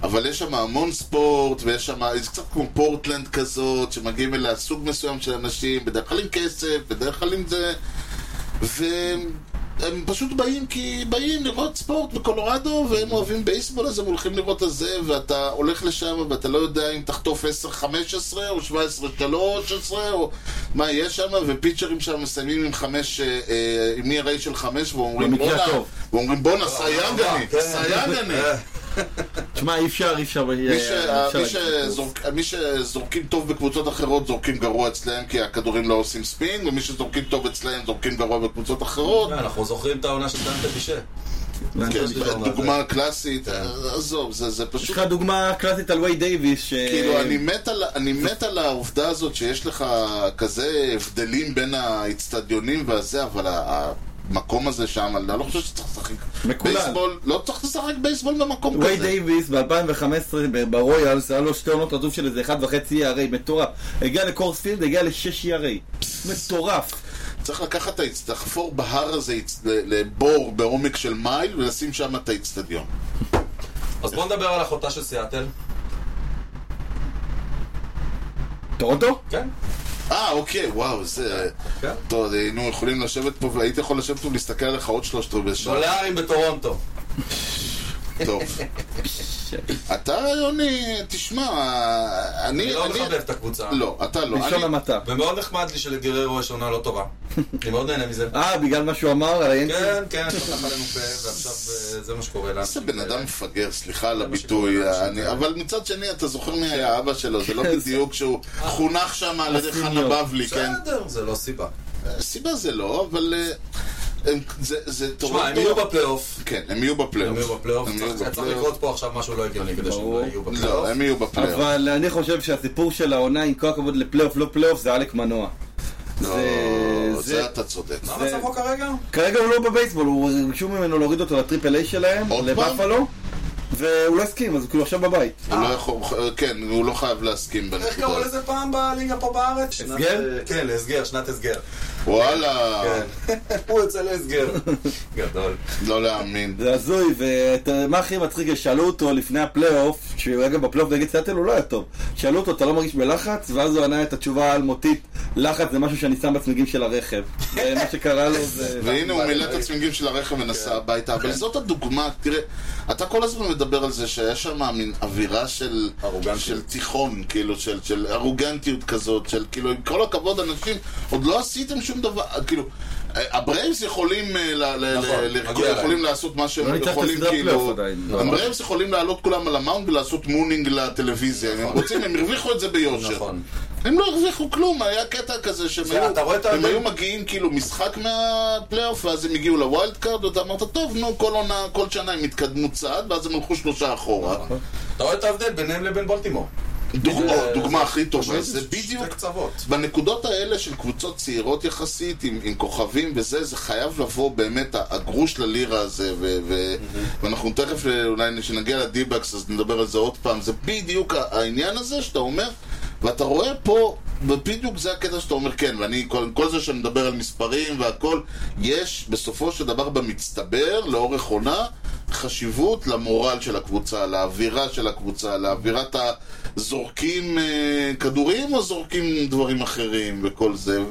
B: אבל יש שם המון ספורט, ויש שם, זה קצת כמו פורטלנד כזאת, שמגיעים אליה סוג מסוים של אנשים, בדרך כלל עם כסף, בדרך כלל עם זה, והם הם פשוט באים כי באים לראות ספורט בקולורדו, והם אוהבים בייסבול, אז הם הולכים לראות את זה, ואתה הולך לשם ואתה לא יודע אם תחטוף 10-15 או 17-13 או מה יש שם, ופיצ'רים שם מסיימים עם חמש, אה, אה, עם ERA של חמש, ואומרים
C: במקרה
B: בואנה,
C: הטוב."
B: ואומרים
C: אה,
B: בואנה, סייג אני, סייג אני.
A: אה,
C: תשמע, אי אפשר, אי אפשר, אה,
B: מי
C: אי
B: ש-
C: אה,
B: אה,
C: אפשר
B: מי
C: להגיד.
B: שזורק- אה, מי שזורקים טוב בקבוצות אחרות זורקים גרוע אצלהם כי הכדורים לא עושים ספין ומי שזורקים טוב אצלהם זורקים גרוע בקבוצות אחרות
A: כן, אנחנו זוכרים את העונה של דנטה בישה.
B: כן,
A: יש לי גם
B: דוגמה קלאסית, אה, עזוב, זה זה
C: יש
B: פשוט...
C: לך דוגמה קלאסית על וייד דייוויס, ש...
B: כאילו, אני מת על- אני מת על העובדה הזאת שיש לך כזה הבדלים בין האיצטדיונים והזה, אבל ה- המקום הזה שם, אני לא חושב שצריך לשחק
C: מקולל.
B: בייסבול, לא צריך לשחק בייסבול במקום
C: וייד
B: כזה.
C: דייוויס ב-2015 ברויאלס, היה לו שתי עונות רצוף של איזה 1.5 ERA, מטורף. הגיע לקורס פילד, הגיע ל-6 ERA. מטורף.
B: צריך לקחת את האיצ- לחפור בהר הזה, איצ- ל- לבור בעומק של מייל ולשים שם את האיצטדיון.
A: אז בואו נדבר על אחותה של סיאטל.
B: לא,
C: טורונטו?
A: כן,
B: אה, אוקיי, וואו, זה...
A: כן.
B: טוב, היינו יכולים לשבת פה, והייתי יכול לשבת פה ולהסתכל עליך עוד שלושת רבעי שעה.
A: דולרים בטורונטו.
B: טוב. אתה, יוני, תשמע, אני...
A: אני לא
B: אני-
A: מחבב את הקבוצה.
B: לא, אתה לא.
C: בלשון
B: אני-
C: המעטה.
A: ומאוד נחמד לי שלגררו יש עונה לא טובה. אני מאוד נהנה מזה.
C: אה, בגלל מה שהוא אמר על היאנקי?
A: כן, כן, פתח עלינו פה, ועכשיו אה, זה מה שקורה לנו.
B: איזה בן אדם מפגר, סליחה על
A: אה, שקורה
B: הביטוי,
A: לאנשים
B: אני-
A: כאלה.
B: אבל מצד שני, אתה זוכר מי היה אבא שלו, זה לא
C: כן,
B: בדיוק שהוא
A: אה,
B: חונך שם על ידי
C: הסיניות.
B: חנה בבלי, כן?
A: בסדר, זה לא סיבה.
B: סיבה זה לא, אבל אה, הם- זה- זה
A: תשמע, הם
B: טורונטו-
A: יהיו בפלייאוף.
B: כן, הם יהיו בפלייאוף.
A: הם יהיו בפלייאוף.
B: הם יהיו
A: צריך- צריך
B: בפלייאוף.
A: לקרות פה עכשיו משהו לא הגיוני כדי שהם
C: ברור.
A: לא יהיו
B: לא,
A: בפלייאוף.
B: הם יהיו בפלייאוף.
C: אבל אני חושב שהסיפור של העונה, עם כל הכבוד לפלייאוף, לא פלייאוף, זה עלק מנוע.
B: לא,
C: זה-
B: זה אתה צודק.
A: מה מצבו כרגע?
C: כרגע הוא לא בבייסבול, הוא ביקשו ממנו להוריד אותו לטריפל איי שלהם,
B: עוד פעם?
C: לבאפלו, והוא לא הסכים, אז הוא כאילו עכשיו בבית.
B: הוא לא יכול, כן, הוא לא חייב להסכים
A: איך
B: בנקודה
A: קראו
B: הזאת.
A: לזה פעם בליגה פה בארץ? שנת-
C: הסגר?
A: אה, כן, להסגר, שנת הסגר.
B: וואלה,
A: כן. הוא יוצא להסגר. גדול.
B: לא להאמין.
C: זה הזוי, ומה הכי מצחיק, זה שאלו אותו לפני הפלייאוף, שהוא היה גם בפלייאוף נגד סאטל, הוא לא היה טוב. שאלו אותו, אתה לא מרגיש בלחץ? ואז הוא ענה את התשובה האלמותית, לחץ זה משהו שאני שם בצמיגים של הרכב. זה מה שקרה לו זה...
B: והנה הוא מילא את הצמיגים של הרכב
A: כן.
B: ונסע הביתה, אבל זאת הדוגמה, תראה, אתה כל הזמן מדבר על זה שהיה שם מין אווירה של
A: ארוגנטיות.
B: של תיכון, כאילו, של של ארוגנטיות כזאת, של כאילו, עם כל הכבוד, אנשים, עוד לא עשיתם שום דבר, כאילו, אה, הברייבס יכולים אה, ל- ל-
A: נכון,
B: ל- לרקוד,
A: מגיע להם.
B: יכולים לעשות מה
C: לא
B: שהם
C: ניצחת
B: יכולים,
C: סדרת פלייאוף
B: כאילו,
C: עדיין.
B: הברייבס יכולים לעלות כולם על המאונד ולעשות מונינג לטלוויזיה, אם הם רוצים, הם הרוויחו את זה ביושר.
A: נכון.
B: הם לא הרוויחו כלום, היה קטע כזה שהם
A: זה,
B: היו,
A: אתה רואה את
B: הם
A: ההבדל?
B: היו מגיעים כאילו משחק מהפלייאוף, ואז הם הגיעו לווילד קארד, ואתה אמרת, טוב, נו, כל עונה, כל שנה הם התקדמו צעד, ואז הם הלכו שלושה אחורה.
A: אתה רואה את ההבדל ביניהם לבין בולטימור.
B: דוגמה-
A: זה-
B: דוגמה הכי טובה,
A: פשוט
B: זה בדיוק...
A: שתי קצוות.
B: בנקודות האלה של קבוצות צעירות יחסית, עם, עם כוכבים וזה, זה חייב לבוא באמת הגרוש ללירה הזה, ו, ו, ואנחנו תכף, אה, אולי כשנגיע לדיבקס אז נדבר על זה עוד פעם, זה בדיוק ה- העניין הזה שאתה אומר, ואתה רואה פה, ובדיוק זה הקטע שאתה אומר כן, ואני, כל, כל זה שאני מדבר על מספרים והכל, יש בסופו של דבר במצטבר, לאורך עונה, חשיבות למורל של הקבוצה, לאווירה של הקבוצה, לאווירת ה... זורקים אה, כדורים או זורקים דברים אחרים וכל זה,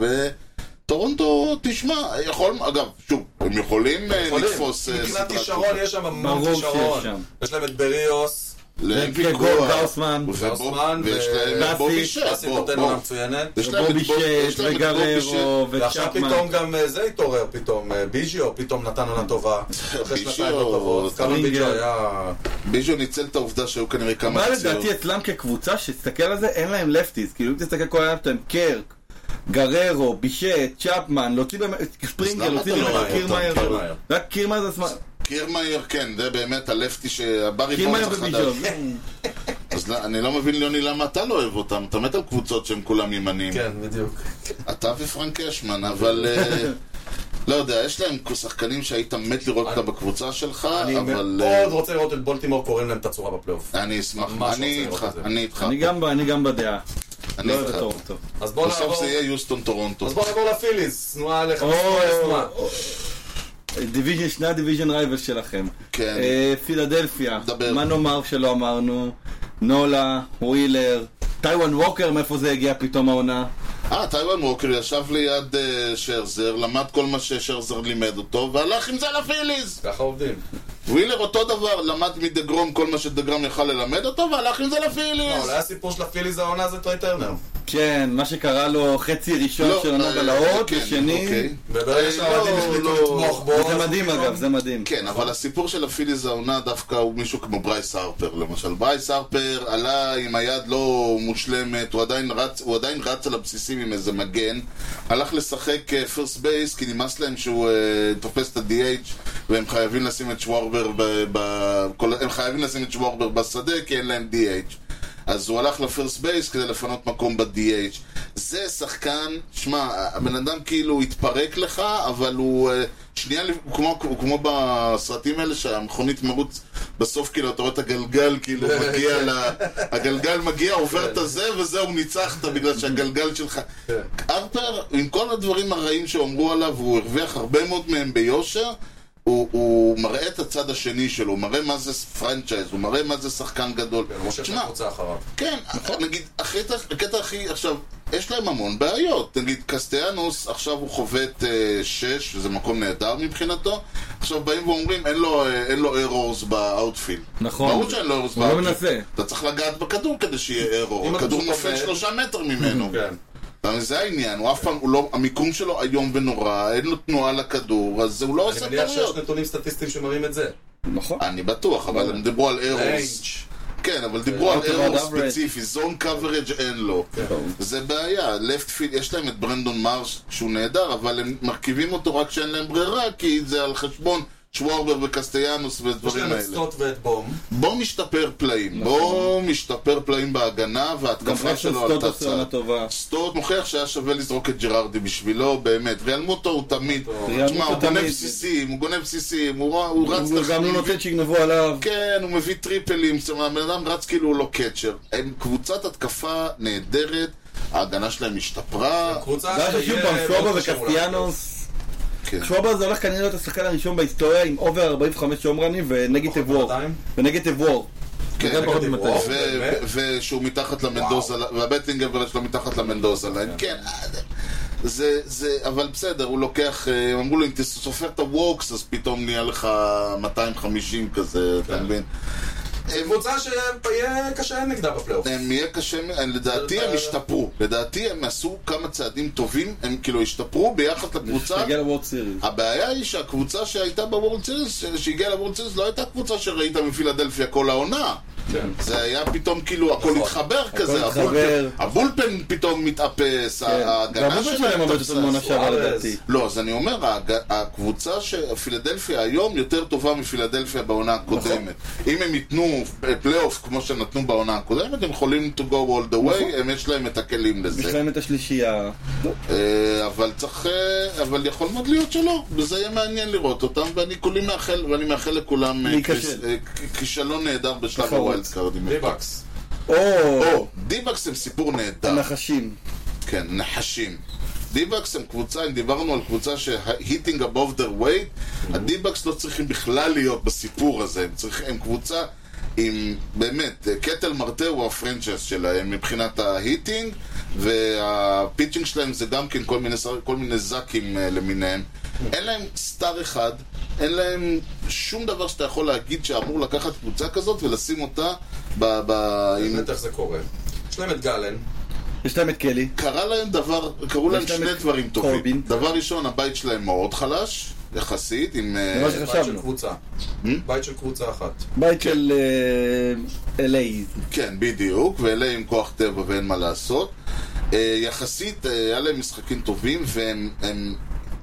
B: וטורונטו, תשמע, יכול, אגב, שוב, הם יכולים אה,
A: יכולים.
B: לתפוס אה,
A: מבחינת
B: סדרת
A: כישרון, יש שם
C: ברור
A: המון
C: שיש
A: כישרון.
C: שם.
A: יש להם את בריאוס,
B: לאין
C: וגולד
B: ויכוח.
C: האוסמן,
B: ובוב-
A: האוסמן,
B: ויש
A: ו-
B: להם את בובי
C: דסי,
B: שט.
A: אסי
B: בוא,
A: נותן
B: בוא.
A: עונה מצוינת.
B: יש להם את
C: בובי
B: בוב- יש
C: שט
B: להם את בובי שט.
C: וגררו
A: ועכשיו
C: וצ'פמן.
A: פתאום גם אה, זה התעורר פתאום, אה, ביג'יו פתאום נתן עונה טובה. אחרי
B: ביג'יו,
A: שנתיים לא טובות, כמה
C: סטרינגר.
A: ביג'יו היה...
B: ביז'ו ניצל את העובדה שהיו כנראה כמה
C: מה
B: פציעות.
C: לדעתי אצלם כקבוצה, שתסתכל על זה, אין להם לפטיז. כאילו אם תסתכל כל היום שלהם, קרק, גררו, בישט, צ'פמן, להוציא באמת,
B: אז
C: ספרינגר,
B: למה
C: להוציא
B: אתה לא
C: באמת
B: רואה
C: קירמאייר.
A: אותם? קירמאייר.
C: רק קירמאייר זה עצמם.
B: קירמאייר, כן, זה באמת הלפטי שהברי
C: קירמאייר
B: בונדס החדש.
C: ובישוב.
B: אז לא- אני לא מבין, יוני, למה אתה לא אוהב אותם. אתה מת על קבוצות שהם כולם ימניים.
A: כן, בדיוק.
B: אתה ופרנק אשמן, אבל... אה, לא יודע, יש להם שחקנים שהיית מת לראות אותם בקבוצה שלך,
A: אני
B: אבל...
A: מאוד רוצה לראות את בולטימור קוראים להם את הצורה בפלייאוף.
B: אה, אני אשמח.
A: ממש
B: אני
A: רוצה לראות
B: איתך,
A: את זה.
B: אני איתך.
C: אני גם- אני גם בדעה.
B: אני
C: לא אוהב את
B: איתך.
C: אור טוב.
A: אז בואו
B: בסוף
A: נעבור
B: זה יהיה יוסטון טורונטו.
A: אז בואו נעבור לפיליס, תנועה עליך.
C: או,
A: תנועה.
C: או, דיוויז'ן, שני הדיוויז'ן רייבל שלכם.
B: כן.
C: אה, פילדלפיה,
B: דבר.
C: מה נאמר שלא אמרנו? נולה, ווילר, טיוואן ווקר, מאיפה זה הגיע פתאום העונה?
B: אה, טייוון ווקר ישב ליד אה, שרזר, למד כל מה ששרזר לימד אותו, והלך עם זה לפיליז!
A: ככה עובדים.
B: ווילר אותו דבר, למד מדגרום כל מה שדגרם יכל ללמד אותו, והלך עם זה
A: לא,
B: לפיליז!
A: אולי הסיפור של הפיליס העונה זה טרי טרנר.
C: כן, מה שקרה לו חצי ראשון של עונה
B: אה,
C: בלהות,
B: כן,
C: ושני...
B: אוקיי.
A: וברגע שהאוהדים
B: לא,
A: החליטו
B: לא.
A: לתמוך בו... אז
C: זה מדהים
A: פתאום-
C: אגב, זה מדהים.
B: כן, אבל הסיפור של הפיליז העונה דווקא הוא מישהו כמו ברייס הרפר, למשל. ברייס הרפר עלה עם היד לא מושלמת, הוא עדיין רץ, הוא עדיין רץ על הבסיסים עם איזה מגן, הלך לשחק פרסט בייס, כי נמאס להם שהוא אה, תופס את ה-DH, והם חייבים לשים את שווארבר ב... ב כל, הם חייבים לשים את שווארבר בשדה, כי אין להם DH. אז הוא הלך לפרסט בייס כדי לפנות מקום ב-DH. זה שחקן, שמע, הבן אדם כאילו התפרק לך, אבל הוא אה, שנייה, לפ- הוא כמו, הוא כמו בסרטים האלה שהמכונית מרוץ, בסוף כאילו אתה רואה את הגלגל כאילו מגיע ל... הגלגל מגיע, עובר את הזה, וזהו, ניצחת בגלל שהגלגל שלך... ארתר, עם כל הדברים הרעים שאמרו עליו, הוא הרוויח הרבה מאוד מהם ביושר. הוא, הוא מראה את הצד השני שלו, הוא מראה מה זה פרנצ'ייז, הוא מראה מה זה שחקן גדול.
A: כן, הוא מושך את
B: תשמע,
A: הקבוצה אחריו.
B: כן, נגיד, הקטע, הקטע הכי, עכשיו, יש להם המון בעיות. נגיד, קסטיאנוס, עכשיו הוא חובט 6, וזה מקום נהדר מבחינתו. עכשיו באים ואומרים, אין לו, אה, אין לו ארורס באאוטפילד.
C: נכון.
B: ברור שאין לו ארורס
C: הוא לא
B: באאוטפילד.
C: מנסה.
B: אתה צריך לגעת בכדור כדי שיהיה
A: אם
B: ארור. הכדור
A: הכדור
B: נופל
A: עומד-
B: שלושה מטר ממנו.
A: כן.
B: אתה מבין, זה העניין, הוא אף פעם, הוא לא, המיקום שלו איום ונורא, אין לו תנועה לכדור, אז הוא לא
A: אני
B: עושה
A: מניח שיש
B: טעויות.
A: נתונים סטטיסטיים שמראים את זה.
B: אה,
C: נכון.
B: אני בטוח, אבל הם דיברו על ארורס.
A: ריינג'.
B: כן, אבל דיברו על
C: Out of
B: אירור
C: average.
B: ספציפי, זון קוורג' אין לו.
C: כן.
B: זה בעיה, לפט פיל, יש להם את ברנדון מרש שהוא נהדר, אבל הם מרכיבים אותו רק כשאין להם ברירה, כי זה על חשבון שווארבר וקסטיאנוס
A: יש
B: והדברים
A: להם את
B: האלה.
A: סקוט ואת בום.
B: בואו משתפר פלאים, בואו משתפר פלאים בהגנה,
C: נכון. גם
B: וההתקפה
C: פרסון
B: שלו
C: סטוט
B: עלתה
C: עושה עונה
B: צעד.
C: טובה.
B: סטוט מוכיח שהיה שווה לזרוק את ג'רארדי בשבילו, באמת. ריאל מוטו הוא תמיד,
C: ריאל
B: תשמע,
C: מוטו
B: הוא גונב
C: תמיד.
B: בסיסים, הוא גונב בסיסים, הוא הוא רץ
C: הוא גם לא
B: תחביב.
C: נותן שיגנבו עליו.
B: כן, הוא מביא טריפלים, זאת אומרת, הבן אדם רץ כאילו הוא לא קצ'ר. הם קבוצת התקפה נהדרת, ההגנה שלהם השתפרה.
A: קבוצה
C: ואז
B: אה,
A: שיהיה
C: שוב פעם
B: לא
A: מאוד
C: שובה
A: קשה מולה.
C: וקסטיאנוס.
B: כן.
C: שובה זה הולך כנראה להיות השחקן הראשון בהיסטוריה עם אובר 45 שומרני ונגטיב
A: פחות
C: וור.
A: מ-מאתיים?
C: ונגטיב וור.
B: כן,
C: וגם פחות
A: negative
C: מ-מאתיים.
A: war.
B: ו-
A: באמת?
B: ושהוא מתחת למנדוזה, והבטינג אברד שלו מתחת למנדוזה ליין, כן. זה, זה, אבל בסדר, הוא לוקח, אה, הם אמרו לו, אם תסופר את הווקס, אז פתאום נהיה לך 250 כזה, אתה מבין?
A: קבוצה שיהיה קשה נגדה בפלייאוף.
B: הם יהיה קשה, מ- אה, לדעתי הם השתפרו. לדעתי הם עשו כמה צעדים טובים, הם כאילו השתפרו ביחס לקבוצה
C: נגיע לוורד סיריס.
B: הבעיה היא שהקבוצה שהייתה בוורד סיריס, שהגיעה לוורד סיריס, לא הייתה קבוצה שראית מפילדלפיה כל העונה.
A: כן.
B: זה היה פתאום כאילו, הכל
A: נכון.
B: התחבר כזה,
C: התחבר. כן.
B: הבולפן- הבולפן פתאום מתאפס, אה, ההגנה
C: והבובה שלהם עובדת
B: התאפסה.
C: אותנו מעונה שעברה
A: וואו,
C: לדעתי.
A: אז-
B: לא, אז אני אומר, ההג- הקבוצה של פילדלפיה היום יותר טובה מפילדלפיה בעונה
C: נכון.
B: הקודמת. אם הם ייתנו פלייאוף כמו שנתנו בעונה הקודמת, הם יכולים to go all the way, הם יש להם את הכלים לזה.
C: נכון. יש להם את השלישייה.
B: אה, אבל צריך, אה, אבל יכול מאוד להיות שלא, וזה יהיה מעניין לראות אותם, ואני כולי מאחל, ואני מאחל לכולם אה,
C: להיכשל.
B: כיס- אה, כ- כישלון נהדר בשלב
C: תחרות.
B: הווילד קארדים.
A: ריבקס.
B: אה.
C: או
B: או, דיבקס הם סיפור נהדר,
C: הנחשים.
B: כן, נחשים. דיבקס הם קבוצה, אם דיברנו על קבוצה ש-hitting above their weight, הדיבקס לא צריכים בכלל להיות בסיפור הזה, הם, צריך, הם קבוצה עם, באמת, אה, קטל מרטה הוא הפרנצ'ס שלהם מבחינת ההיטינג, והפיצ'ינג שלהם זה גם כן כל מיני, שר- כל מיני זאקים אה, למיניהם. אין להם סטאר אחד, אין להם שום דבר שאתה יכול להגיד שאמור לקחת קבוצה כזאת ולשים אותה ב... ב... עם...
A: באמת איך זה קורה. יש להם את
C: אה,
A: גלן,
C: יש להם את קלי.
B: קרה להם דבר, קרו להם
C: יש להם
B: שני
C: את
B: דברים טובים.
C: קורבין.
B: דבר ראשון, הבית שלהם מאוד חלש, יחסית, עם... אה,
C: ממש
A: בית של
C: חשבנו.
A: קבוצה. בית של קבוצה אחת.
C: בית של אה, אליי.
B: כן, בדיוק, ואלה עם כוח טבע ואין מה לעשות. אה, יחסית, אה, היה להם משחקים טובים, והם... הם-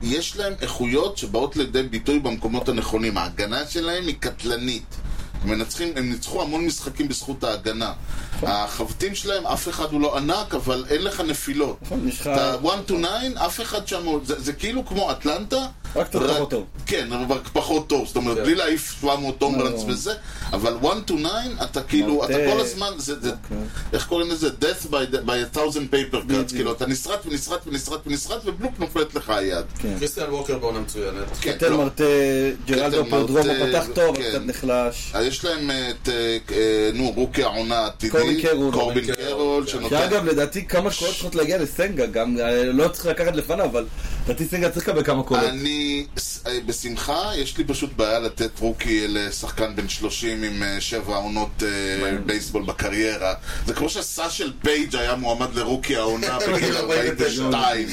B: יש להם איכויות שבאות לידי ביטוי במקומות הנכונים. ההגנה שלהם היא קטלנית. הם מנצחים, הם ניצחו המון משחקים בזכות ההגנה.
C: נכון.
B: החבטים שלהם, אף אחד הוא לא ענק, אבל אין לך נפילות.
C: נכון, יש לך-
B: אתה 1 to 9, אף אחד שם, הוא- זה, זה כאילו כמו אטלנטה.
C: רק קצת פחות טוב. לא.
B: כן, רק פחות טוב. זאת אומרת,
A: כן.
B: בלי להעיף 700 אומברנס וזה, אבל 1 to 9, אתה כאילו, אתה
C: מרתק. אוקיי.
B: כל הזמן, זה, זה, איך קוראים לזה? death by, by a thousand paper cuts, כאילו, אתה נשרט ונסרט ונסרט ונסרט, ובלופ נופלת לך היד.
C: כן.
A: קריסטיאן ווקר בעונה מצוינת.
B: כן,
C: קטל
B: לא.
C: מרטה, ג'רלדו
B: קטל
C: פרדרום, הוא
B: מרטה,
C: פתח טוב, אבל
B: כן.
C: קצת נחלש.
B: אז יש להם את, אה, אה, נו, רוקי העונה העתידי,
C: קורבין קרול.
B: קורבין
A: קרול,
B: קרול,
A: כן.
B: שנותן...
C: שאגב, לדעתי כמה קולות צריכות להגיע לסנגה, גם אה, לא צריך לקחת לפניו, אבל לדעתי סנגה צריך לקבל כמה קולות.
B: אה, אני ס- אה, בשמחה, יש לי פשוט בעיה לתת רוקי לשחקן בן 30 עם אה, שבע עונות אה, בייסבול בקריירה. זה כמו שסאשל פייג' היה מועמד לרוקי העונה בגיל 42.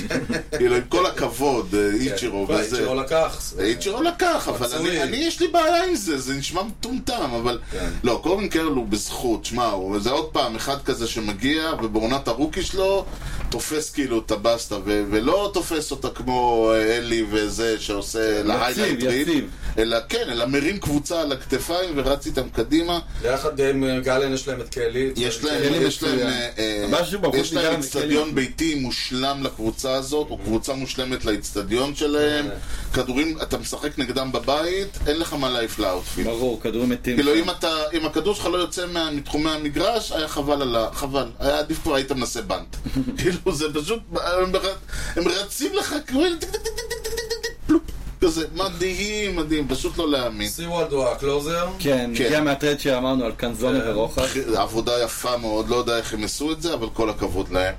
B: כאילו, עם כל הכבוד, אה, איצ'ירו
A: כן,
B: וזה.
A: איצ'ירו לקח.
B: איצ'רו לקח, אבל אני,
A: רצוי.
B: אני יש לי בעיה עם זה, זה נשמע מטומטם, אבל...
A: כן.
B: לא, קורבין קרל הוא בזכות, שמע, הוא- זה עוד פעם אחד כזה שמגיע, ובעונת הרוקי שלו, תופס כאילו את הבסטה, ו- ולא תופס אותה כמו אה, אלי וזה, שעושה להיילייט ריד,
C: כן, יציב.
B: אלא כן, אלא מרים קבוצה על הכתפיים ורץ איתם קדימה.
A: ביחד עם אה, גלן יש להם את קלי.
B: יש
A: קלי
B: להם, יש להם,
C: מצוין.
B: אה, אה,
C: משהו בחוץ
B: יש להם
C: נגרם
B: אצטדיון ביתי מושלם לקבוצה הזאת, או קבוצה מושלמת לאצטדיון שלהם. כדורים, אתה משחק נגדם בבית, אין לך מה להעיף לאוטפיל.
C: ברור, כדורים מתים.
B: כאילו אם אתה, אם הכדור שלך לא יוצא מה- מתחומי המגרש, היה חבל על ה... חבל. היה עדיף כבר היית מנסה בנט. כאילו זה פשוט, הם ר- הם רצים לך כאילו, טיק, טיק, טיק, טיק, טיק, טיק, טיק, טיק, פלופ. כזה, מדהים, מדהים, פשוט לא להאמין.
A: סיוולד הוא הקלוזר.
C: כן,
B: כן. אה,
C: הגיע מהטרד שאמרנו על קנזונה
A: כן.
C: ורוחב.
B: עבודה יפה מאוד, לא יודע איך הם עשו את זה, אבל כל הכבוד להם.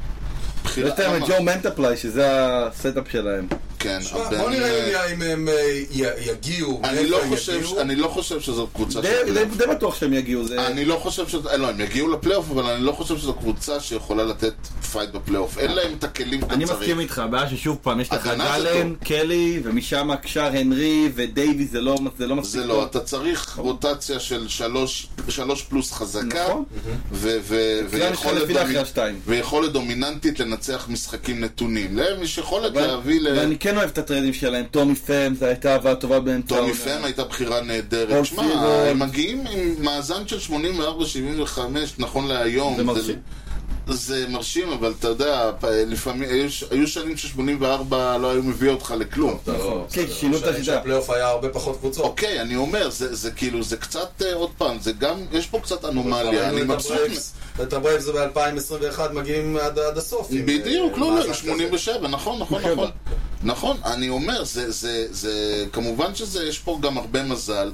B: בחירה-
C: יש להם את ג'ו מנטפליי, שזה הסטאפ שלהם.
B: כן,
A: תשמע,
B: אבל-
A: בוא נראה אם- אם הם אה, י- יגיעו.
B: אני
A: מאיפה
B: לא
A: הם
B: חושב,
A: יגיעו.
B: אני לא חושב שזאת קבוצה
C: די-
B: של
C: די- די בטוח שהם יגיעו, זה...
B: אני לא חושב שזה, לא, הם יגיעו לפלייאוף, אבל אני לא חושב שזו קבוצה שיכולה לתת פייט בפלייאוף. אין להם את הכלים שאתה
C: אני
B: צריך.
C: מסכים איתך, הבעיה ששוב פעם, יש לך
B: הגנה זה
C: גלן,
B: טוב.
C: קלי, ומשם הקשר הנרי ודייוויס, זה לא זה לא מספיק
B: זה
C: טוב.
B: לא, אתה צריך רוטציה של שלוש, שלוש פלוס חזקה,
C: נכון.
B: ו- ו-
C: אצלם יש לך
B: ויכולת
C: לפי דעתי
B: דומי-
C: אחרי השתיים.
B: ויכולת דומיננטית לנצח משחקים נתונים. להם יש יכולת
C: אבל-
B: להביא ל...
C: ואני כן אוהב את הטרדים שלהם, טומי פם, זו הייתה הבאה טובה באמצע
B: טומי
C: העונה.
B: פם הייתה בחירה
C: פול
B: נהדרת. שמע,
C: סיבוט.
B: הם מגיעים עם מאזן של 84-75 נכון להיום.
C: זה מרשים.
B: זה מרשים, אבל אתה יודע, פ- לפעמים, היו ש- היו שנים ש-84 לא היו מביא אותך לכלום.
A: אתה לא-
C: כן,
A: בסדר.
C: שינו את
A: שנים
C: השיטה.
A: שהפלייאוף היה הרבה פחות קבוצות.
B: אוקיי, אני אומר, זה, זה כאילו, זה קצת, אה, עוד פעם, זה גם, יש פה קצת אנומליה, אני
A: ראינו את
B: מבסוט.
A: הברייבס- את הברייבס ב-2021 מגיעים עד עד הסוף. עם,
B: בדיוק,
A: אה, כן.
B: לא,
A: מאזן
B: לא, 87, נכון, נכון,
C: שבע.
B: נכון. נכון, אני אומר, זה, זה, זה, כמובן שזה, יש פה גם הרבה מזל.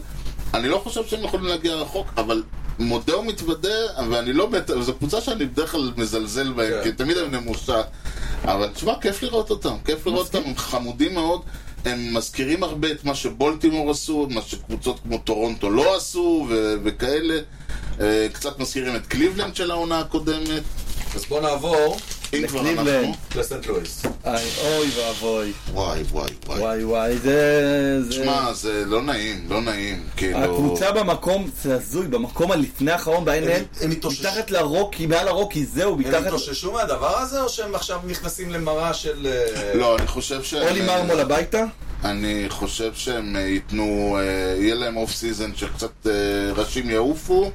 B: אני לא חושב שהם יכולים להגיע רחוק, אבל מודה ומתוודה, ואני לא מת... זו קבוצה שאני בדרך כלל מזלזל בהם,
A: כן.
B: כי תמיד הם נמושה. אבל תשמע, כיף לראות אותם, כיף לראות אותם, הם חמודים מאוד. הם מזכירים הרבה את מה שבולטימור עשו, מה שקבוצות כמו טורונטו לא עשו, ו- וכאלה. אה, קצת מזכירים את קליבלנד של העונה הקודמת.
A: כזה. אז בוא נעבור
B: אם כבר
C: לקליבלנד.
B: אנחנו...
A: לסנט לואיס.
C: איי, אוי ואבוי,
B: וואי, וואי, וואי.
C: וואי וואי, זה... זה-
B: תשמע, זה לא נעים, לא נעים. כאילו...
C: הקבוצה במקום, זה הזוי, במקום הלפני האחרון ב-NL,
A: הם התאוששו.
C: מתחת לרוקי, מעל הרוקי, זהו,
A: הם
C: מתחת...
A: התאוששו מהדבר הזה, או שהם עכשיו נכנסים למראה של... אה,
B: לא, אני חושב שהם...
C: אולי מרמול הביתה?
B: אה. אני חושב שהם אה, ייתנו... אה, יהיה להם אוף סיזן שקצת אה, ראשים יעופו,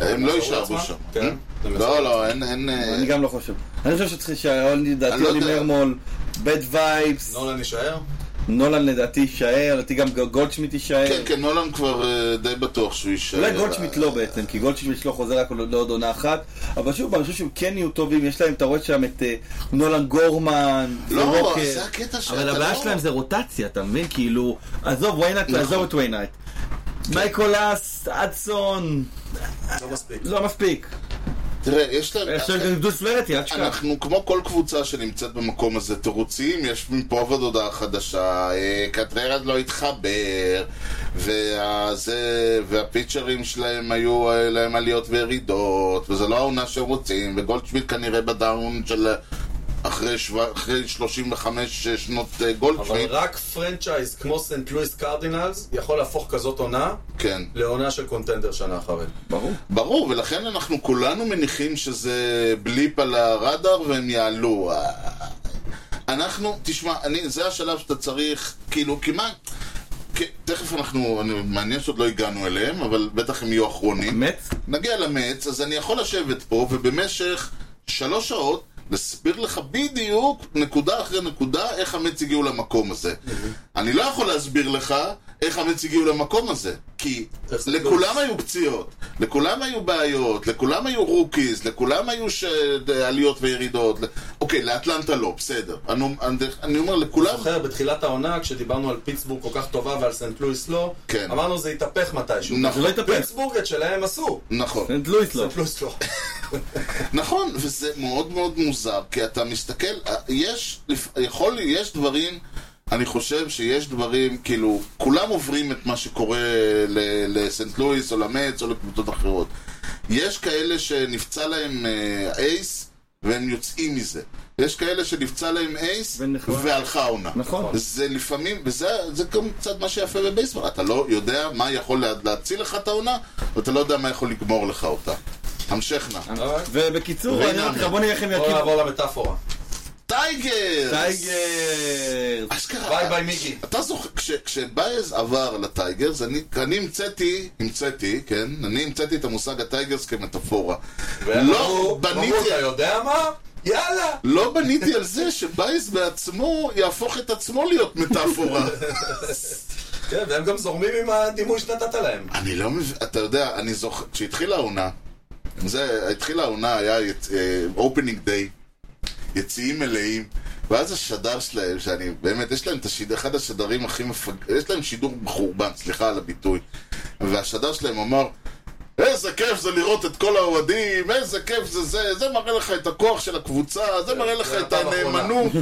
B: הם לא
A: יחזרו
B: יישארו
A: לעצמם?
B: שם.
A: כן. הם
B: לא,
A: יחזרו
B: לא, אין... אין, אה,
C: אני גם לא חושב. אני חושב שצריך שהאולי,
B: אני
C: לדעתי,
B: לא
C: אולי
B: יודע. לא.
C: מרמול, בד וייבס,
A: נולן יישאר?
C: נולן לדעתי יישאר, לדעתי גם גולדשמיט
B: כן,
C: יישאר.
B: כן, נולן כבר אה, די בטוח שהוא יישאר.
C: אולי גולדשמיט לא בעצם, כי גולדשמיט לא חוזר רק לעוד עונה אחת, אבל שוב, אני חושב שהם כן יהיו טובים, יש להם, אתה רואה שם את אה, נולן גורמן,
B: לא,
C: ורוקר.
B: זה הקטע שאתה
C: אבל הבעיה
B: לא- נכון.
C: שלהם זה רוטציה, אתה מבין? כאילו, עזוב וויינט, עזוב את וויינט. מייקולס, אדסון,
A: לא מספיק.
C: לא מספיק.
B: תראה, יש להם...
C: יש להם גם דוד פלרטי, אל תשכח.
B: כן. אנחנו כמו כל קבוצה שנמצאת במקום הזה תירוצים, יש מפה ועד הודעה חדשה, אה, קטררד לא התחבר, והזה, והפיצ'רים שלהם היו אה, להם עליות וירידות, וזו לא העונה שרוצים, וגולדשמיט כנראה בדאון של אחרי, שבע, אחרי 35 שנות אה,
A: אבל
B: גולדשמיט,
A: רק פרנצ'ייז כמו סנט לואיס קרדינלס יכול להפוך כזאת עונה
B: כן.
A: לעונה של קונטנדר שנה אחרי.
C: ברור.
B: ברור, ולכן אנחנו כולנו מניחים שזה בליפ על הרדאר והם יעלו. אנחנו, תשמע, אני, זה השלב שאתה צריך, כאילו, כמעט, כ- תכף אנחנו, אני, מעניין שעוד לא הגענו אליהם, אבל בטח הם יהיו אחרונים.
C: באמת?
B: נגיע למץ, אז אני יכול לשבת פה, ובמשך שלוש שעות להסביר לך בדיוק, נקודה אחרי נקודה, איך המץ הגיעו למקום הזה. אני לא יכול להסביר לך איך המץ הגיעו למקום הזה, כי
A: צריך
B: לכולם
A: לרוץ.
B: היו פציעות, לכולם היו בעיות, לכולם היו רוקיז, לכולם היו ש... עליות וירידות. אוקיי, לאטלנטה לא, בסדר. אני, אני, אני אומר, לכולם...
A: זוכר, בתחילת העונה, כשדיברנו על פיטסבורג כל כך טובה ועל סנט לואיס לא,
B: כן.
A: אמרנו זה יתהפך מתישהו.
B: נכון,
C: זה לא יתאפס.
A: פיטסבורג את שלהם עשו.
B: נכון.
C: סנט לואיס לא.
A: סנט לואיס לא.
B: נכון, וזה מאוד מאוד מוזר, כי אתה מסתכל, אה, יש, לפ- יכול, יש דברים, אני חושב שיש דברים, כאילו, כולם עוברים את מה שקורה ל- לסנט לואיס או למץ או לקבוצות אחרות. יש כאלה שנפצע להם אה, אייס והם יוצאים מזה. יש כאלה שנפצע להם אייס
C: ונחלש.
B: והלכה עונה.
C: נכון.
B: זה לפעמים, וזה זה גם קצת מה שיפה בבייסבול, אתה לא יודע מה יכול לה- להציל לך את העונה, ואתה לא יודע מה יכול לגמור לך אותה. המשך נא.
C: ובקיצור, אני אומר לך, בוא נראה איך הם
B: כאילו-
A: בואו
C: יקימו.
A: אוקיי, נעבור למטאפורה.
B: טייגר!
C: טייגר!
B: אשכרה.
A: ביי ביי מיקי.
B: אתה זוכר, כש, כשבייז עבר לטייגרס, אני, אני המצאתי, המצאתי, כן? אני המצאתי את המושג הטייגרס כמטאפורה. לא
A: ואמרו, אמרו,
B: בניתי,
A: אתה יודע מה? יאללה!
B: לא בניתי על זה שבייז בעצמו יהפוך את עצמו להיות מטאפורה.
A: כן, והם גם זורמים עם הדימוי שנתת להם.
B: אני לא מבין, אתה יודע, אני זוכר, כשהתחילה העונה, זה, התחילה העונה, היה אופנינג דיי, יציאים מלאים, ואז השדר שלהם, שאני, באמת, יש להם את השיד, אחד השדרים הכי מפג... יש להם שידור מחורבן, סליחה על הביטוי. והשדר שלהם אמר, איזה כיף זה לראות את כל האוהדים, איזה כיף זה זה, זה מראה לך את הכוח של הקבוצה, זה מראה לך
A: זה
B: את
A: הפעם האחרונה."
B: הנאמנות.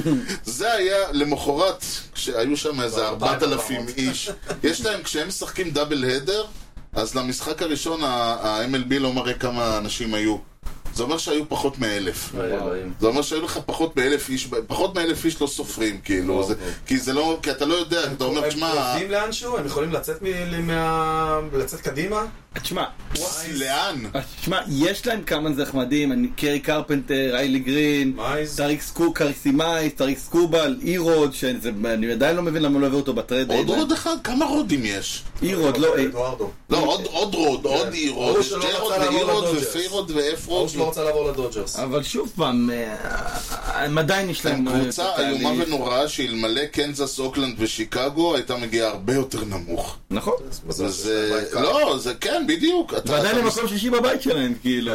B: זה היה למחרת, כשהיו שם איזה 4,000 איש. יש להם, כשהם משחקים דאבל הדר, אז למשחק הראשון ה-MLB לא מראה כמה אנשים היו. זה אומר שהיו פחות מאלף.
A: אלוהים.
B: זה אומר שהיו לך פחות מאלף איש, פחות מאלף איש לא סופרים, כאילו,
A: אוקיי.
B: זה, כי זה לא, כי אתה לא יודע, אתה אומר,
A: הם
B: תשמע,
A: עובדים לאנשהו? הם יכולים לצאת מ- מה... לצאת קדימה?
C: תשמע,
B: לאן?
C: תשמע, יש להם כמה זחמדים, אני- קרי קרפנטר, איילי גרין,
A: מייז.
C: טריק סקוק, קרסי מייז, טריק סקובל, אירוד, שאני עדיין לא מבין למה לא הביאו אותו בטרד.
B: עוד רוד אחד? כמה רודים יש?
C: אירוד, לא... אה,
A: אדוארדו.
B: לא, עוד, עוד רוד, עוד אי רוד,
A: כן. ההוא
B: יש
A: שלא
B: שתי
A: רצה
B: רוד
A: לעבור
B: ואי רוד
A: לדודג'רס.
B: ופי רוד ואף רוד.
A: ברור שלא רוצה לעבור לדודג'רס.
C: אבל שוב פעם, אה, הם עדיין יש להם...
B: הם
C: אה,
B: כן, קבוצה
C: תהליך.
B: איומה ונוראה שאלמלא קנזס, אוקלנד ושיקגו הייתה מגיעה הרבה יותר נמוך.
C: נכון.
A: מזל שזה
B: וזה,
A: בית קר.
B: לא, זה כן, בדיוק. אתה-
C: ועדיין
B: אתה
C: הם מקום שישי בבית שלהם, כאילו.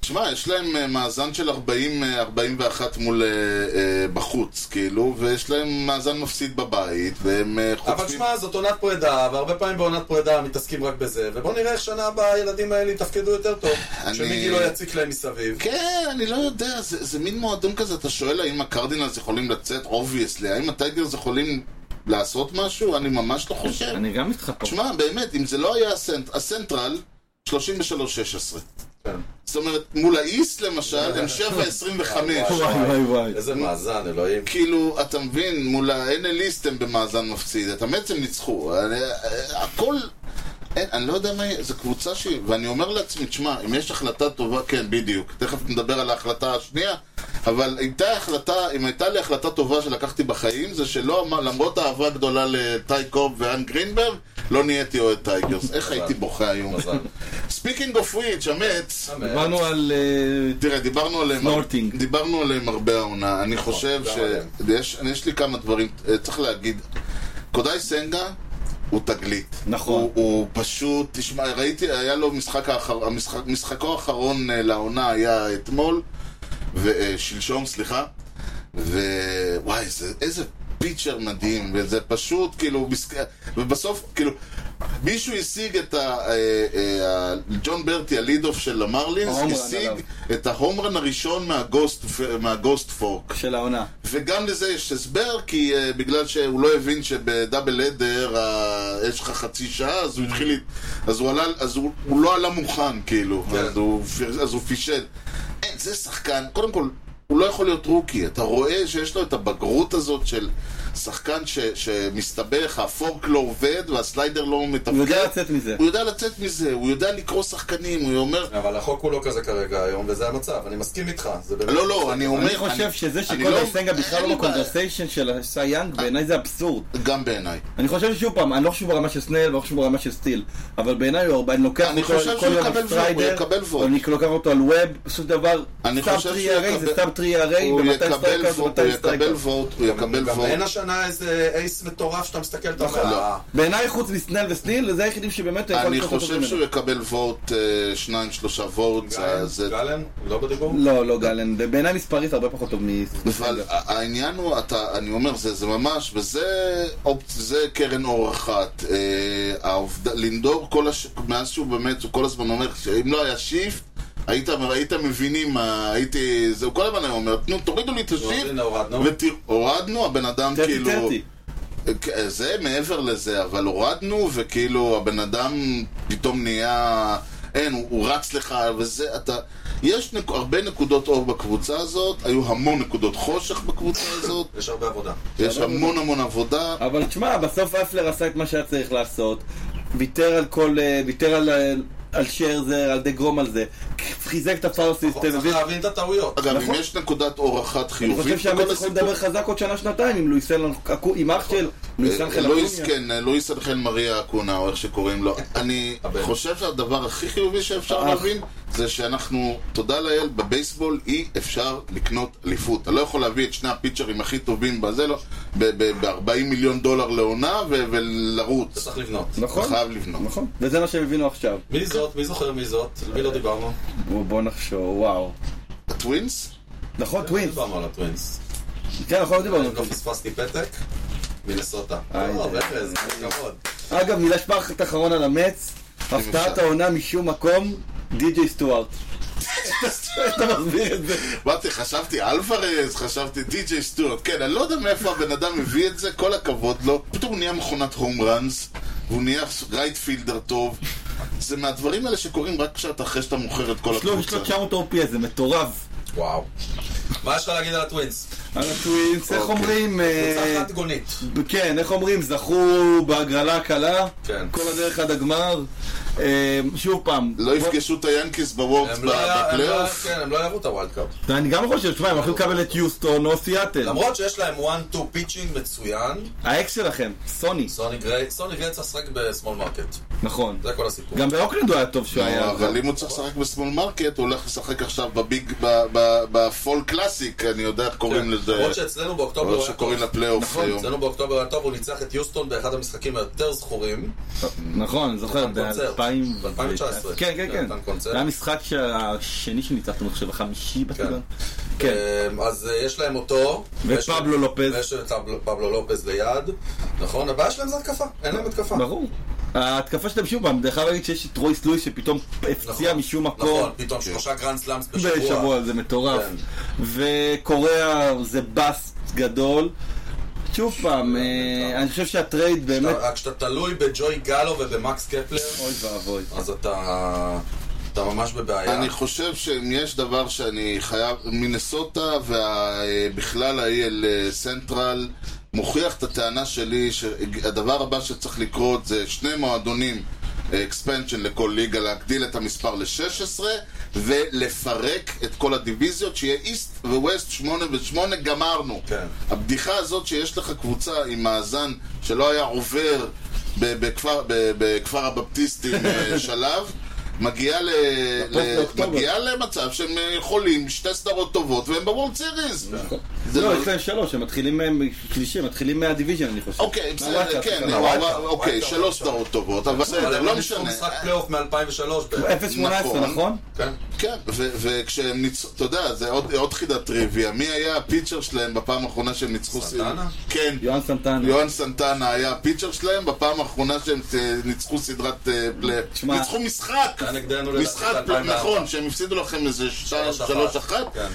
B: תשמע, יש להם אה, מאזן של 40, אה, 41 מול אה, אה, בחוץ, כאילו, ויש להם מאזן מפסיד בבית, והם אה,
A: אבל
B: חוטפים...
A: שמע, זאת עונת פרידה, והרבה פעמים בעונת פרידה מתעסקים רק בזה, ובוא נראה איך שנה הבאה הילדים האלה יתפקדו יותר טוב,
B: אני-
A: שמיקי לא יציק להם מסביב.
B: כן, אני לא יודע, זה, זה מין מועדון כזה, אתה שואל האם הקרדינלס יכולים לצאת, אובייסלי, האם הטייגרס יכולים לעשות משהו? אני ממש לא חושב.
C: אני גם איתך פה.
B: תשמע, באמת, אם זה לא היה הסנט, הסנטרל, 33-16.
A: כן.
B: זאת אומרת, מול האיסט למשל, הם 7-25.
C: וואי וואי וואי.
B: כן.
A: איזה מאזן, אלוהים.
B: כאילו, אתה מבין, מול ה-NLיסט הם במאזן מפסיד, את המץ הם ניצחו, אני- אה, הכל... אין, אני לא יודע מה, היא- זו קבוצה שהיא, ואני אומר לעצמי, תשמע, אם יש החלטה טובה, כן, בדיוק, תכף נדבר על ההחלטה השנייה, אבל הייתה החלטה, אם הייתה לי החלטה טובה שלקחתי בחיים, זה שלא, אמר- למרות האהבה הגדולה לטי קוב ואן גרינברג, לא נהייתי אוהד טייגרס. איך הייתי בוכה היום?
A: מזל.
B: ספיקינג אוף וויץ', המץ,
C: דיברנו על... אה,
B: תראה, דיברנו עליהם,
C: סנורטינג.
B: דיברנו עליהם הרבה העונה. אני חושב
A: גם
B: שיש יש לי כמה דברים, אה, צריך להגיד. קודאי סנגה הוא תגלית.
C: נכון.
B: הוא, הוא פשוט, תשמע, ראיתי, היה לו משחק האחר, המשחק, משחקו האחרון אה, לעונה היה אתמול, ו- אה, שלשום, סליחה. ווואי, איזה פיצ'ר מדהים, וזה פשוט, כאילו, מסכ... ובסוף, כאילו, מישהו השיג את ה... אה, אה, ה- ג'ון ברטי, הליד אוף של המרלינס,
C: ההומרן
B: השיג
C: עליו.
B: את ההומרן הראשון מהגוסט, מהגוסט פורק.
C: של העונה.
B: וגם לזה יש הסבר, כי uh, בגלל שהוא לא הבין שבדאבל אדר uh, יש לך חצי שעה, אז
C: Mm.
B: הוא התחיל... להת- אז הוא, עלה, אז הוא, הוא לא עלה מוכן, כאילו,
A: כן.
B: אז, הוא, פיר- אז הוא פישל. אין, זה שחקן, קודם כל, הוא לא יכול להיות רוקי. אתה רואה שיש לו את הבגרות הזאת של שחקן ש, שמסתבך, הפורק לא עובד והסליידר לא מתפקד.
C: הוא יודע לצאת מזה.
B: הוא יודע לצאת מזה, הוא יודע לקרוא שחקנים, הוא אומר...
A: אבל החוק הוא לא כזה כרגע היום, וזה המצב, אני מסכים איתך. זה באמת-
B: לא, לא, אני אומר...
C: אני חושב שזה שקודם
B: לא-
C: סנגה
B: אין
C: בכלל
B: לי
C: לא
B: בעיה.
C: בקונברסיישן של סי יאנג, בעיניי זה אבסורד.
B: גם בעיניי.
C: אני חושב שוב פעם, אני לא חושב שהוא ברמה של סנל, ואני לא חושב שהוא ברמה של סטיל, אבל בעיניי הוא הרבה, אני לוקח
B: אני
C: אותו
B: חושב
C: על
B: שהוא
C: יום
B: יקבל
C: סטריידר,
B: ווב, הוא יקבל ווב.
C: אני לוקח אותו על ווב, בסופו של דבר,
B: אני
C: סאב
B: חושב
C: 3
B: שהוא
C: ERA זה
B: יקבל-
C: סאב 3 ERA,
B: הוא
C: ומתי
B: יקבל
C: סטרייקרס
B: וורט, הוא
C: ומתי
B: יקבל
C: סטרייקרס.
B: וורט, הוא יקבל
A: גם אין
B: וורט.
A: השנה איזה אייס מטורף שאתה מסתכל אתה אומר,
B: נכון, לא.
A: "אה,
C: בעיניי חוץ מסנל וסטיל, זה היחידים שבאמת הוא יכול
B: אני
C: לקחת אותו
B: חושב
C: ממנו.
B: שהוא יקבל וורט, אה, שניים, שלושה וורט,
A: גלן,
B: זה- זה...
A: גלן, הוא לא בדיבור?
C: לא, לא גלן, זה בעיניי מספרית הרבה פחות טוב מסנל.
B: אבל העניין הוא, אתה, אני אומר, זה, זה ממש, וזה אופ- זה קרן אור אחת. אה, העובד, לינדור, כל הש... מאז שהוא באמת, הוא כל הזמן אומר, אם לא היה שיפט, היית, היית מבינים, מה- הייתי, זה, הוא כל הזמן היה אומר, תנו, תורידו לי את
A: לא,
B: השיפט,
A: הנה, הורדנו.
B: והורדנו, הבן אדם
C: טרטי
B: כאילו...
C: טרטי.
B: זה מעבר לזה, אבל הורדנו, וכאילו הבן אדם פתאום נהיה... אין, הוא, הוא רץ לך, וזה, אתה... יש נק... הרבה נקודות אור בקבוצה הזאת, היו המון נקודות חושך בקבוצה הזאת,
A: יש הרבה עבודה.
B: יש המון המון עבודה.
C: אבל תשמע, בסוף אפלר עשה את מה שהיה צריך לעשות, ויתר על כל, אה, ויתר על, אה, על שרזר, על דה גרום על זה, חיזק את הפאר סיסטם,
A: צריך
C: הביא-
A: להבין את הטעויות.
B: אגב,
C: נכון.
B: אם יש נקודת אור אחת
C: אני חושב
B: חיובית
C: שהאמת
B: בכל
C: יכול
B: הסיפור...
C: לדבר חזק עוד שנה-שנתיים עם לואיסן, עם אח של לואיסן
B: אה,
C: חלקוניה.
B: לואיס, כן, אה, לואיס אנחל מריה אקונה, או איך שקוראים לו. אני
A: הבן.
B: חושב שהדבר הכי חיובי שאפשר
C: האח.
B: להבין, זה שאנחנו, תודה לאל, בבייסבול אי אפשר לקנות אליפות. אתה לא יכול להביא את שני הפיצ'רים הכי טובים בזה, לא, ב-40 מיליון דולר לעונה, ו-
A: אתה
B: ולרוץ.
A: צריך לבנות.
B: אתה
C: נכון,
B: חייב לבנות.
C: נכון. וזה מה שהם הבינו עכשיו.
A: מי זאת? מי זוכר מי זאת? על מי לא דיברנו?
C: בוא- בוא נחשוב, וואו.
B: הטווינס?
C: נכון,
A: לא
C: טווינס.
A: דיברנו על הטווינס.
C: כן, נכון, דיברנו.
A: לא פספסתי פתק? לא, מלסוטה.
C: איי,
A: טוב,
C: איי,
A: ארז, כל הכבוד.
C: אגב, מילה שפחת אחרון על המץ, הפתעת
B: אפשר.
C: העונה משום מקום, די.ג'יי סטוארט. אתה מסביר את זה.
B: באתי, חשבתי אלוורז, חשבתי די.ג'יי סטוורט. כן, אני לא יודע מאיפה הבן אדם הביא את זה, כל הכבוד לו. פתאום הוא נהיה מכונת הום ראנס, והוא נהיה רייטפילדר טוב. זה מהדברים האלה שקורים רק כשאתה אחרי שאתה מוכר את כל
C: שלום, יש לו
B: הקבוצה.
C: 900 אורפיה, זה מטורף.
A: וואו. מה יש לך להגיד על הטווינס?
C: על הטווינס, איך
B: אוקיי.
C: אומרים? אה,
A: קבוצה אחת גונית.
C: כן, איך אומרים? זכו בהגרלה הקלה,
A: כן.
C: כל הדרך עד הגמר. אה, שוב פעם.
B: לא יפגשו את היאנקיס בוורקס
A: הם לא היה- הם לא היה-
B: אה, בפלייאוף.
A: כן, הם לא יעברו את הווילד קאפ.
C: אני גם חושב, תשמע, הם הולכים לקבל את יוסטון או סיאטל.
A: למרות שיש להם 1-2 פיצ'ינג מצוין,
C: האקס שלכם, סוני.
A: סוני גריי, סוני גריי צריך לשחק בסמול מרקט.
C: נכון.
A: זה כל הסיפור.
C: גם באוקלנד הוא היה טוב שהוא
A: כן. לא,
C: היה.
B: לא, אבל אם הוא צריך לשחק בסמול מרקט, הוא הולך לשחק עכשיו בביג, ב- ב- בפול קלאסיק, אני יודע איך
A: כן,
B: קוראים לזה,
A: למרות נכון, שאצלנו באוקטובר
B: או
A: הוא
B: איך
A: היה
B: שקוראים
A: טוב.
B: לפלייאוף היום.
A: אצלנו באוקטובר היה טוב, הוא ניצח את יוסטון באחד המשחקים היותר זכורים.
C: נכון, אני זוכר,
A: קונצרט.
C: ב-2019.
A: ב-2019.
C: כן, כן, כן.
A: נתן קונצרט.
C: זה היה משחק שהשני שניצחנו, אני חושב, החמישי בטבע. כן.
A: אמ, אז אה, יש להם אותו. ויש להם-
C: ופבלו לופז.
A: ויש את פבלו- פבלו לופז ליד. נכון, הבעיה שלהם זה התקפה. אין להם התקפה.
C: ברור. ההתקפה שלהם שוב פעם, דרך אגב להגיד שיש את רויס לואיס שפתאום הפציע
A: נכון,
C: משום מקום.
A: נכון, פתאום שלושה גרנד סלאמס בשבוע.
C: כן. בשבוע, זה מטורף.
A: כן.
C: וקוריאה זה באסט גדול. שוב פעם, אה,
A: מטורף.
C: אני חושב שהטרייד באמת...
A: אתה- כשאתה תלוי בג'וי גלו ובמקס קפלר,
C: אוי ואבוי.
A: אז אתה אתה ממש בבעיה.
B: אני חושב שאם יש דבר שאני חייב, מינסוטה ובכלל ה-EL סנטרל מוכיח את הטענה שלי שהדבר הבא שצריך לקרות זה שני מועדונים אקספנשן לכל ליגה, להגדיל את המספר ל-16 ולפרק את כל הדיוויזיות, שיהיה איסט וווסט 8 ו-8, גמרנו.
A: כן.
B: הבדיחה הזאת שיש לך קבוצה עם מאזן שלא היה עובר ב- בכפר, ב- בכפר הבפטיסטים אה, שלב, מגיעה ל... ל-
F: לאוקטובר.
B: מגיעה למצב שהם אה, יכולים שתי סדרות טובות והם בוורלד סיריס. זה
C: לא,
B: לא-
C: יש להם שלוש, הם מתחילים מהם, שלישי, הם מתחילים מהדיוויזיון, אני חושב.
B: אוקיי, בסדר,
C: מהוואטסאפ,
B: כן,
C: סליחה.
B: אבל-
F: הוואטסאפ,
B: אוקיי,
F: הוואטסאפ
B: שלוש
F: הראשון.
B: סדרות טובות, אבל
A: אבל
B: בסדר,
A: הם
B: לא
A: יש לך
B: משנה.
A: משחק פלייאוף מ-2003
C: כן.
A: בערך.
C: 0.18,
B: נכון.
C: נכון?
A: כן.
B: כן, ו- וכשהם ניצחו, אתה יודע, זה עוד עוד חידת טריוויה. מי היה הפיצ'ר שלהם בפעם האחרונה שהם ניצחו
A: סנטנה?
B: כן,
C: יוהן סנטנה.
B: יוהן סנטנה היה הפיצ'ר שלהם בפעם האחרונה שהם אה, ניצחו סדרת אה, פלייאוף.
C: תשמע,
B: ניצחו משחק!
A: היה נגדנו לדעתי
B: משחק,
A: ב-
B: נכון, שהם הפסידו לכם איזה
A: שלוש אחת.
B: 3-1.
A: כן.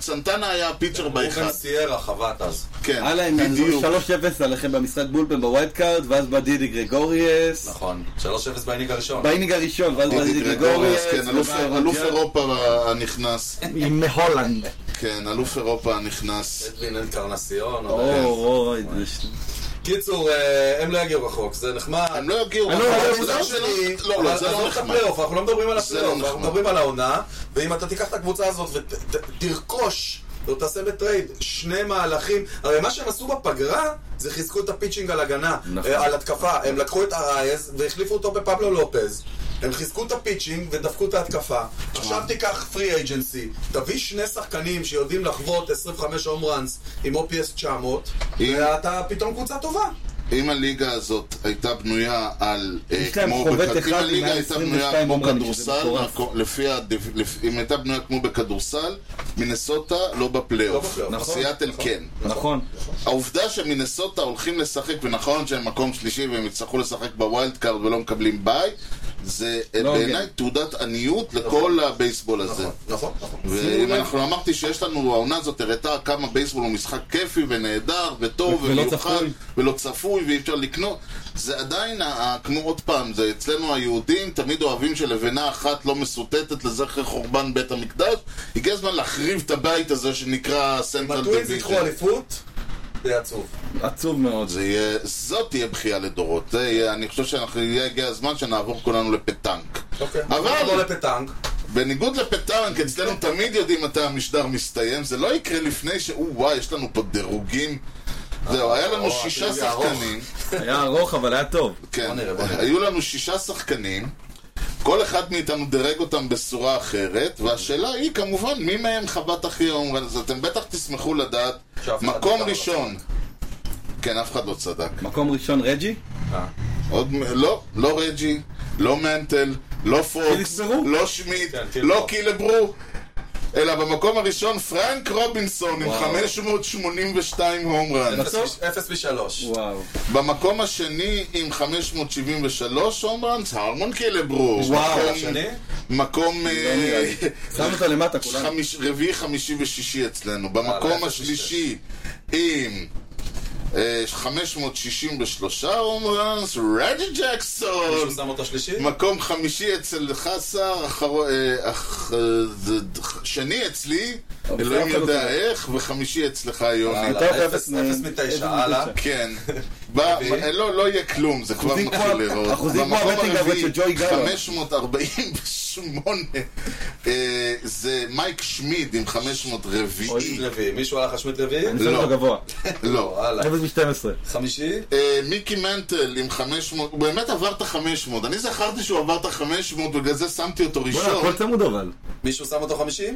B: סנטנה היה הפיצ'ר לא באחד.
A: רובן סיירה חבט אז.
B: כן,
C: הלאה, הם עלו 3-0 עליכם במשחק בולפן בווייד קארד, ואז בא דידי גרגוריאס.
A: נכון. 3-0 באינינג הראשון.
C: באינינג הראשון, ואז בא
B: דידי
C: דידי
B: גרגוריאס,
C: גרגוריאס.
B: כן, אלוף-
C: ובא
B: אלוף
C: רוג'ר.
B: אירופה הנכנס.
C: מהולנד.
B: כן, אלוף אירופה הנכנס.
A: אדווין אינקרנסיון. או-
C: אור, אור, זה-
A: קיצור, אה, הם לא יגיעו רחוק, זה נחמד.
B: הם לא יגיעו.
C: אני לא-
B: אבל
C: אבל
B: זה
A: מצד
B: לא-
A: שני,
B: לא, לא,
A: אבל
B: זה
A: עזוב
B: לא
A: את
B: נחמד.
A: הפלייאוף, אנחנו לא מדברים על
B: זה לא
A: הפלייאוף, אנחנו
B: נחמד.
A: מדברים על העונה, ואם אתה תיקח את הקבוצה הזאת ותרכוש, או תעשה בטרייד, שני מהלכים, הרי מה שהם עשו בפגרה, זה חיזקו את הפיצ'ינג על הגנה,
C: נכון.
A: אה, על התקפה, הם לקחו את ארייז והחליפו אותו בפבלו לופז. הם חיזקו את הפיצ'ינג ודפקו את ההתקפה. עכשיו תיקח פרי אייג'נסי, תביא שני שחקנים שיודעים לחוות 25 הום ראנס עם OPS 900,
B: אם-
A: ואתה פתאום קבוצה טובה.
B: אם הליגה הזאת הייתה בנויה על... אה,
C: יש להם
B: כמו
C: חובט
B: בכד-
C: אחד
B: אם
C: עם
B: הליגה
C: 122
B: הייתה בנויה כמו
C: אומרים לי שזה
B: כדורסל,
C: מטורף.
B: הכל- לפי הדיו- לפ- אם הייתה בנויה כמו בכדורסל, מנסוטה לא
A: לא
B: בפלייאוף.
A: בפלייאוף. נכון,
B: סיאטל
A: נכון.
B: כן.
C: נכון.
B: העובדה שמינסוטה הולכים לשחק, ונכון שהם מקום שלישי והם יצטרכו לשחק בווילד קארד ולא מקבלים ביי, זה אה,
C: לא הוגן. נכון.
B: בעיניי תעודת עניות לכל הבייסבול הזה.
A: נכון, נכון.
B: ואם אנחנו אמרתי שיש לנו, העונה הזאת הראתה כמה בייסבול הוא משחק כיפי ונהדר וטוב
C: ולא
B: ומיוחד
C: צפוי.
B: ולא צפוי ואי אפשר לקנות, זה עדיין, ה- ה- כמו עוד פעם, זה אצלנו היהודים תמיד אוהבים שלבנה אחת לא מסוטטת לזכר חורבן בית המקדש, הגיע הזמן להחריב את הבית הזה שנקרא
A: אם
B: סנטרל
A: הטווינס ייקחו
B: דיוויז'ן.
A: אליפות, זה יהיה עצוב.
C: עצוב מאוד.
B: זה יהיה, זאת תהיה בכייה לדורות, זה יהיה, אני חושב שאנחנו- יהיה- הגיע הזמן שנעבור כולנו לפטנק.
A: אוקיי.
B: אבל-
A: לא לפטנג.
B: בניגוד לפטנק, אצלנו תמיד יודעים מתי המשדר מסתיים, זה לא יקרה לפני ש... או, וואי, יש לנו פה דירוגים. זהו, היה לנו
A: או,
B: שישה
A: הדירוג הארוך.
B: שחקנים,
C: היה ארוך, אבל היה טוב.
B: כן,
A: בוא נראה, בוא נראה.
B: היו לנו שישה שחקנים, כל אחד מאיתנו דירג אותם בצורה אחרת, והשאלה היא כמובן, מי מהם חבט הכי אומרן? אז אתם בטח תשמחו לדעת,
A: שאף אחד
B: מקום
A: לא
B: ראשון. כן, אף אחד לא צדק.
C: מקום ראשון רג'י?
B: עוד מ- לא, לא רג'י, לא מנטל, לא פוקס,
C: קילברו?
B: לא שמיט,
A: כן, קילברו.
B: לא קילברו, אלא במקום הראשון פרנק רובינסון עם
A: וואו.
B: 582 הום ראנס.
C: בסוף?
A: אפס משלוש.
C: וואו.
B: במקום השני עם 573 הום ראנס, הרמון קילברו.
C: וואו,
B: מקום-
A: השני? לא
B: מקום אה,
C: לא נראה לי. שם אותו למטה כולנו.
B: חמיש- רביעי, חמישי ושישי אצלנו. במקום
A: אפס
B: השלישי עם... אה, 563 הום ראנס, רג'י ג'קסון!
A: מישהו שם אותו שלישי?
B: מקום חמישי אצל חסר, אחר- אה, אח- אה, זה- שני אצלי, אלוהים
C: בסדר,
B: יודע
C: בסדר.
B: איך, וחמישי אצלך יוני.
A: הלאה.
C: יותר
A: אפס-
C: אפס מ-
A: אפס מתשע,
C: אפס
A: הלאה.
B: כן. ב-
A: רביעי?
B: לא, לא יהיה כלום, זה כבר
C: אוקיי. אחוזים
B: מתחיל
C: כמו-
B: לראות.
C: אחוזים כמו
B: במקום
C: הבטינג אבל של ג'וי גלו.
B: 548, אה, זה מייק שמיד עם 500 רביעי.
A: שמיט רביעי. מישהו הלך על שמיט רביעי?
C: אני שם אותו גבוה.
B: לא.
A: וואלה.
C: אפס מ-12.
A: חמישי?
B: אה, מיקי מנטל עם 500, הוא באמת עבר את ה-500. אני זכרתי שהוא עבר את ה-500, בגלל זה שמתי אותו
C: בוא'נה,
B: ראשון.
C: הכל צמוד אבל.
A: מישהו שם אותו חמישי?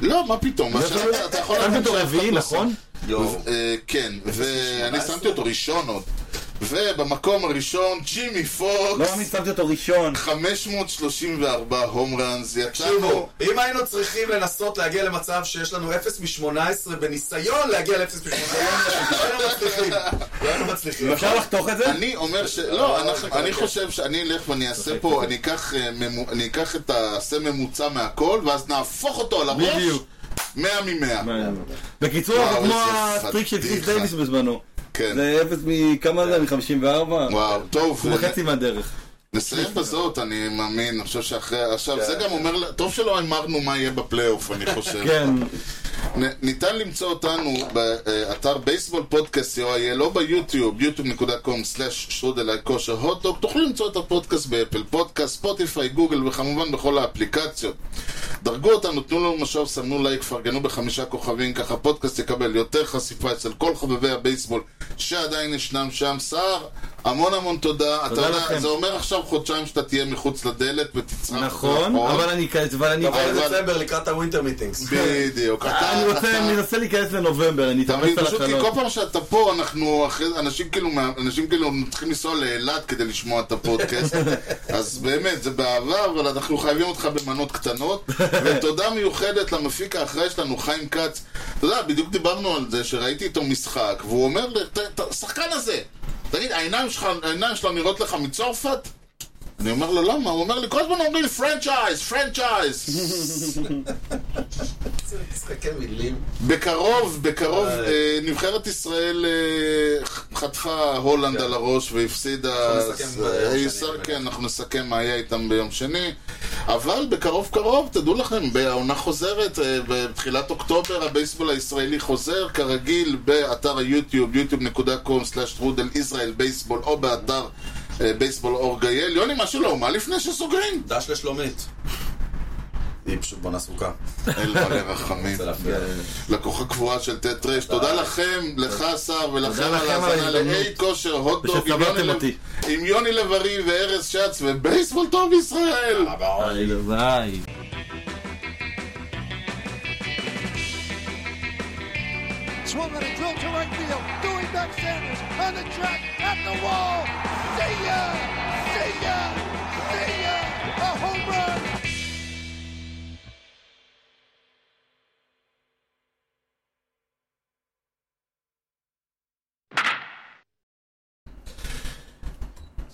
B: לא, מה פתאום? מה שאתה- אתה יכול
C: שמתי
B: להגיד
C: אותו
B: שאף אחד
C: רביעי,
B: לא
C: נכון?
A: לא.
B: אה, כן, ואני שמתי אותו ראשון עוד. ובמקום הראשון, ג'ימי
C: לא
B: פוקס,
C: מאמין, שמתי אותו ראשון.
B: 534 הום ראנס, יצאנו...
A: תקשיבו, אם היינו צריכים לנסות להגיע למצב שיש לנו 0 מ-18 בניסיון להגיע ל-0 מ-18, לא היינו מצליחים. לא היינו מצליחים.
C: אפשר לחתוך את זה?
B: אני אומר ש...
C: אה,
B: לא, אנחנו-
C: אוקיי,
B: אני חושב שאני אלך ואני אעשה פה, אני אקח, אה, ממו- אני אקח את העשה ממוצע מהכל, ואז נהפוך אותו על הראש,
C: בדיוק.
B: 100 מ-100.
C: בקיצור,
B: וואו,
C: אנחנו כמו
B: איזה
C: הטריק של קריס
B: פדיחה.
C: דייוויס בזמנו.
B: כן.
C: זה אפס מכמה זה? מ-54?
B: וואו, טוב. אה,
C: הוא בחצי מהדרך.
B: נסיים בזאת, אני מאמין, אני חושב שאחרי... עכשיו, זה גם אומר... ל- טוב שלא אמרנו מה יהיה בפלייאוף, אני חושב.
C: כן.
B: נכון. נ- ניתן למצוא אותנו באתר בייסבול פודקאסט co.il או לא ביוטיוב, yוטיוב.com/שרודלי כושר הוטדוק. תוכלו למצוא את הפודקאסט באפל פודקאסט, ספוטיפיי, גוגל וכמובן בכל האפליקציות. דרגו אותנו, תנו לנו משוב, סמנו לייק, פרגנו בחמישה כוכבים, ככה הפודקאסט יקבל יותר חשיפה אצל כל חובבי הבייסבול שעדיין ישנם שם. סער, המון המון תודה. אתה
C: תודה
B: יודע,
C: לכם.
B: זה אומר עכשיו חודשיים שאתה תהיה מחוץ לדלת ותצרח.
C: נכון,
B: מאחור.
C: אבל אני כ- אבל אני-
A: אבל
B: אבל-
A: דצמבר לקראת הווינטר מיטינגס.
B: בדיוק. אתה-
C: אני רוצה, אני מנסה להיכנס לנובמבר, אני
B: תמיד,
C: אתאמץ על
B: פשוט כי כל
C: החלום.
B: פעם שאתה פה, אנחנו אחרי, אנשים כאילו, מה- אנשים כאילו צריכים לנסוע לאילת כדי לשמוע את הפודקאסט. אז באמת, זה באהבה, אבל אנחנו חייבים אותך במנות קטנות. ותודה מיוחדת למפיק האחראי שלנו, חיים כץ. אתה יודע, בדיוק דיברנו על זה, שראיתי איתו משחק, והוא אומר, לי, "ת- ת- השחקן הזה, תגיד, העיניים שלך, העיניים שלו נראות לך מצרפת? אני אומר לו, למה? הוא אומר לי, כל הזמן אומרים לי, פרנצ'ייז, פרנצ'ייז.
A: משחקי מילים.
B: בקרוב, בקרוב,
A: אה.
B: אה, נבחרת ישראל אה, ח- חטפה הולנד
A: כן.
B: על הראש והפסידה.
A: אנחנו נסכם
B: אז,
A: ביום
B: אה,
A: שני,
B: ישראל-
A: באמת.
B: כן, אנחנו נסכם מה היה איתם ביום שני. אבל בקרוב קרוב, תדעו לכם, העונה חוזרת, אה, בתחילת אוקטובר הבייסבול הישראלי חוזר, כרגיל, באתר היוטיוב, yוטיוב.com/טרודל ישראל בייסבול, או באתר אה, בייסבול אור גייל. יוני, משהו לא, מה לפני שסוגרים?
A: דש לשלומית. כן. היא פשוט בונה סוכה.
B: אין לך לרחמים.
A: זה להפריע.
B: לקוחה קבועה של ט' ר', תודה לכם, לך השר ולכם
C: תודה
B: על
C: לכם על
B: ההאזנה
C: ההזדמנות.
B: לאי כושר, הוטדוג עם
C: ושסבלתם
B: יוני לב-
C: אותי.
B: עם יוני לב-ארי וארז שץ ובייסבול טוב ישראל!
A: אה,
C: אה, ביי.
E: Swung on a drill to right field. Doing back Sanders on the track at the wall. See ya! See ya! See ya! A home run!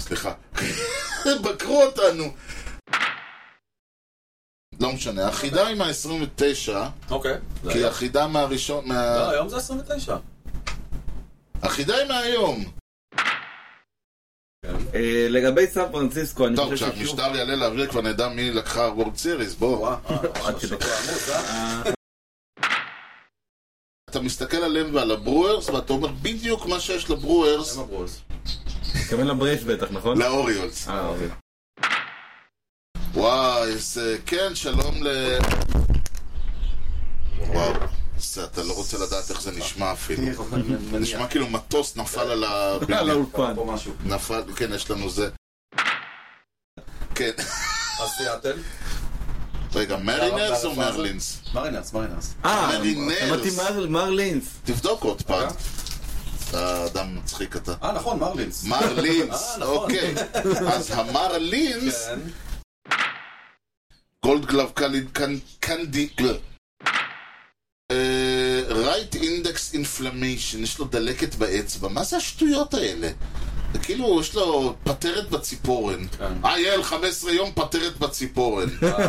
B: סליחה. בקרו אותנו. לא משנה, החידה עם ה-29,
A: אוקיי. זה
B: כי
A: היה.
B: החידה מהראשון, מה-
A: לא, היום זה 29.
B: החידה היא מהיום.
C: אה, לגבי סן פרנסיסקו, אני
B: טוב,
C: חושב ששוב...
B: כשהמשטר יעלה לאוויר כבר נדע מי לקחה הוורד סיריס, בוא.
A: וואו, אה,
C: כדי.
A: שבוע עמוס, אה?
B: אתה מסתכל עליהם ועל הברוארס, ואתה אומר בדיוק מה שיש לברוארס,
A: הם הברולס.
C: מתכוון לברייס בטח, נכון?
B: לא. לאוריולס.
C: אה, אוקיי.
B: וואי, איזה... כן, שלום ל... וואו, זה, אתה לא רוצה לדעת איך זה נשמע
A: כן,
B: אפילו. זה נשמע כאילו מטוס נפל על ה...
C: על האולפן.
A: פה משהו.
B: נפל, כן, יש לנו זה. כן,
A: אז סיאטל.
B: רגע, מרינרס או מרלינס?
A: מרינרס, מרינרס.
C: אה,
B: מרינרס.
C: אמרתי מר- מרלינס.
B: תבדוק עוד פעם. אתה אדם מצחיק אתה.
A: אה, נכון, מרלינס.
B: מרלינס,
A: אה, נכון.
B: אוקיי. אז המרלינס,
A: כן.
B: גולד גלב קליד קנדי... אה, רייט אינדקס אינפלמיישן, יש לו דלקת באצבע, מה זה השטויות האלה? זה כאילו, יש לו פטרת בציפורן.
A: כן.
B: אה, יעל, 15 יום פטרת בציפורן.
A: אה,